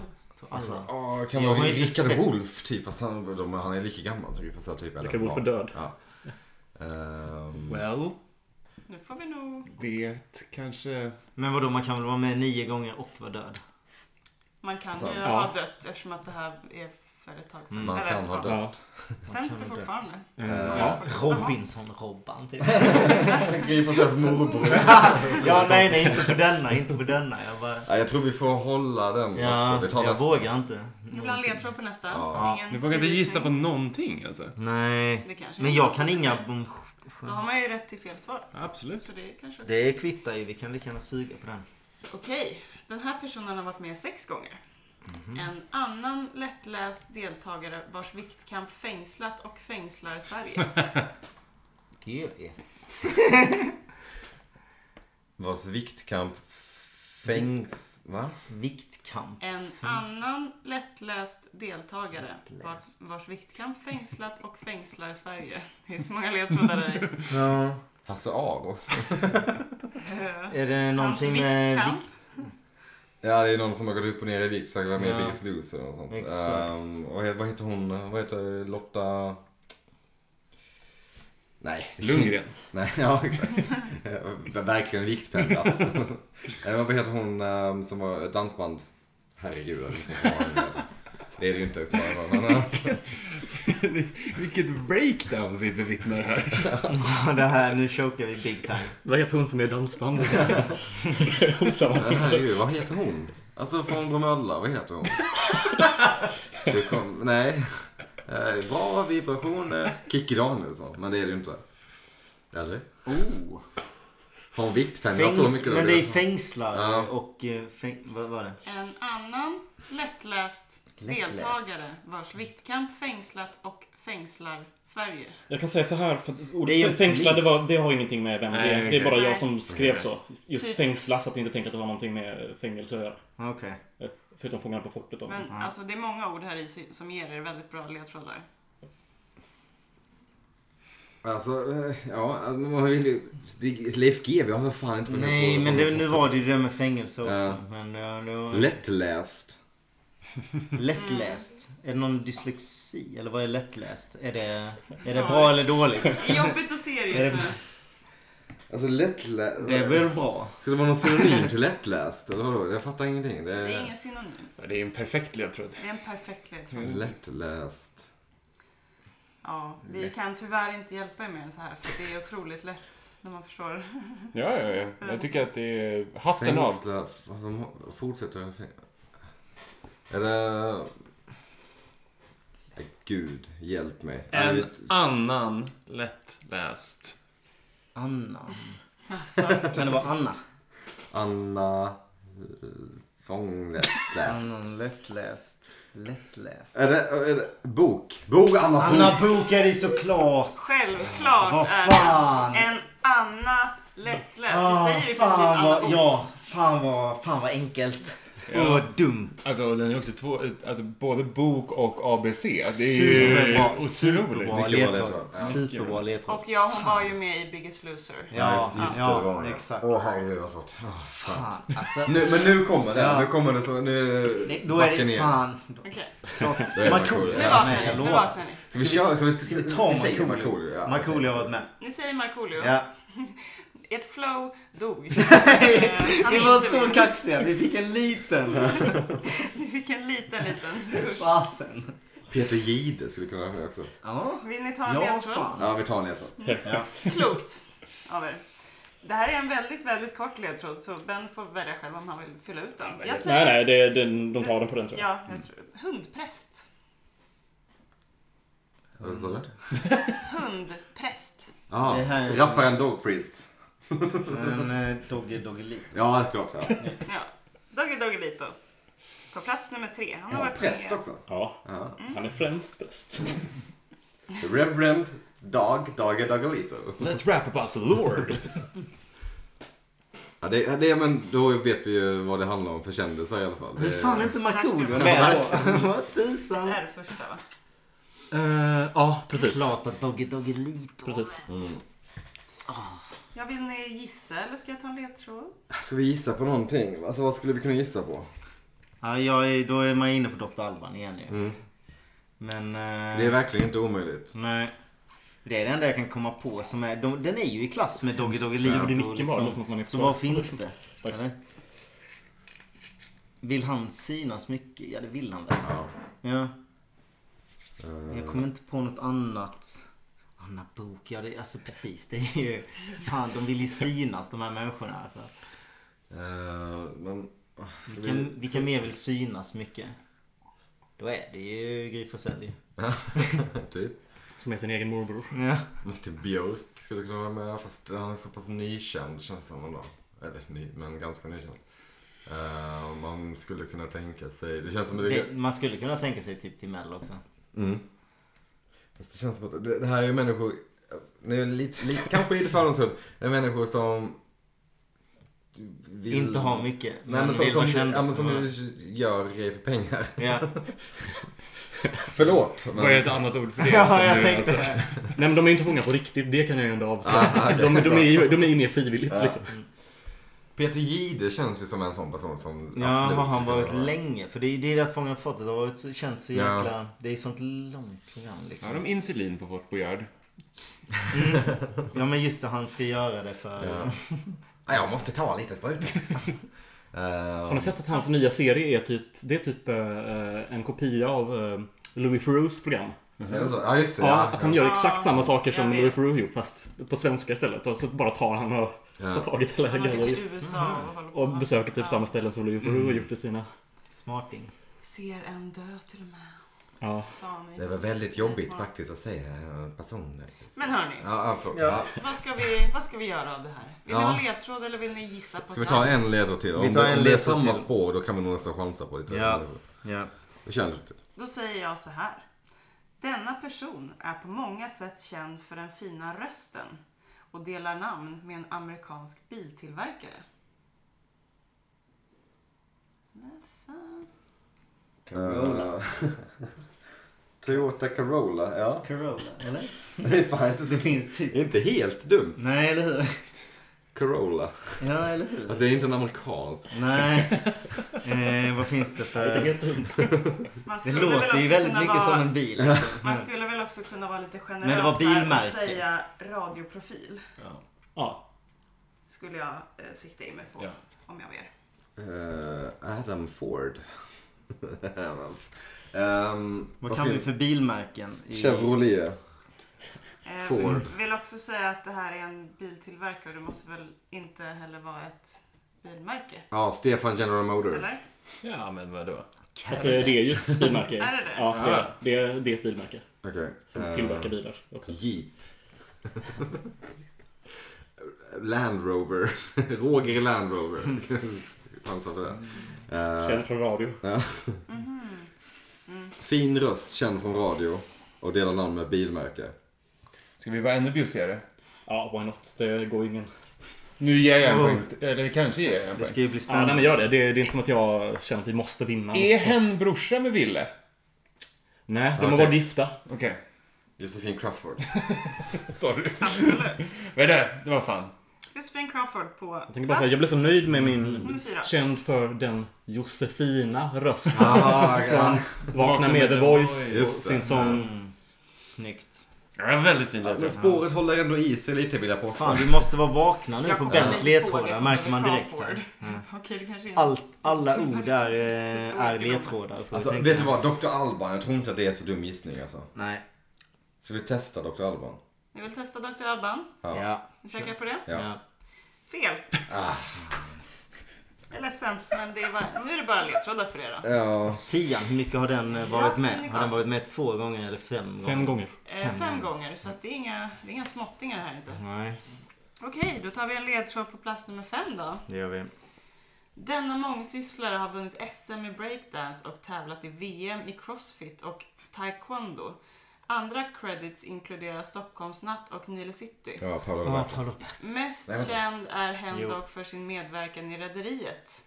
Speaker 6: jag tror alla.
Speaker 2: Ja, kan
Speaker 6: Jag
Speaker 2: vara
Speaker 6: har ju inte
Speaker 2: Rickard
Speaker 6: sett.
Speaker 2: Wolff typ. Fast han, de, han är lika gammal som Gry Forssell typ. eller
Speaker 9: Rickard Wolff är
Speaker 2: barn.
Speaker 9: död.
Speaker 2: Ja. Ehm,
Speaker 10: Well,
Speaker 3: Nu får vi nog...
Speaker 10: det kanske...
Speaker 6: Men vadå, man kan väl vara med nio gånger och vara död?
Speaker 3: Man kan
Speaker 2: Så,
Speaker 3: ju
Speaker 9: ja.
Speaker 3: ha dött eftersom att det här är för ett tag sedan.
Speaker 2: man
Speaker 3: Eller,
Speaker 2: kan ha
Speaker 3: ja.
Speaker 2: dött.
Speaker 3: Säns det fortfarande?
Speaker 9: Eh,
Speaker 6: mm,
Speaker 2: Eh,
Speaker 9: ja.
Speaker 6: Robinson-Robban typ.
Speaker 2: Gry Forssells morbror.
Speaker 6: ja, nej, nej, inte på denna, inte på denna. Jag bara...
Speaker 2: Ja, jag tror vi får hålla den
Speaker 6: Ja,
Speaker 2: också. Vi tar
Speaker 6: jag
Speaker 2: nästa.
Speaker 6: vågar inte.
Speaker 3: Det blir en ledtråd på nästa.
Speaker 2: Ja.
Speaker 3: Ingen
Speaker 10: Du vågar inte gissa på
Speaker 3: gissning.
Speaker 10: någonting alltså?
Speaker 6: Nej.
Speaker 3: Det kanske
Speaker 6: Men
Speaker 3: är
Speaker 6: jag
Speaker 3: någon
Speaker 6: kan
Speaker 3: som-
Speaker 6: inga... mm,
Speaker 3: Då har man ju rätt till fel svar.
Speaker 10: Absolut.
Speaker 3: Så det är kanske...
Speaker 6: Det kvittar ju, vi kan lika gärna suga på den.
Speaker 3: Okej, den här personen har varit med sex gånger.
Speaker 6: Mhm.
Speaker 3: En annan lättläst deltagare vars viktkamp fängslat och fängslar Sverige.
Speaker 6: GV.
Speaker 2: Vars viktkamp fängs... Va?
Speaker 6: Viktkamp.
Speaker 3: En annan lättläst deltagare vars, vars viktkamp fängslat och fängslar Sverige. Det är så många ledtrådar där.
Speaker 6: Ja.
Speaker 2: Hasse Aro.
Speaker 3: Eh,
Speaker 6: Är det
Speaker 3: Hans
Speaker 6: någonting med...
Speaker 3: viktkamp.
Speaker 2: Ja, det är någon som har gått upp och ner i vikt. Säkert varit med i
Speaker 6: Ja.
Speaker 2: Biggest Loser och sånt.
Speaker 6: Exakt.
Speaker 2: Ehm, och he- vad heter hon? Vad heter Lotta... Nej. det kan-
Speaker 10: Lundgren.
Speaker 2: Nej, ja exakt. Eh, Verkligen viktpendlat. Nej, vad heter hon ehm, som var ett dansband? Herregud. jag vet inte vad hon heter. Det är det ju inte uppenbarligen. men, eh,
Speaker 10: Vilket breakdown vi bevittnar här.
Speaker 6: vikt? det här, nu chokar vi big time.
Speaker 9: Vad heter hon som är dansband? Hon sa-
Speaker 2: Men herregud, vad heter hon? Alltså från Bromölla, vad heter hon? Det kom, nej. Eh, Bra vibrationer. Kikki Danielsson, men det är det ju inte. Eller?
Speaker 6: Oh.
Speaker 2: Har hon viktpendlat så
Speaker 6: Fängs...
Speaker 2: mycket?
Speaker 6: Men det är
Speaker 2: vet jag.
Speaker 6: fängslar
Speaker 2: Ja.
Speaker 6: och... eh, Fäng... Vad var det?
Speaker 3: En annan lättläst,
Speaker 6: Lättläst.
Speaker 3: deltagare vars viktkamp fängslat och fängslar Sverige.
Speaker 9: Jag kan säga så här, för att
Speaker 6: Det är ju
Speaker 9: ordet
Speaker 6: en
Speaker 9: fängsla det,
Speaker 6: polis.
Speaker 9: var, det har ingenting med vem det
Speaker 10: Nej,
Speaker 9: är. Det
Speaker 10: okej.
Speaker 9: är bara
Speaker 3: Nej.
Speaker 9: jag som skrev så. Just
Speaker 3: Typ.
Speaker 9: fängsla så att ni inte tänker att det har någonting med fängelse att göra.
Speaker 6: Okej.
Speaker 9: Eh, Förutom Fångarna på fortet då.
Speaker 3: Men alltså det är många ord här i som ger er väldigt bra ledtrådar.
Speaker 2: Alltså, eh, ja, men man vill ju... det- Leif GW har för fan inte varit med
Speaker 6: Nej,
Speaker 2: på-
Speaker 6: men
Speaker 2: på-
Speaker 6: det,
Speaker 2: på-
Speaker 6: nu var det ju det där med fängelse också.
Speaker 2: Ja.
Speaker 6: Men ja, det var...
Speaker 2: Lättläst.
Speaker 6: Lättläst. Är det någon dyslexi? Eller vad är lättläst? Är det, är det bra eller dåligt?
Speaker 3: Det är jobbigt att se er
Speaker 6: Är
Speaker 3: just
Speaker 6: det-
Speaker 3: nu.
Speaker 2: Alltså lättläst.
Speaker 6: Det är väl bra?
Speaker 2: Ska det vara någon synonym till lättläst? Eller vadå? Jag fattar ingenting. Det
Speaker 3: Det
Speaker 2: är
Speaker 3: är ingen synonym.
Speaker 5: Ja, Det är en perfekt ledtråd.
Speaker 3: Det är en perfekt ledtråd.
Speaker 2: lättläst.
Speaker 3: Ja, vi kan tyvärr inte hjälpa er mer än så här för det är otroligt lätt när man förstår.
Speaker 5: Ja, ja, ja. Jag tycker att det är hatten av.
Speaker 2: Fängslad. Vad alltså, de har- Fortsätter jag fäng- Är det... Nej, Gud, hjälp mig. Är
Speaker 5: En
Speaker 2: det-
Speaker 5: annan lättläst.
Speaker 6: Anna.
Speaker 3: Alltså,
Speaker 6: Kan det vara Anna?
Speaker 2: Anna... eh, Fånglättläst.
Speaker 6: Anna lättläst. Lättläst.
Speaker 2: Är det, är det... Bok? Bok, Anna, Anna
Speaker 6: Anna
Speaker 2: Bok!
Speaker 6: Book är det såklart. Vad
Speaker 3: självklart är
Speaker 6: fan.
Speaker 3: det en Anna lättläst.
Speaker 6: Ah,
Speaker 3: Vi säger i princip
Speaker 6: fan,
Speaker 3: alla
Speaker 6: vad,
Speaker 3: ord.
Speaker 6: ja, fan, vad, fan vad enkelt.
Speaker 5: Ja.
Speaker 6: Och vad dumt.
Speaker 5: Alltså, den är också två, alltså, både bok och ABC. Det är
Speaker 6: Superbra,
Speaker 5: ju
Speaker 6: superbra
Speaker 5: otroligt.
Speaker 2: Mycket bra
Speaker 6: ledtråd.
Speaker 2: ledtråd. Ja.
Speaker 6: Superbra ledtråd.
Speaker 3: Och ja, hon var ju med i Biggest Loser.
Speaker 2: Ja, just, just det, det var det.
Speaker 6: exakt.
Speaker 2: Åh, herregud vad svårt. Åh, fan.
Speaker 6: Fan, alltså,
Speaker 2: Nu, men nu kommer det.
Speaker 6: Ja.
Speaker 2: Nu kommer det så... Nu är
Speaker 6: det-
Speaker 2: det...
Speaker 6: då är
Speaker 2: backen
Speaker 6: det
Speaker 2: igen.
Speaker 6: fan.
Speaker 3: Okej,
Speaker 6: Klart.
Speaker 2: Då är det
Speaker 6: Markoolio.
Speaker 2: Markoolio.
Speaker 3: nu
Speaker 6: Ja,
Speaker 3: vaknar
Speaker 6: nej, jag
Speaker 3: ni. Nu
Speaker 6: lovar.
Speaker 3: vaknar ni.
Speaker 2: Ska vi köra? Ska vi,
Speaker 6: Ska vi ta
Speaker 2: vi säger
Speaker 6: Markoolio?
Speaker 2: ja.
Speaker 6: Markoolio har varit med.
Speaker 3: Ni säger Markoolio.
Speaker 6: Ja.
Speaker 3: Ert flow dog. Eh,
Speaker 6: Vi var så kaxiga. Vi fick en liten.
Speaker 3: Ni fick en liten, liten kurs.
Speaker 6: Fasen.
Speaker 2: Peter Jihde skulle kunna vara med också.
Speaker 6: Ja,
Speaker 3: Vill ni ta en
Speaker 6: ja
Speaker 3: ledtråd?
Speaker 6: fan.
Speaker 2: Ja, vi tar en ledtråd.
Speaker 6: Mm.
Speaker 3: Klokt av er. Det här är en väldigt, väldigt kort ledtråd så Ben får välja själv om han vill fylla ut den. Jag
Speaker 4: Nej,
Speaker 3: säger...
Speaker 4: nej, det, den- de tar den på den tror jag.
Speaker 3: Ja, jag tror, hundpräst.
Speaker 2: Vad sa du?
Speaker 3: Hundpräst.
Speaker 2: Ja,
Speaker 6: Det här är-
Speaker 2: rapparen Dog Priest.
Speaker 6: Men eh, Dogge Doggelito.
Speaker 2: Ja, det är klart. Ja.
Speaker 3: Ja. Doggy Doggy Lito. På plats nummer tre. Han har
Speaker 2: Ja,
Speaker 3: varit
Speaker 2: präst
Speaker 3: med.
Speaker 2: också.
Speaker 4: Ja,
Speaker 2: Ja.
Speaker 4: han är främst bäst.
Speaker 2: Reverend Dog Dogge Doggelito.
Speaker 4: Let's rap about the Lord.
Speaker 2: Ja, det, det, men då vet vi ju vad det handlar om för kändisar i alla fall.
Speaker 6: Hur
Speaker 2: Det-
Speaker 6: fan är inte Markoolio
Speaker 3: Här ska
Speaker 6: med då? Vad
Speaker 3: Det
Speaker 6: tusan.
Speaker 3: här är det första va?
Speaker 4: Eh, ja, precis.
Speaker 6: Klart att Dogge Doggelito.
Speaker 4: Precis.
Speaker 3: Ja, vill ni gissa eller ska jag ta en ledtråd?
Speaker 2: Ska vi gissa på någonting? Alltså vad skulle vi kunna gissa på?
Speaker 6: Ja, jag är, då är man inne på Dr. Alban igen ju.
Speaker 2: Mm.
Speaker 6: Men... eh,
Speaker 2: Det är verkligen inte omöjligt.
Speaker 6: Nej. Det är det enda jag kan komma på som är... De, den är ju i klass med Doggy Doggy Lito.
Speaker 4: Ja, det är
Speaker 6: och
Speaker 4: nicken bara. Det låter som att man är
Speaker 6: så
Speaker 4: klar.
Speaker 6: varför inte?
Speaker 4: Tack.
Speaker 6: Eller? Vill han synas mycket? Ja, det vill han väl.
Speaker 2: Ja.
Speaker 6: Ja.
Speaker 2: Eh,
Speaker 6: Jag kommer inte på något annat. Anna Bok, ja det, alltså precis. Det är ju... Fan, de vill ju synas de här människorna alltså.
Speaker 2: eh, men... ah, Ska
Speaker 6: Vilka,
Speaker 2: vi...
Speaker 6: vilka mer vill synas mycket? Då är det ju Gry Forssell ju.
Speaker 2: Typ.
Speaker 4: Som är sin egen morbror.
Speaker 6: Ja.
Speaker 2: Martin Björk skulle kunna vara med fast han är så pass nykänd känns det som ändå. Eller ny, men ganska nykänd. Eh, man skulle kunna tänka sig, det känns som att det,
Speaker 6: Det, man skulle kunna tänka sig typ till Mello också.
Speaker 2: fast det, känns som att det, det här är ju människor, nu är det lite, lite, kanske lite fördomsfullt, det är människor som vill,
Speaker 6: Inte ha mycket.
Speaker 2: Nej men som,
Speaker 6: vill
Speaker 2: som,
Speaker 6: vara kända.
Speaker 2: ja, men som
Speaker 6: Ja.
Speaker 2: gör grejer för pengar.
Speaker 6: Ja.
Speaker 2: Förlåt.
Speaker 5: Vad är
Speaker 2: Men,
Speaker 5: ett annat ord för det?
Speaker 6: ja,
Speaker 5: Alltså,
Speaker 6: jag
Speaker 5: nu,
Speaker 6: tänkte
Speaker 5: alltså.
Speaker 6: det.
Speaker 4: Nej, men de är inte fångna på riktigt. Det kan jag ju ändå
Speaker 6: Ah,
Speaker 4: avslöja. De, de, är ju- de är ju mer frivilligt liksom.
Speaker 2: Peter Jihde känns ju som en sån person som
Speaker 6: Ja,
Speaker 2: absolut
Speaker 6: har han
Speaker 2: skulle
Speaker 6: varit
Speaker 2: kunna vara-
Speaker 6: länge? För det är det är det att Fångarna på fortet har varit så, känt så
Speaker 2: Ja.
Speaker 6: jäkla... Det är ett sånt långt program
Speaker 5: Har
Speaker 6: liksom.
Speaker 5: de insulin på Fort Boyard?
Speaker 6: Ja men just det, han ska göra det för...
Speaker 2: Ja. Ja, jag måste ta lite Eh, sprut.
Speaker 4: Har ni sett att hans nya serie är typ, det är typ eh, en kopia av eh, Louis Theroux program?
Speaker 2: Ja, just det.
Speaker 4: Ja, att han gör exakt samma saker som
Speaker 3: jag vet.
Speaker 4: Louis Theroux gjort fast på svenska istället. Och så bara tar han och har tagit alla
Speaker 3: Han åker
Speaker 4: grejer.
Speaker 3: till USA och håller på.
Speaker 4: Och besöker typ
Speaker 3: Ja.
Speaker 4: samma ställen som Louis Theroux har gjort i sina...
Speaker 6: Smarting.
Speaker 3: Ser en dö till och med,
Speaker 4: Ja.
Speaker 3: sa han. i-
Speaker 2: Det var väldigt jobbigt faktiskt att säga personer.
Speaker 3: Men hörni,
Speaker 2: Ja, ja, förlåt. Ja.
Speaker 3: vad, ska vi, vad ska vi göra av det här? Vill
Speaker 2: Ja.
Speaker 3: ni ha ledtråd eller vill ni gissa på
Speaker 2: Ska vi ta
Speaker 3: annat?
Speaker 2: en ledtråd till?
Speaker 6: Vi
Speaker 2: Om
Speaker 6: tar
Speaker 2: det,
Speaker 6: en
Speaker 2: om det är
Speaker 6: ledtråd
Speaker 2: samma
Speaker 6: till.
Speaker 2: spår då kan vi nog nästan chansa på lite.
Speaker 6: Ja. Ja.
Speaker 2: Vi kör en ledtråd till.
Speaker 3: Då säger jag så här. Denna person är på många sätt känd för den fina rösten och delar namn med en amerikansk biltillverkare.
Speaker 2: Eh, Toyota Corolla, ja.
Speaker 6: Corolla, eller?
Speaker 2: Det är fan inte
Speaker 6: Det
Speaker 2: så...
Speaker 6: finns typ...
Speaker 2: Inte helt dumt.
Speaker 6: Nej, eller hur?
Speaker 2: Corolla.
Speaker 6: Ja, eller hur?
Speaker 2: Alltså det är inte en amerikansk.
Speaker 6: Nej. Eh, vad finns det för...
Speaker 4: Helt dumt.
Speaker 3: Man
Speaker 6: Det
Speaker 3: skulle väl
Speaker 6: låter ju
Speaker 3: också
Speaker 6: väldigt
Speaker 3: kunna
Speaker 6: mycket
Speaker 3: vara,
Speaker 6: som en bil.
Speaker 3: Man skulle väl också kunna vara lite generös
Speaker 6: Men det var
Speaker 3: här och
Speaker 6: bilmärke.
Speaker 3: säga radioprofil.
Speaker 4: Ja.
Speaker 3: skulle jag eh, sikta in mig på
Speaker 5: Ja.
Speaker 3: om jag var er.
Speaker 2: Eh, Adam Ford. Ehm,
Speaker 6: Vad kan vi
Speaker 2: fin-
Speaker 6: för bilmärken? i-
Speaker 2: Chevrolet.
Speaker 3: Eh,
Speaker 2: Ford.
Speaker 3: Vill också säga att det här är en biltillverkare. Det måste väl inte heller vara ett bilmärke?
Speaker 2: Ja, Stefan General Motors.
Speaker 3: Eller?
Speaker 5: Ja, men vadå?
Speaker 4: Fast det, det är ju ett bilmärke.
Speaker 3: Är det det?
Speaker 4: Ja, det är, det är, det är ett bilmärke.
Speaker 2: Okej.
Speaker 4: Som
Speaker 2: eh,
Speaker 4: tillverkar bilar också.
Speaker 2: Jeep. Land Rover. Roger Land Rover. Chansar för det. Eh,
Speaker 4: Känd från radio.
Speaker 2: fin röst, känd från radio. Och delar namn med bilmärke.
Speaker 5: Ska vi vara ännu bjussigare?
Speaker 4: Ja, why not? Det går ingen...
Speaker 5: Nu ger jag en poäng. Eller kanske ger jag en
Speaker 6: Det
Speaker 5: poäng.
Speaker 6: ska ju bli
Speaker 4: Ja,
Speaker 6: spännande.
Speaker 4: nej, men gör det. det. Det är inte som att jag känner att vi måste vinna.
Speaker 5: Är hen brorsa med Ville?
Speaker 4: Nej, de har
Speaker 2: Okej.
Speaker 4: varit gifta.
Speaker 5: Okej,
Speaker 2: Josefin Crawford.
Speaker 5: sorry.
Speaker 3: Absolut.
Speaker 5: Vad är det? Det var fan.
Speaker 3: Josefin Crawford på
Speaker 4: Jag, tänkte bara säga, jag blev så nöjd med min
Speaker 3: nummer Mm, fyra.
Speaker 4: känd för den Josefina rösten.
Speaker 2: ah,
Speaker 4: Från
Speaker 2: ja.
Speaker 4: Vakna med The Voice och
Speaker 2: Just det.
Speaker 4: sin sång.
Speaker 6: Snyggt.
Speaker 5: Ja, det var väldigt fin
Speaker 2: Men
Speaker 5: ledtråd.
Speaker 2: spåret håller ändå i sig lite vill jag påstå.
Speaker 6: Fan, vi måste vara vakna nu
Speaker 3: Jag
Speaker 6: på
Speaker 3: kommer
Speaker 6: Bens
Speaker 3: inte ihåg
Speaker 6: ledtrådar.
Speaker 3: det.
Speaker 6: Märker man direkt
Speaker 3: Crawford.
Speaker 6: här.
Speaker 3: Okej, det kanske är en-
Speaker 6: Allt, alla
Speaker 3: Jag tror
Speaker 6: ord är,
Speaker 3: faktiskt
Speaker 6: eh,
Speaker 3: inte
Speaker 6: är
Speaker 3: det står i
Speaker 6: ledtrådar. får vi
Speaker 2: Alltså,
Speaker 6: tänka.
Speaker 2: vet du vad? Dr. Alban. Jag tror inte att det är så dum gissning alltså.
Speaker 6: Nej.
Speaker 2: Ska vi testa Dr. Alban?
Speaker 3: Ni vill testa Dr. Alban?
Speaker 2: Ja.
Speaker 6: Ja.
Speaker 3: Ni säkra på det?
Speaker 2: Ja.
Speaker 6: ja.
Speaker 3: Fel. Jag är ledsen, men det är bara, nu är det bara ledtrådar för er då.
Speaker 2: Ja.
Speaker 6: Tian, hur mycket har den eh, varit
Speaker 3: Ja,
Speaker 6: med?
Speaker 3: mycket.
Speaker 6: Har den varit med två gånger eller fem gånger?
Speaker 4: Fem gånger.
Speaker 3: Eh, Fem, gånger, så att det, är inga, det är inga småttingar här inte.
Speaker 6: Nej,
Speaker 3: Okej, då tar vi en ledtråd på plats nummer fem då.
Speaker 6: det gör vi.
Speaker 3: Denna mångsysslare har vunnit SM i breakdance och tävlat i VM i crossfit och taekwondo. Andra credits inkluderar Stockholmsnatt och Nile City.
Speaker 2: Ja, Paolo
Speaker 6: Ja,
Speaker 2: Roberto.
Speaker 6: Paolo
Speaker 3: Mest
Speaker 2: Nej, vänta.
Speaker 3: känd är hen
Speaker 6: Jo.
Speaker 3: dock för sin medverkan i Rederiet.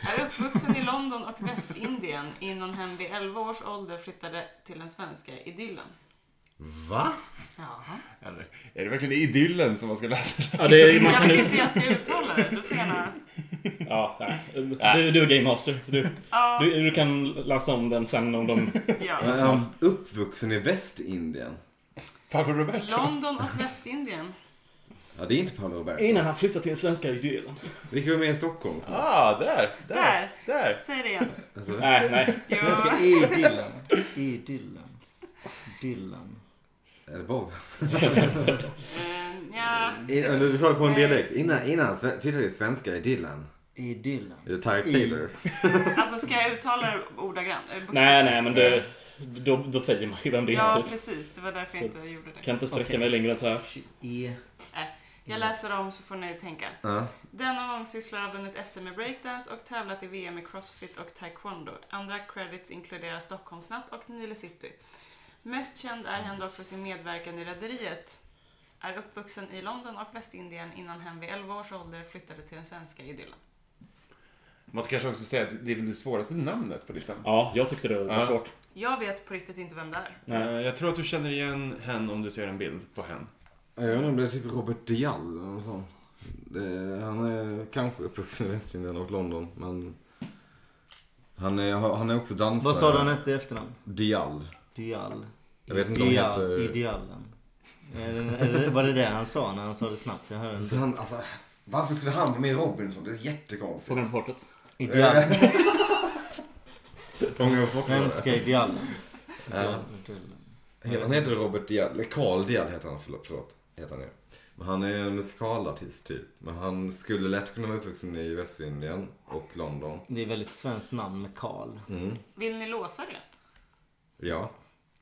Speaker 3: Är uppvuxen i London och Västindien innan hen vid 11 års ålder flyttade till den svenska idyllen.
Speaker 2: Va?
Speaker 3: Jaha.
Speaker 5: Eller, är det verkligen idyllen som man ska läsa?
Speaker 4: Ja, det är, man
Speaker 3: Jag
Speaker 4: kan
Speaker 3: vet
Speaker 4: ju...
Speaker 3: inte hur jag ska uttala det. Du får gärna...
Speaker 4: Ja, nej. du, du är game master. Du,
Speaker 3: Ja,
Speaker 4: du, du kan läsa om den sen om de...
Speaker 3: ja.
Speaker 2: Är han uppvuxen i Västindien?
Speaker 5: Pablo Roberto?
Speaker 3: London och Västindien.
Speaker 2: Ja, det är inte Paolo Roberto.
Speaker 4: Innan han flyttade till den svenska idyllen.
Speaker 2: Vilka var med i Stockholm? snart?
Speaker 5: Ah, där! Där!
Speaker 3: Där.
Speaker 5: Där!
Speaker 3: Säg det igen.
Speaker 5: Mm.
Speaker 4: Nej, nej.
Speaker 3: Jo.
Speaker 6: Jag ska i Dylan. I Dylan. Dylan.
Speaker 2: Är det Bob?
Speaker 3: Eh, Ja.
Speaker 2: In, du sa det på en
Speaker 3: Nej.
Speaker 2: dialekt. Innan, innan han sve- flyttade till svenska i Dylan.
Speaker 6: I Dylan.
Speaker 2: Är det Tareq Taylor?
Speaker 3: Alltså, ska jag uttala det ordagrant? Eh, bokstavligt?
Speaker 4: Nej, nej, men det, då, då säger man ju vem det är.
Speaker 3: Ja,
Speaker 4: typ.
Speaker 3: precis. Det var därför jag inte gjorde det.
Speaker 4: Kan inte sträcka
Speaker 6: Okej.
Speaker 4: mig längre än så här.
Speaker 6: E.
Speaker 3: Jag läser om så får ni tänka.
Speaker 2: Ja.
Speaker 3: Denna mångsysslare har vunnit SM i breakdance och tävlat i VM i crossfit och taekwondo. Andra credits inkluderar Stockholmsnatt och Nile City. Mest känd är hen dock för sin medverkan i Rederiet. Är uppvuxen i London och Västindien innan hen vid 11 års ålder flyttade till den svenska idyllen.
Speaker 5: Man ska kanske också säga att det är väl det svåraste namnet på listan.
Speaker 4: Ja, jag tyckte det var
Speaker 5: Ja.
Speaker 4: svårt.
Speaker 3: Jag vet på riktigt inte vem det är.
Speaker 4: Nej.
Speaker 5: Eh, Jag tror att du känner igen hen om du ser en bild på hen.
Speaker 2: Jag undrar om det är typ Robert Diall eller något sånt. Det, han är kanske uppvuxen i Västindien och London, men... Han är, han är också dansare.
Speaker 6: Vad sa du han hette i efternamn?
Speaker 2: Diall.
Speaker 6: Dial.
Speaker 2: Jag vet inte om
Speaker 6: Dial-
Speaker 2: heter-
Speaker 6: Idealen. Är det- är det- Var det det han sa när han sa det snabbt? Jag hörde
Speaker 2: Så
Speaker 6: inte.
Speaker 2: han, alltså, varför skulle han vara med i Robinson? Det är jättekonstigt. Eh,
Speaker 4: Frågan på kortet.
Speaker 6: Ideal.
Speaker 2: Fånga upp
Speaker 6: Svenska idealen.
Speaker 2: Ja. Han heter Robert Diall, eller Carl Diall heter han, förlåt. förlåt heter han ju. Men han är en musikalartist typ. Men han skulle lätt kunna vara uppvuxen i Västindien och London.
Speaker 6: Det är väldigt svenskt namn med Karl.
Speaker 2: Mm.
Speaker 3: Vill ni låsa det?
Speaker 2: Ja.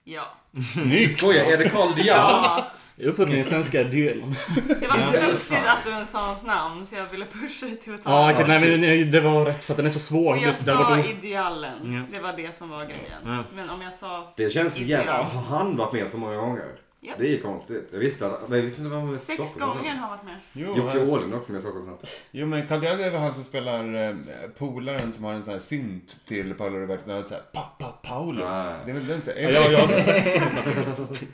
Speaker 3: Ja.
Speaker 5: Snyggt!
Speaker 2: Skoja, är det Carl Diall?
Speaker 4: Jag är uppvuxen i den svenska idyllen.
Speaker 3: Det var så duktigt att du ens sa hans namn så jag ville pusha dig till att ta
Speaker 4: Ja,
Speaker 3: det.
Speaker 4: okej, nej, men nej, det var rätt för att den är så svår.
Speaker 3: Och jag
Speaker 4: Det hade
Speaker 3: sa
Speaker 4: varit-
Speaker 3: idealen.
Speaker 6: Ja.
Speaker 3: Det var det som var grejen.
Speaker 6: Ja.
Speaker 3: Men om jag sa
Speaker 2: Det känns ju jävligt...
Speaker 3: Ja.
Speaker 2: Har han varit med så många gånger?
Speaker 3: Ja.
Speaker 2: Det är ju konstigt. Jag visste, att- men jag visste inte vad han var med i
Speaker 3: sex
Speaker 2: Stockholm.
Speaker 3: gånger har jag varit med.
Speaker 5: Jo,
Speaker 2: Jocke
Speaker 5: eh,
Speaker 2: Åhlund också med i Stockholmsnatt.
Speaker 5: jo men Carl Diall är väl han som spelar eh, polaren som har en sån här synt till Paolo Roberto. Den här så här, Pappa Paolo.
Speaker 2: Nej.
Speaker 5: Det är väl den så här,
Speaker 4: Ja, jag, jag har sett.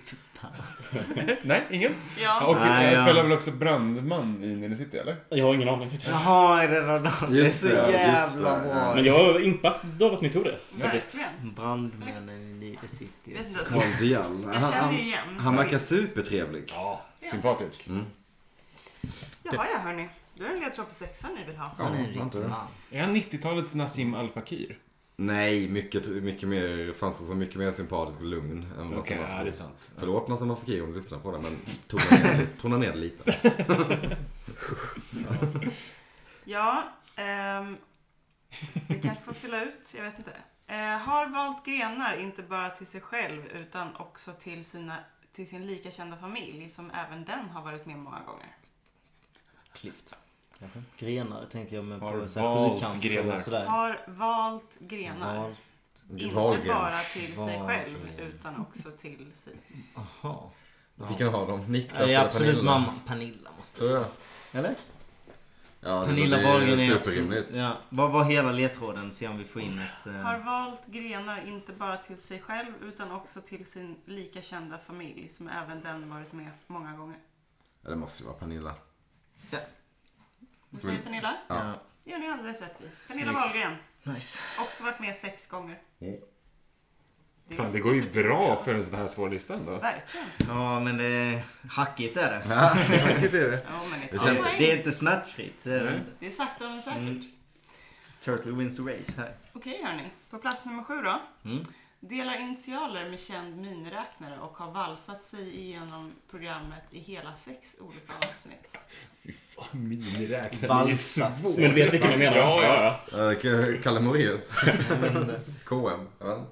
Speaker 5: Nej, ingen?
Speaker 3: Ja.
Speaker 5: Och
Speaker 6: Nej,
Speaker 5: eh,
Speaker 6: ja.
Speaker 5: spelar väl också brandman i Nile City, eller?
Speaker 4: Jag har ingen aning faktiskt.
Speaker 6: Jaha, är det radar? Det är
Speaker 2: Just
Speaker 6: så
Speaker 2: det, just
Speaker 6: jävla
Speaker 2: det.
Speaker 6: bra.
Speaker 4: Men jag är impad av att ni tog det. Faktiskt.
Speaker 3: Verkligen.
Speaker 6: Brandmännen i The
Speaker 3: Jag
Speaker 6: City.
Speaker 3: vet inte ens-
Speaker 2: Carl Diall.
Speaker 3: Jag
Speaker 2: Han,
Speaker 3: kände ju
Speaker 2: han,
Speaker 3: igen.
Speaker 2: han verkar supertrevlig.
Speaker 5: Sympatisk.
Speaker 3: Jaha ja hörni. Då är det en ledtråd på sexan ni vill ha.
Speaker 6: Han är en
Speaker 2: inte
Speaker 6: riktig
Speaker 2: det.
Speaker 6: man.
Speaker 5: Är han 90-talets Nassim Al Fakir?
Speaker 2: Nej, mycket, mycket mer, fanns så mycket mer sympatisk och lugn än vad
Speaker 5: Okej,
Speaker 2: som
Speaker 5: ja,
Speaker 2: var
Speaker 5: det är
Speaker 2: för...
Speaker 5: sant.
Speaker 2: Förlåt Nassim Al Fakir om du lyssnar på det, men tona ner, det- tona ner det lite.
Speaker 3: Ja, ehm, vi kanske får fylla ut, jag vet inte. Eh, har valt grenar inte bara till sig själv utan också till, sina, till sin lika kända familj som även den har varit med många gånger.
Speaker 6: Klyft. Grenar tänkte jag men
Speaker 5: Har
Speaker 6: på
Speaker 5: valt
Speaker 6: sjukanter
Speaker 5: grenar.
Speaker 6: och sådär.
Speaker 3: Har valt grenar.
Speaker 6: Valt.
Speaker 3: Inte
Speaker 2: Valgren.
Speaker 3: bara till sig
Speaker 6: Valgren.
Speaker 3: själv utan också till sig.
Speaker 6: Aha.
Speaker 2: Vilken av dem? Niklas
Speaker 6: Det är
Speaker 2: eller
Speaker 6: absolut
Speaker 2: Pernilla?
Speaker 6: mamma. Pernilla måste
Speaker 2: Tror jag.
Speaker 6: Eller?
Speaker 2: Ja, det
Speaker 6: Pernilla
Speaker 2: låter ju
Speaker 6: Wahlgren är
Speaker 2: superrimligt.
Speaker 6: absolut... Ja. Vad var hela ledtråden? Se om vi får in ett... eh,
Speaker 3: Har valt grenar inte bara till sig själv utan också till sin lika kända familj som även den varit med många gånger.
Speaker 2: Ja, det måste ju vara Pernilla.
Speaker 3: Vad säger Pernilla?
Speaker 6: Ja.
Speaker 3: Det gör ni alldeles rätt i. Pernilla Wahlgren.
Speaker 6: Nice.
Speaker 3: Också varit med sex gånger. Det,
Speaker 5: Fan, det går ju bra för en sån här svår lista ändå.
Speaker 3: Verkligen.
Speaker 6: Ja men det är hackigt är det.
Speaker 2: Vilket är det?
Speaker 3: Ja, men det,
Speaker 6: Ja,
Speaker 3: tar poäng.
Speaker 6: det Mm. är inte smärtfritt. Det är det. inte.
Speaker 3: det är sakta men säkert.
Speaker 6: Turtle wins the race här.
Speaker 3: Okej hörni, på plats nummer sju då.
Speaker 6: Mm.
Speaker 3: Delar initialer med känd miniräknare och har valsat sig igenom programmet i hela sex olika avsnitt.
Speaker 5: Fy fan, miniräknare.
Speaker 6: Valsat.
Speaker 4: Men vet vilken jag menar?
Speaker 5: Ja, ja.
Speaker 2: Eh, Kalle Moraeus.
Speaker 6: Jag vet inte.
Speaker 2: KM. jag vet inte.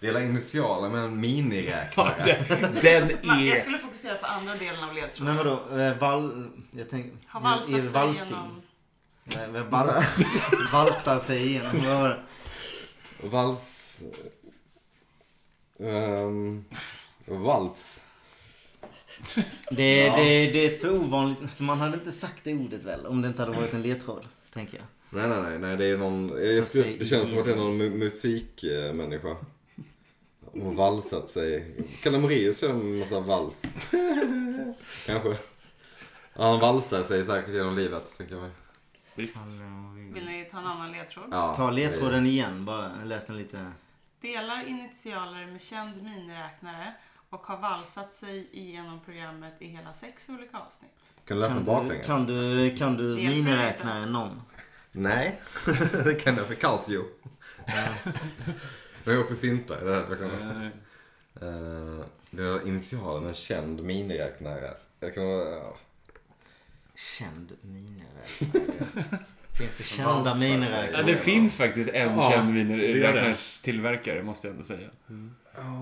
Speaker 2: Dela initialer med en miniräknare.
Speaker 5: Den
Speaker 3: Man, jag
Speaker 5: är...
Speaker 3: skulle fokusera på andra delen av
Speaker 6: Men
Speaker 3: ledtråden.
Speaker 6: vadå? eh, Val... Jag tänkte...
Speaker 3: Har valsat
Speaker 6: är
Speaker 3: sig
Speaker 6: valsing?
Speaker 3: igenom...
Speaker 6: Nej, men val... Valta sig igenom. Vad var det?
Speaker 2: Vals... Ehm, vals.
Speaker 6: Det, det, det är ett för ovanligt... Så man hade inte sagt det ordet väl? Om det inte hade varit en ledtråd. Tänker jag.
Speaker 2: Nej, nej, nej, nej det är någon... Jag
Speaker 6: Så
Speaker 2: skulle,
Speaker 6: säg
Speaker 2: det känns som att det är någon mu- musikmänniska. Hon har valsat sig. Kalle Moraeus kör en massa vals. Kanske. Ja, han valsar sig säkert genom livet, tänker jag mig.
Speaker 5: Visst.
Speaker 3: Vill ni ta en annan ledtråd?
Speaker 2: Ja,
Speaker 6: Ta
Speaker 2: det är-
Speaker 6: ledtråden igen bara. Läs den lite.
Speaker 3: Delar initialer med känd miniräknare och har valsat sig igenom programmet i hela sex olika avsnitt.
Speaker 2: Kan du läsa den
Speaker 6: Kan du,
Speaker 2: baklänges?
Speaker 6: kan du, kan du
Speaker 3: Ledtråd inte.
Speaker 6: miniräknare någon?
Speaker 2: Nej, det kan jag för Casio. Men jag är också synta i det här versionen. Eh, Det var initialen, en känd miniräknare. Jag kan vara...
Speaker 6: Känd miniräknare. Finns det kända
Speaker 2: Valsar sig.
Speaker 5: Ja,
Speaker 6: miniräknare?
Speaker 5: det finns faktiskt en
Speaker 4: Ja,
Speaker 5: känd
Speaker 4: det gör det.
Speaker 5: miniräknarstillverkare, måste jag ändå säga.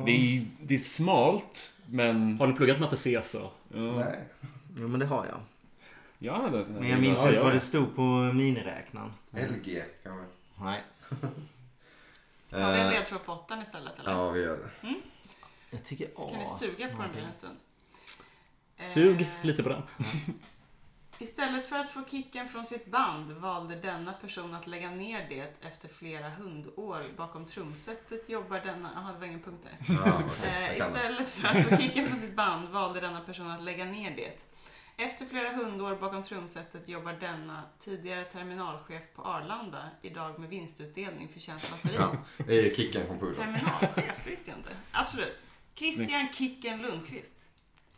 Speaker 5: Det, är, det är smalt, men...
Speaker 4: Har ni pluggat matte C så?
Speaker 5: Ja,
Speaker 6: Jo men det har jag.
Speaker 5: jag hade en sån här.
Speaker 6: Men jag minns
Speaker 5: Ja,
Speaker 6: inte
Speaker 5: ja.
Speaker 6: vad det stod på miniräknaren.
Speaker 2: LG kanske.
Speaker 6: Nej.
Speaker 3: Tar vi en ledtråd på åttan istället eller?
Speaker 2: Ja, vi gör det.
Speaker 6: Jag tycker
Speaker 3: Så kan
Speaker 6: A.
Speaker 3: ni suga på den där en stund.
Speaker 4: Sug
Speaker 3: Eh,
Speaker 4: lite på den.
Speaker 3: Istället för att få kicken från sitt band valde denna person att lägga ner det efter flera hundår. Bakom trumsetet jobbar denna... Jaha, det var ingen punkt där.
Speaker 2: Ja, okej. Jag
Speaker 3: Eh,
Speaker 2: kan det.
Speaker 3: istället för att få kicken från sitt band valde denna person att lägga ner det. Efter flera hundår bakom trumsetet jobbar denna tidigare terminalchef på Arlanda idag med vinstutdelning för Tjänst Batteri.
Speaker 2: Ja, det är ju Kicken från Pudas.
Speaker 3: Terminalchef, det visste jag inte. Absolut. Christian Kicken Lundqvist.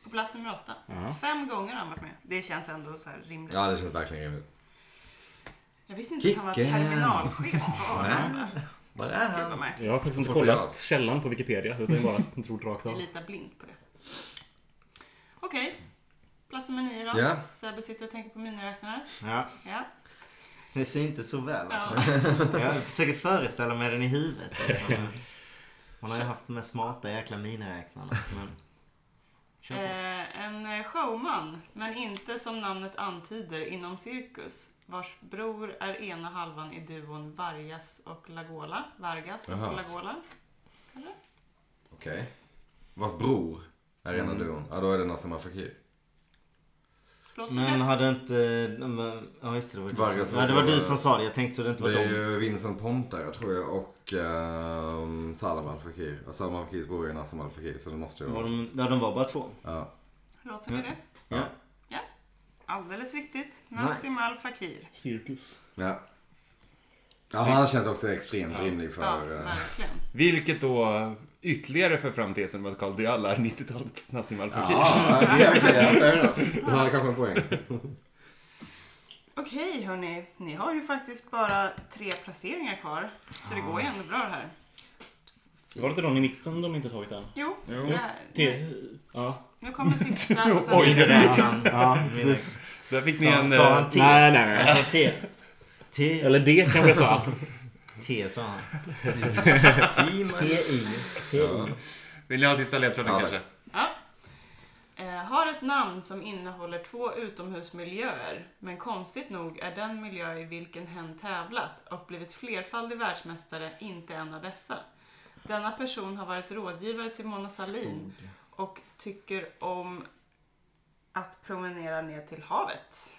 Speaker 3: På plats nummer åtta. Fem gånger har han varit med. Det känns ändå så här rimligt.
Speaker 2: Ja, det känns verkligen rimligt.
Speaker 3: Jag visste inte att han var
Speaker 2: Kicken.
Speaker 3: terminalchef på Arlanda.
Speaker 2: Var är
Speaker 3: Gud vad märkligt.
Speaker 4: Jag har faktiskt inte
Speaker 2: Får jag
Speaker 4: kollat
Speaker 2: allt?
Speaker 4: källan på Wikipedia utan bara att jag tror rakt
Speaker 3: Jag
Speaker 4: av.
Speaker 3: litar blint på det. Okej. Plats nummer nio då.
Speaker 2: Ja.
Speaker 3: Sebbe sitter och tänker på miniräknare.
Speaker 6: Ja,
Speaker 3: Ja.
Speaker 6: det ser inte så väl alltså.
Speaker 3: ja.
Speaker 6: Jag försöker föreställa mig den i huvudet. Alltså. Man har ju haft de här smarta jäkla miniräknarna. Men... Kör på.
Speaker 3: Eh, en eh, showman, men inte som namnet antyder inom cirkus. Vars bror är ena halvan i duon Vargas och Lagola. Vargas och
Speaker 2: Jaha.
Speaker 3: Lagola.
Speaker 2: Okej. Vars bror är ena duon. Ja, då är det Nassim Al Fakir.
Speaker 3: Blåser
Speaker 6: Men
Speaker 3: det?
Speaker 6: hade inte... men- Ja just det, det var du
Speaker 2: Vargas-
Speaker 6: som, ja, det var du som sa det. Jag tänkte så det inte var
Speaker 2: Det är
Speaker 6: dem.
Speaker 2: ju Vincent Pontare tror jag och um, Salam Al Fakir. Och Salam Al Fakirs bror är Nassim Al Fakir så det måste ju
Speaker 6: Var
Speaker 2: vara.
Speaker 6: de, ja, de var bara två.
Speaker 2: Ja.
Speaker 3: Blåser vi det?
Speaker 2: Ja.
Speaker 3: Alldeles riktigt. Nassim Al Fakir.
Speaker 4: Cirkus.
Speaker 2: ja. Ja, han känns också extremt rimlig
Speaker 3: Ja,
Speaker 2: för... eh,
Speaker 3: verkligen.
Speaker 5: Vilket då ytterligare för fram tesen om att Carl Dial är 90-talets Nassim Al Fakir.
Speaker 2: Ja, ja, fair enough. Du hade kanske en poäng.
Speaker 3: Okej hörni, ni har ju faktiskt bara tre placeringar kvar. Så det går ju ändå bra det här.
Speaker 4: Var det inte någon i mitten de inte tagit än?
Speaker 3: Jo,
Speaker 11: Jo.
Speaker 3: Där,
Speaker 4: Till, ja.
Speaker 3: nu kommer sista. Och sen
Speaker 5: Oj,
Speaker 12: Det
Speaker 3: vidare.
Speaker 12: där han...
Speaker 4: ja, precis.
Speaker 11: Där fick ni
Speaker 12: Sa,
Speaker 11: en...
Speaker 12: sa
Speaker 11: eh,
Speaker 12: han T?
Speaker 4: Nej, nej, nej.
Speaker 12: Alltså T. T.
Speaker 4: Eller det kanske jag sa.
Speaker 12: T sa han.
Speaker 2: Team.
Speaker 12: T-I. T-I.
Speaker 5: eh,
Speaker 11: Vill ni ha sista ledtråden
Speaker 2: Ja, tack.
Speaker 11: kanske?
Speaker 3: Ja. Eh, har ett namn som innehåller två utomhusmiljöer, men konstigt nog är den miljö i vilken hen tävlat och blivit flerfaldig världsmästare inte en av dessa. Denna person har varit rådgivare till Mona Sahlin och tycker om att promenera ner till havet.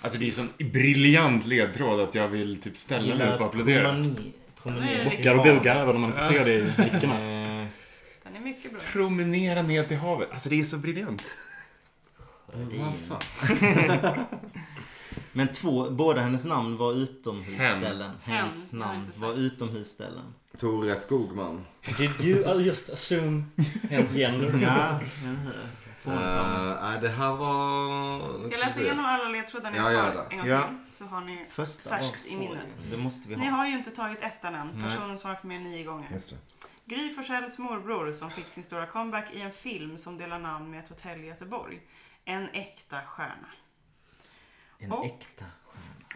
Speaker 5: Alltså det är ju sån briljant ledtråd att jag vill typ ställa mig upp och applådera.
Speaker 12: promeni- promenera
Speaker 3: Nej,
Speaker 12: till
Speaker 4: Bockar och bugar
Speaker 12: havet.
Speaker 4: även om man inte ser det i blicken. här.
Speaker 12: Eh,
Speaker 3: Den är mycket bra.
Speaker 5: Promenera ner till havet. Alltså det är så briljant.
Speaker 6: Men två, båda hennes namn var utomhusställen. Hens
Speaker 3: Hen, jag har
Speaker 6: namn
Speaker 3: inte
Speaker 6: var
Speaker 3: sagt.
Speaker 6: utomhusställen.
Speaker 2: Tore Skogman.
Speaker 4: Did you just assume hens gender?
Speaker 6: Ja, eller hur? Får inte annat.
Speaker 2: Eh, nej, det här var...
Speaker 3: Ska jag läsa igenom alla ledtrådar ni
Speaker 2: Ja,
Speaker 3: har
Speaker 2: gör
Speaker 3: kvar en gång
Speaker 6: Ja.
Speaker 3: till? Så har ni
Speaker 6: Första var
Speaker 3: färskt i
Speaker 6: svår.
Speaker 3: minnet.
Speaker 6: Det måste vi
Speaker 3: Ni
Speaker 6: ha.
Speaker 3: har ju inte tagit ettan än. Personen som har varit med nio gånger.
Speaker 2: Just det.
Speaker 3: Gry Forssells morbror som fick sin stora comeback i en film som delar namn med ett hotell i Göteborg. En äkta stjärna.
Speaker 6: En
Speaker 3: Och-
Speaker 6: äkta.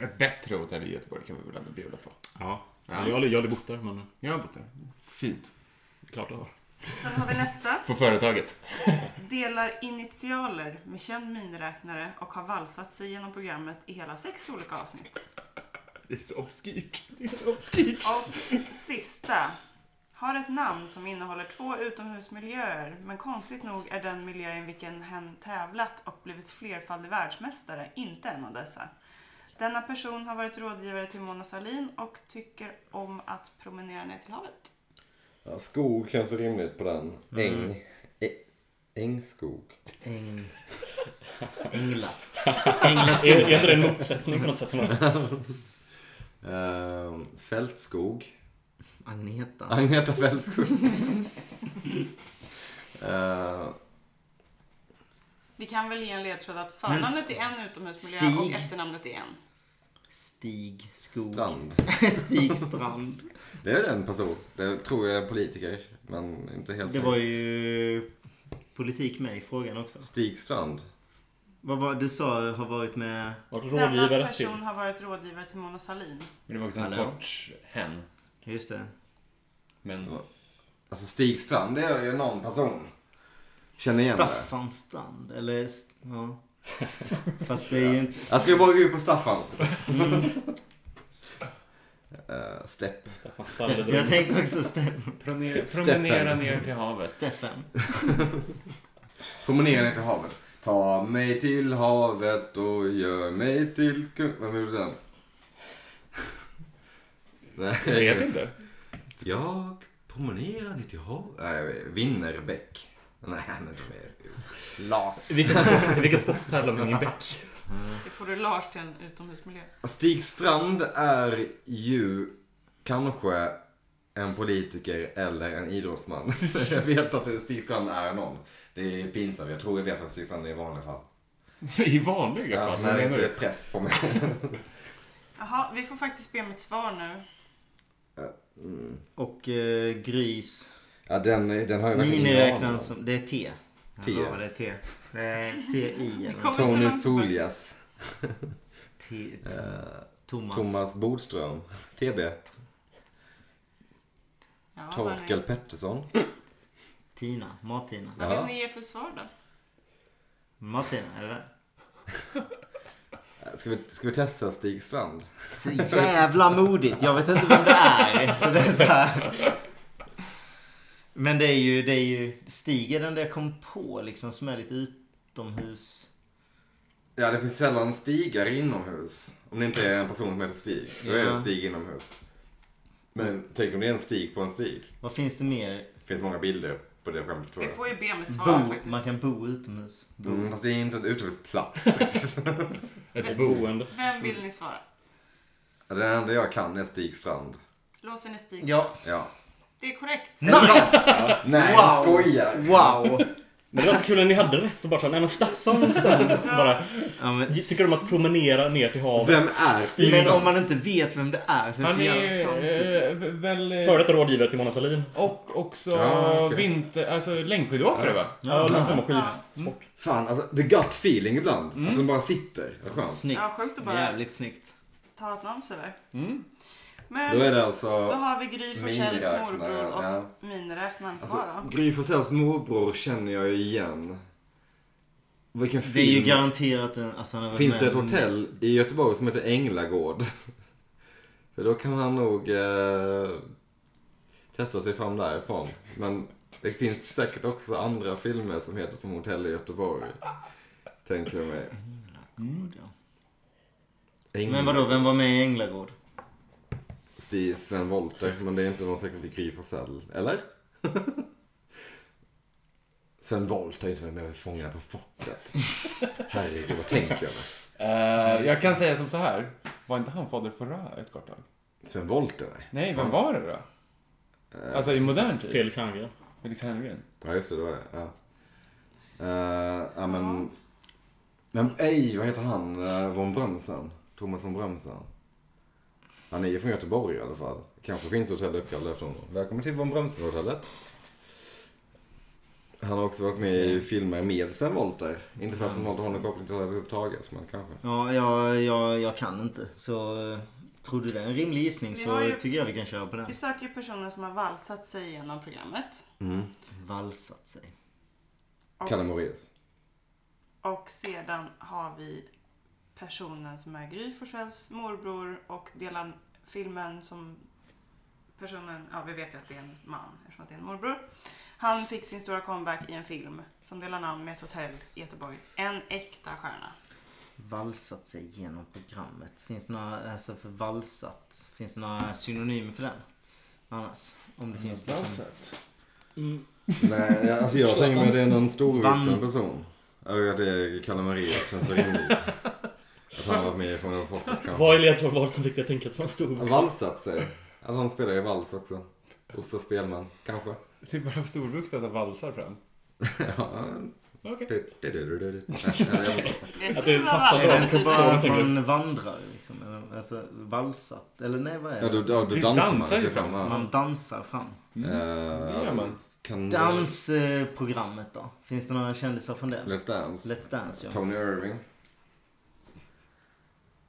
Speaker 5: Ett bättre hotell i Göteborg kan vi väl ändå bjuda på.
Speaker 4: Ja. Jag
Speaker 5: Ja.
Speaker 4: har aldrig bott där, men
Speaker 5: Jag har bott där. Fint.
Speaker 4: klart jag har.
Speaker 3: Sen har vi nästa.
Speaker 5: På företaget.
Speaker 3: Delar initialer med känd miniräknare och har valsat sig genom programmet i hela sex olika avsnitt.
Speaker 5: Det är så obskyrt. Det är så obskyrt.
Speaker 3: Och sista. Har ett namn som innehåller två utomhusmiljöer men konstigt nog är den miljö i vilken hen tävlat och blivit flerfaldig världsmästare inte en av dessa. Denna person har varit rådgivare till Mona Sahlin och tycker om att promenera ner till havet.
Speaker 2: Ja, skog känns rimligt på den.
Speaker 6: Mm.
Speaker 2: Äng. Ä- Ängskog.
Speaker 6: Äng... Ängla.
Speaker 4: Är,
Speaker 6: Änglaskog.
Speaker 4: är inte det en motsättning på något sätt?
Speaker 2: Uh, fältskog.
Speaker 6: Agneta.
Speaker 2: Agneta Fältskog. Eh,
Speaker 3: Vi kan väl ge en ledtråd att förnamnet är en utomhusmiljö
Speaker 6: Stig.
Speaker 3: och efternamnet är en.
Speaker 6: Stig Skog.
Speaker 2: strand.
Speaker 6: Stig Strand.
Speaker 2: Det är en person. Det tror jag är politiker. Men inte helt
Speaker 6: Det
Speaker 2: säker.
Speaker 6: var ju politik med i frågan också.
Speaker 2: Stig Strand.
Speaker 6: Vad var du sa har varit med...
Speaker 3: Denna
Speaker 4: Rådgivare till.
Speaker 3: person har varit rådgivare till Mona Sahlin.
Speaker 5: Men det var också en
Speaker 6: Hallå.
Speaker 5: sportshen.
Speaker 6: Just det.
Speaker 5: Men
Speaker 2: Alltså Stig Strand, det är ju någon person. Känner igen det.
Speaker 6: Staffan Strand. Eller... s- Ja. Fast det är ju inte...
Speaker 2: Jag ska ju bara gå ut på Staffan.
Speaker 5: Mm.
Speaker 2: Eh, Stepp.
Speaker 4: Staffan
Speaker 6: Jag
Speaker 4: Stalledrum.
Speaker 6: tänkte också Ste-
Speaker 5: promenera,
Speaker 2: Steppen.
Speaker 5: promenera ner till havet.
Speaker 6: Steffen.
Speaker 2: Promenera ner till havet. Ta mig till havet och gör mig till kung... Vem gjorde den? Nej,
Speaker 5: Jag vet inte.
Speaker 2: Jag promenerar ner till havet. Nej, Vinnerbäck. Nej, han är inte med. Las.
Speaker 4: Vilken sport- Vilken sport tävlar man i bäck?
Speaker 3: Det får du Lars till en utomhusmiljö.
Speaker 2: Stig Strand är ju kanske en politiker eller en idrottsman. jag vet att Stig Strand är någon. Det är pinsamt. Jag tror jag vet att Stig Strand är i vanliga fall.
Speaker 5: I vanliga fall.
Speaker 2: Ja,
Speaker 5: vad
Speaker 2: när det
Speaker 5: menar
Speaker 2: inte
Speaker 5: du?
Speaker 2: är press på mig.
Speaker 3: Jaha, vi får faktiskt be om ett svar nu.
Speaker 2: Mm.
Speaker 6: Och eh, Grys.
Speaker 2: Ja, den, den har jag verkligen ingen aning om.
Speaker 6: Miniräknaren som... Det är T. Jag
Speaker 2: T.
Speaker 6: lovar, det är T. Det är T-I. eller
Speaker 3: Kom inte
Speaker 2: Tony
Speaker 3: långt bort.
Speaker 2: Soljas.
Speaker 6: T-
Speaker 2: Eh,
Speaker 6: Thomas.
Speaker 2: Thomas Bodström. TB.
Speaker 3: Ja, hörni.
Speaker 2: Torkel Pettersson.
Speaker 6: Tina. Martina.
Speaker 3: Vad
Speaker 2: Ja.
Speaker 3: vill ni ge för svar då?
Speaker 6: Martina, är det det?
Speaker 2: Ska vi, ska vi testa Stig Strand?
Speaker 6: Så jävla modigt. Jag vet inte vem det är. Så det är så här. Men det är ju, det är ju Stig är den där jag kom på liksom som är lite utomhus.
Speaker 2: Ja, det finns sällan stigar inomhus. Om det inte är en person som heter Stig. Då är det
Speaker 6: Ja.
Speaker 2: Stig inomhus. Men tänk om det är en stig på en stig.
Speaker 6: Vad finns det mer?
Speaker 2: Det finns många bilder på det skämtet tror
Speaker 3: Vi
Speaker 2: jag.
Speaker 3: får ju be om ett svar
Speaker 6: Bo,
Speaker 3: faktiskt.
Speaker 6: man kan bo utomhus. Bo.
Speaker 2: Mm, fast det är inte en utomhusplats.
Speaker 4: Ett boende.
Speaker 3: Vem
Speaker 2: Mm.
Speaker 3: vill ni svara?
Speaker 2: Den enda jag kan är Stig Strand.
Speaker 3: Låsen är Stig.
Speaker 6: Ja.
Speaker 2: Ja.
Speaker 3: Det är korrekt.
Speaker 2: Nej, du skojar!
Speaker 6: Wow!
Speaker 4: Men det var så kul när ni hade rätt och bara såhär, nej men Staffan en stund bara.
Speaker 6: Ja, men,
Speaker 4: Tycker om att promenera ner till havet.
Speaker 2: Vem är
Speaker 6: men
Speaker 2: Stig?
Speaker 6: om man inte vet vem det är så är det
Speaker 5: Han
Speaker 6: så
Speaker 5: är
Speaker 6: jävla fjantigt.
Speaker 5: eh, väl... eh,
Speaker 4: Före detta rådgivare till Mona Sahlin.
Speaker 5: Och också
Speaker 2: Ja, okej.
Speaker 5: vinter... Alltså längdskidåkare va?
Speaker 4: Ja, någon form av skid.
Speaker 2: Fan, alltså the gut feeling ibland.
Speaker 6: Mm.
Speaker 2: Att den bara sitter. Vad skönt.
Speaker 6: Snyggt.
Speaker 3: Ja, sjukt att bara-
Speaker 6: Jävligt snyggt.
Speaker 3: Ta ett namn sådär.
Speaker 5: Mm.
Speaker 3: Men
Speaker 2: Då
Speaker 3: då,
Speaker 2: är det alltså...
Speaker 3: har vi Gry Forssells
Speaker 2: miniräknare,
Speaker 3: morbror och
Speaker 2: ja.
Speaker 3: miniräknaren kvar
Speaker 2: alltså
Speaker 3: då.
Speaker 2: Gry Forssells morbror känner jag ju igen. Vilken
Speaker 6: Det är ju
Speaker 2: film?
Speaker 6: garanterat en... Alltså, han har varit
Speaker 2: Finns
Speaker 6: med
Speaker 2: det ett
Speaker 6: om-
Speaker 2: hotell i Göteborg som heter Änglagård? För då kan han nog eh, testa sig fram därifrån. Men det finns säkert också andra filmer som heter som Hotell i Göteborg. Tänker jag mig. Ängla-
Speaker 6: Men vadå, vem var med i Änglagård?
Speaker 2: Stig Sven Wollter, men det är inte någon säkert i Gry Forssell, eller? Sven Wollter är inte med med Fångarna på fortet. Herregud, vad tänker jag? mig?
Speaker 5: Eh, jag kan säga som så här. Var inte han fader Fouras ett kort tag?
Speaker 2: Sven Wollter, nej.
Speaker 5: Nej, vem var det då?
Speaker 2: Eh,
Speaker 5: Alltså i modern tid?
Speaker 4: Felix Herngren.
Speaker 5: Felix Herngren.
Speaker 2: Ja, just det, det var det. Ja. Eh, ja, men... Men ej, vad heter han? Eh, von Brömsen? Thomas von Brömsen. Han är ju från Göteborg i alla fall. Kanske finns hotell uppkallat efter honom. Välkommen till von Brömsen-hotellet. Han har också varit med i filmer med Sven Wollter. Inte för att Sven Wollter har någon koppling till det här överhuvudtaget, men kanske.
Speaker 6: Ja, jag, jag, jag kan inte. Så eh, tror du det är en rimlig gissning
Speaker 3: Vi
Speaker 6: så
Speaker 3: har ju-
Speaker 6: tycker jag vi kan köra på
Speaker 3: Vi
Speaker 6: den.
Speaker 3: söker ju personer som har valsat sig igenom programmet.
Speaker 2: Mm.
Speaker 6: Valsat sig.
Speaker 2: Kalle
Speaker 3: Och,
Speaker 2: Moraeus.
Speaker 3: och sedan har vi personen som är Gry Forssells morbror och delar filmen som personen, ja vi vet ju att det är en man eftersom att det är en morbror. Han fick sin stora comeback i en film som delar namn med ett hotell i Göteborg. En äkta stjärna.
Speaker 6: Valsat sig genom programmet. Finns det några, alltså för valsat, finns det några synonymer för den? Annars? Om det finns liksom...
Speaker 4: Mm.
Speaker 2: Nej, jag- alltså jag tänker mig att det är någon storvuxen
Speaker 6: Van-
Speaker 2: person. Ja, det är Kalle Moraeus, känns det rimligt. Att han har varit med i Fångarna på fortet kanske.
Speaker 4: Vad i ledtråd var det som fick dig att tänka att det var en stor
Speaker 2: Han
Speaker 4: vuxen?
Speaker 2: valsat sig. Att han spelar ju vals också. Osta Spelman, kanske.
Speaker 5: Det är typ bara storvuxna som valsar fram.
Speaker 2: Ja.
Speaker 5: Okej.
Speaker 2: Du, du, du, du, du. Nej, jag vet inte.
Speaker 4: Att det passar
Speaker 6: Är det
Speaker 4: bra.
Speaker 6: inte
Speaker 4: Så,
Speaker 6: bara att
Speaker 4: tänker du?
Speaker 6: man vandrar liksom? Eller, Alltså valsat? Eller nej, vad är
Speaker 2: Ja,
Speaker 6: det?
Speaker 2: då, då, då
Speaker 5: Du
Speaker 2: dansar man
Speaker 5: dansar ju
Speaker 2: sig
Speaker 5: fram.
Speaker 2: fram. Ja.
Speaker 6: Man dansar fram.
Speaker 2: Eh,
Speaker 5: Det gör man.
Speaker 2: Kan
Speaker 6: Dansprogrammet då? Finns det några kändisar från det?
Speaker 2: Let's Dance.
Speaker 6: Let's Dance ja.
Speaker 2: Tony Irving.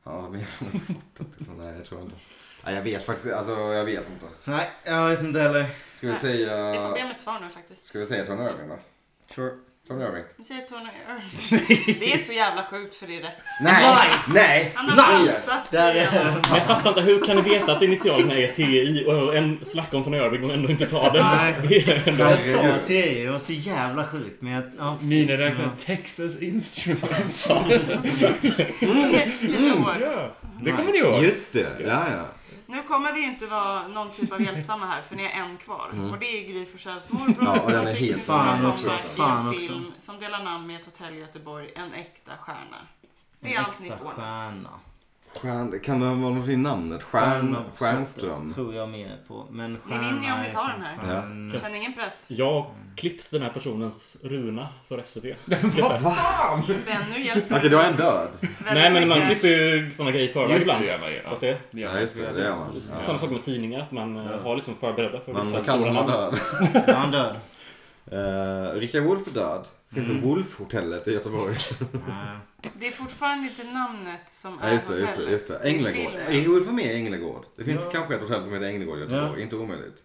Speaker 2: Ja, men jag har fattat det. Så Nej, jag tror inte. Nej, jag vet faktiskt Alltså, jag vet inte.
Speaker 6: Nej, jag vet inte heller.
Speaker 2: Ska vi
Speaker 3: Vi
Speaker 2: säga...
Speaker 3: får be om ett svar nu faktiskt.
Speaker 2: Ska vi säga Tony Irving då?
Speaker 6: Sure.
Speaker 2: Tony Irving.
Speaker 3: Nu säger Tony Irving. Det är så jävla sjukt för det är rätt.
Speaker 2: Nej! Nej!
Speaker 3: Han har valsat
Speaker 6: Där
Speaker 3: sig
Speaker 6: är
Speaker 3: igenom.
Speaker 4: Men jag fattar inte, hur kan ni veta att initialerna är TI och en slack om Tony Irving och ändå inte tar den? Det är ändå-
Speaker 6: Jag sa till er, det var så jävla sjukt. Men jag... Ja, precis.
Speaker 5: Miniräknaren Texas Instruments.
Speaker 3: Lite- lite år.
Speaker 5: ja, det kommer ni ihåg.
Speaker 2: Just det! Ja, ja.
Speaker 3: Nu kommer vi ju inte vara någon typ av hjälpsamma här för ni är en kvar. Och det är Gry Forssells morbror
Speaker 2: Mm. Ja, och den
Speaker 3: som
Speaker 2: är
Speaker 3: fick
Speaker 2: helt
Speaker 3: sin stora
Speaker 6: fan
Speaker 3: comeback
Speaker 6: också.
Speaker 3: i en
Speaker 6: Fan
Speaker 3: film som delar namn med ett hotell i Göteborg. En äkta stjärna. Det är
Speaker 6: En
Speaker 3: allt ni
Speaker 6: äkta
Speaker 3: får. nu.
Speaker 6: Stjärna.
Speaker 2: Stjärn, kan det vara något i namnet? Stjärn,
Speaker 6: Stjärna på
Speaker 2: stjärnström?
Speaker 6: sättet tror jag mer på. Men
Speaker 3: Ni
Speaker 6: stjärna
Speaker 3: vinner ju om ni
Speaker 6: är
Speaker 3: tar
Speaker 6: så-
Speaker 3: den här.
Speaker 6: Stjärn-
Speaker 3: Känn ingen press.
Speaker 4: Jag klippte den här personens runa för SVT.
Speaker 3: Benny hjälper
Speaker 2: Okej, då är en död.
Speaker 3: väldigt
Speaker 4: Nej men man
Speaker 3: mycket.
Speaker 4: klipper ju sådana grejer i förväg
Speaker 5: Just det,
Speaker 4: ibland.
Speaker 5: det gör man ju.
Speaker 4: Så att det,
Speaker 2: Ja, just det. Det gör man.
Speaker 4: Samma sak med tidningar, att man eh, har liksom förberedda för
Speaker 2: Man
Speaker 4: vissa
Speaker 2: man kan
Speaker 4: stora
Speaker 2: vara
Speaker 4: namn.
Speaker 2: död.
Speaker 6: Ja, han dör.
Speaker 2: Uh, Rickard Wolff är död. Finns det Wolff-hotellet i Göteborg?
Speaker 6: Nej.
Speaker 3: Det är fortfarande inte namnet som
Speaker 2: Ja,
Speaker 3: är
Speaker 2: just det. Just det, just det.
Speaker 3: hotellet. är
Speaker 2: Änglagård.
Speaker 3: filmen.
Speaker 2: Rickard Wolff är med i Änglagård. Det finns kanske ett hotell som heter Änglagård i Göteborg. Inte omöjligt.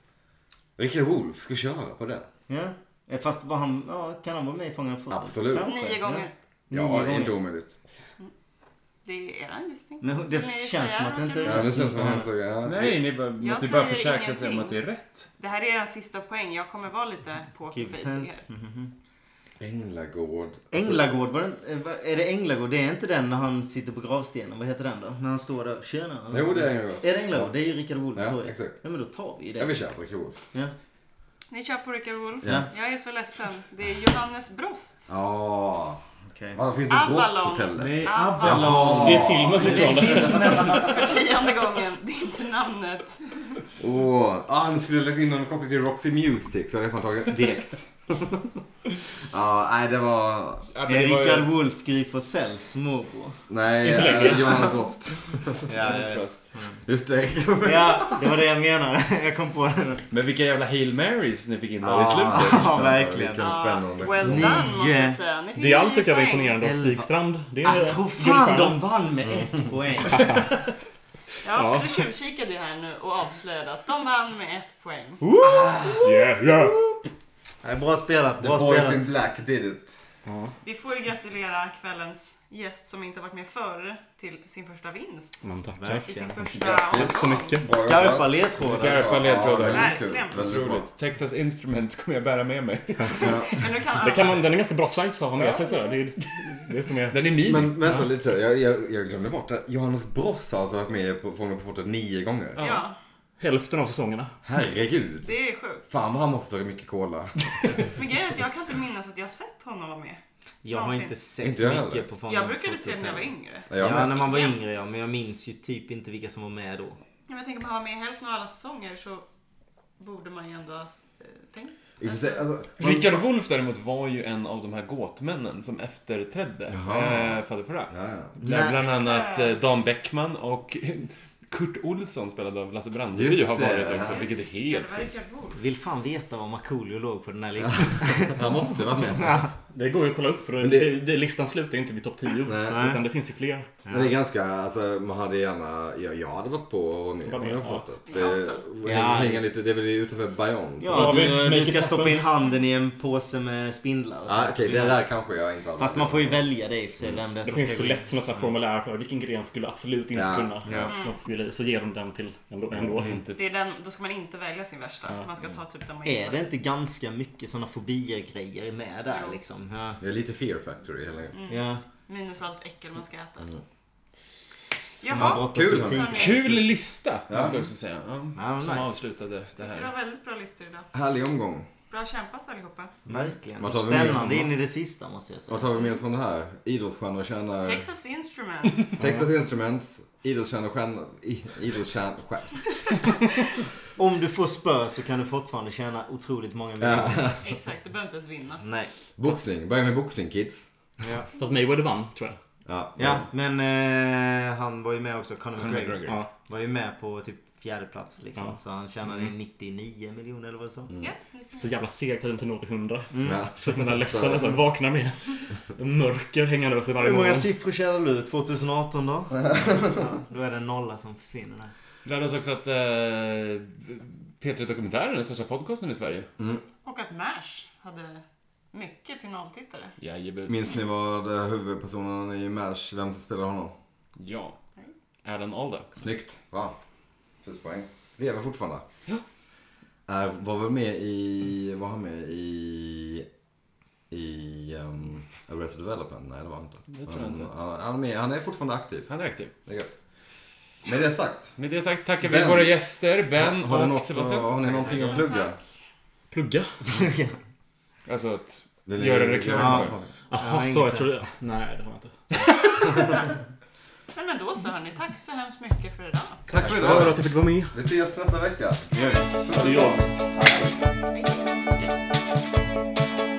Speaker 2: Rickard Wolff ska köra på det.
Speaker 6: Ja. Eh, Fast var han, ja, kan han vara med i Fångarna på fortet?
Speaker 2: Absolut.
Speaker 6: Kanske.
Speaker 3: Nio gånger.
Speaker 6: Ja,
Speaker 2: Ja, det
Speaker 6: Nio
Speaker 2: är inte
Speaker 6: gånger.
Speaker 2: omöjligt.
Speaker 3: Det är en gissning.
Speaker 6: Men det
Speaker 3: Kan ni
Speaker 6: känns
Speaker 3: säga
Speaker 6: som att det inte
Speaker 2: Ja, det känns som att han säger... Ja.
Speaker 13: Nej, ni bara, måste ju
Speaker 3: säger
Speaker 13: bara försäkra sig om
Speaker 3: ingenting.
Speaker 13: att det är rätt.
Speaker 3: Det här är en sista poäng. Jag kommer vara lite på
Speaker 6: Gives sense.
Speaker 2: Änglagård.
Speaker 6: Änglagård, var den, eh, va- är det Änglagård? Det är inte den när han sitter på gravstenen. Vad heter den då? När han står där. Tjena.
Speaker 2: Jo, det är Änglagård.
Speaker 6: Är det Änglagård? Det är ju Rickard Wolff.
Speaker 2: Ja,
Speaker 6: då ju.
Speaker 2: exakt.
Speaker 6: Ja, men då tar vi ju det.
Speaker 2: Ja, vi kör på Rickard Wolff.
Speaker 6: Ja.
Speaker 3: Ni kör på Rickard Wolff.
Speaker 6: Ja.
Speaker 3: Jag är så ledsen. Det är Johannes Brost.
Speaker 2: Ja.
Speaker 6: Okej.
Speaker 2: Vad finns
Speaker 3: Avalon.
Speaker 2: ett brosthotell?
Speaker 13: Nej,
Speaker 3: Avalon.
Speaker 13: Avalon.
Speaker 4: Det är filmen fortfarande.
Speaker 3: För tionde gången. Det är inte namnet.
Speaker 2: Åh, ah, ni skulle ha lagt in någon koppling till Roxy Music så hade jag fan tagit direkt. Ja, nej det var...
Speaker 5: Ja, men det var ju-
Speaker 6: Rickard Wolff griper Sells morbror.
Speaker 2: Nej, eh, Johanna Post.
Speaker 6: Ja, ja, ja.
Speaker 2: Just det.
Speaker 6: ja, det var det jag menade. Jag kom på det.
Speaker 5: Men vilka jävla Hail Marys ni fick in där i
Speaker 2: Ah,
Speaker 5: slutet.
Speaker 6: Ja, verkligen.
Speaker 2: Vilken spännande.
Speaker 3: well done
Speaker 6: Nio.
Speaker 3: måste jag säga. Ni fick
Speaker 4: Det är allt
Speaker 3: nio
Speaker 4: tycker jag var
Speaker 3: poäng.
Speaker 4: imponerande av Stig Strand. Det är
Speaker 6: Jag tror fan
Speaker 4: guldstjärna.
Speaker 6: de vann med
Speaker 2: Mm.
Speaker 6: ett poäng.
Speaker 3: Ja, för du tjuvkikade ju här nu och avslöjade att de vann med ett poäng.
Speaker 4: Yeah, yeah.
Speaker 14: Nej, bra spelat,
Speaker 2: The
Speaker 14: bra
Speaker 2: boys
Speaker 14: spelat.
Speaker 2: in black did it.
Speaker 3: Vi får ju gratulera kvällens gäst som inte varit med förr till sin första vinst.
Speaker 4: Men tackar.
Speaker 3: I
Speaker 14: Verkligen.
Speaker 3: sin första
Speaker 2: Grattis
Speaker 4: Tack så mycket.
Speaker 6: Skarpa ledtrådar.
Speaker 5: Skarpa ledtrådar.
Speaker 2: Ja, väldigt kul.
Speaker 3: Verkligen.
Speaker 2: Väldigt bra.
Speaker 5: Otroligt. Texas Instruments kommer jag bära med mig.
Speaker 3: Men nu kan
Speaker 4: Det
Speaker 3: alla.
Speaker 4: kan man, den är ganska bra size att ha med sig sådär. Det är det som är...
Speaker 5: Den är min.
Speaker 2: Men vänta lite, jag, jag, jag glömde bort det. Johannes Brost har alltså varit med på Fångarna på fortet nio gånger.
Speaker 3: Ja,
Speaker 4: Hälften av säsongerna.
Speaker 2: Herregud.
Speaker 3: det är sjukt.
Speaker 2: Fan vad han måste ha druckit mycket cola.
Speaker 3: Men grejen är att jag kan inte minnas att jag har sett honom vara med.
Speaker 14: Jag har inte sett
Speaker 2: Inte jag heller.
Speaker 14: mycket på Fångarna
Speaker 3: Jag
Speaker 14: på
Speaker 3: brukade se
Speaker 14: fortet
Speaker 3: när jag var
Speaker 14: heller.
Speaker 3: yngre.
Speaker 2: Jag
Speaker 14: Ja,
Speaker 2: med.
Speaker 14: när man var yngre ja. Men jag minns ju typ inte vilka som var med då.
Speaker 3: Ja, men jag tänker på att han var med i hälften av alla säsonger så borde man ju ändå ha eh, tänkt.
Speaker 2: I och för sig, alltså,
Speaker 5: Rickard Wolff däremot var ju en av de här gåtmännen som efterträdde
Speaker 2: Jaha.
Speaker 5: eh, Fader Farah.
Speaker 2: ja, ja.
Speaker 5: Där bland annat eh, Dan Bäckman och Kurt Olsson spelad av Lasse Brandeby
Speaker 2: Just
Speaker 5: har
Speaker 2: det.
Speaker 5: varit också, vilket är helt
Speaker 3: Det var
Speaker 5: sjukt.
Speaker 3: Rickard Wolff.
Speaker 14: Vill fan veta var Markoolio låg på den här listan.
Speaker 2: Han måste ha varit med.
Speaker 4: Det går ju att kolla upp för
Speaker 2: Men
Speaker 4: det...
Speaker 2: det-
Speaker 4: Det, listan slutar ju inte vid topp 10.
Speaker 2: Nej.
Speaker 4: Utan det finns ju fler.
Speaker 2: Men det är ganska, alltså man hade gärna, ja, jag hade varit på och med
Speaker 4: Var med,
Speaker 2: Fångarna på
Speaker 4: ja.
Speaker 2: fortet.
Speaker 3: Jag
Speaker 2: Det,
Speaker 3: också.
Speaker 2: hänga, hänga lite, det är väl utanför Bayonne. så-
Speaker 4: Ja,
Speaker 6: Ja,
Speaker 4: vi-
Speaker 6: du,
Speaker 4: make
Speaker 6: du
Speaker 4: it
Speaker 6: ska
Speaker 4: happen.
Speaker 6: stoppa in handen i en påse med spindlar och så.
Speaker 2: Ah, Okej, det där kanske jag inte hade
Speaker 6: Fast man får ju välja det i och för sig, vem det är
Speaker 4: Det
Speaker 6: som
Speaker 4: finns
Speaker 6: ska
Speaker 4: så
Speaker 6: gå in.
Speaker 4: lätt något sånt här formulär för vilken gren skulle absolut inte
Speaker 2: Ja,
Speaker 4: kunna.
Speaker 2: ja.
Speaker 4: Så, man får fylla i, så ger de den till ändå. ändå.
Speaker 5: Mm.
Speaker 3: Det är den, då ska man inte välja sin värsta. Man ska ta typ den man
Speaker 6: Är det inte ganska mycket såna fobier-grejer med där
Speaker 3: Jo. Mm.
Speaker 6: liksom? Ja.
Speaker 2: Det är lite Fear Factory hela grejen.
Speaker 6: ja.
Speaker 3: Minus allt äckel man ska äta.
Speaker 6: Man
Speaker 3: Jaha,
Speaker 6: brottas
Speaker 2: kul,
Speaker 6: med
Speaker 2: hörni.
Speaker 6: tigrar.
Speaker 5: Kul lista,
Speaker 2: Ja.
Speaker 5: måste jag också säga. Ja,
Speaker 6: Ja,
Speaker 5: som
Speaker 6: nice.
Speaker 5: avslutade det
Speaker 3: det var
Speaker 5: här.
Speaker 3: väldigt bra listor idag.
Speaker 2: Härlig omgång.
Speaker 3: Bra kämpat allihopa.
Speaker 6: Verkligen.
Speaker 2: Vad tar vi med oss?
Speaker 6: Spännande in i det sista måste jag säga.
Speaker 2: Vad tar vi med oss från det här? Idrottsstjärnor tjänar...
Speaker 3: Texas Instruments.
Speaker 2: Texas Instruments, idrottsstjärnor stjärnor... i- Idrottsstjärnor... stjär-
Speaker 6: Om du får spö så kan du fortfarande tjäna otroligt många miljoner.
Speaker 2: Ja.
Speaker 3: Exakt, du behöver inte ens vinna.
Speaker 6: Nej.
Speaker 2: Boxning. Börja med boxning kids.
Speaker 4: Fast Mayweather vann, tror jag.
Speaker 2: Ja.
Speaker 6: Ja, men eh, han var ju med också. Conor
Speaker 5: Conor
Speaker 6: McGregor
Speaker 5: McGregor.
Speaker 4: Ja.
Speaker 6: var ju med på typ fjärde plats liksom.
Speaker 4: Ja.
Speaker 6: Så han tjänade 99 miljoner eller vad det sa.
Speaker 3: Ja,
Speaker 4: Så jävla segt att jag inte nådde 100.
Speaker 2: Mm.
Speaker 6: Mm.
Speaker 2: Ja.
Speaker 4: Så den där ledsen nästan vaknar med mörker hängande över sig varje
Speaker 6: Hur många
Speaker 4: morgon.
Speaker 6: siffror tjänar du 2018 då? ja, då är det en nolla som försvinner där.
Speaker 5: Lärde oss också att eh, P3 Dokumentär är den största podcasten i Sverige.
Speaker 3: Och att MASH hade mycket finaltittare.
Speaker 5: Jajebus.
Speaker 2: Minns ni vad eh, huvudpersonen i MASH, vem som spelar honom?
Speaker 5: Ja. Alan Alda.
Speaker 2: Snyggt. Va? Sex poäng. Lever fortfarande. Är, var väl med i... Var han med i... I... Um, Arrested Development? Nej, det var han inte.
Speaker 5: Det tror jag
Speaker 2: Men
Speaker 5: inte.
Speaker 2: Han, han, är med, han är fortfarande aktiv.
Speaker 5: Han är aktiv.
Speaker 2: Det är gött. Med det sagt.
Speaker 5: Med det sagt tackar vi
Speaker 2: Ben.
Speaker 5: våra gäster, Ben
Speaker 2: har, du
Speaker 5: Ehm, och
Speaker 2: något,
Speaker 5: Sebastian.
Speaker 2: har ni någonting att plugga?
Speaker 4: Plugga?
Speaker 5: Alltså att
Speaker 2: Vill ni-
Speaker 5: göra reklam
Speaker 6: Ja.
Speaker 5: för.
Speaker 4: Jaha,
Speaker 6: inget
Speaker 4: så jag
Speaker 6: där.
Speaker 4: tror det. Nej, det har jag inte.
Speaker 3: Men, men då så hörni, tack så hemskt mycket för idag.
Speaker 2: Tack för
Speaker 4: För
Speaker 2: idag.
Speaker 4: att jag fick vara med.
Speaker 2: Vi ses
Speaker 4: Alltså,
Speaker 2: nästa vecka.
Speaker 4: Adios.
Speaker 3: Hej.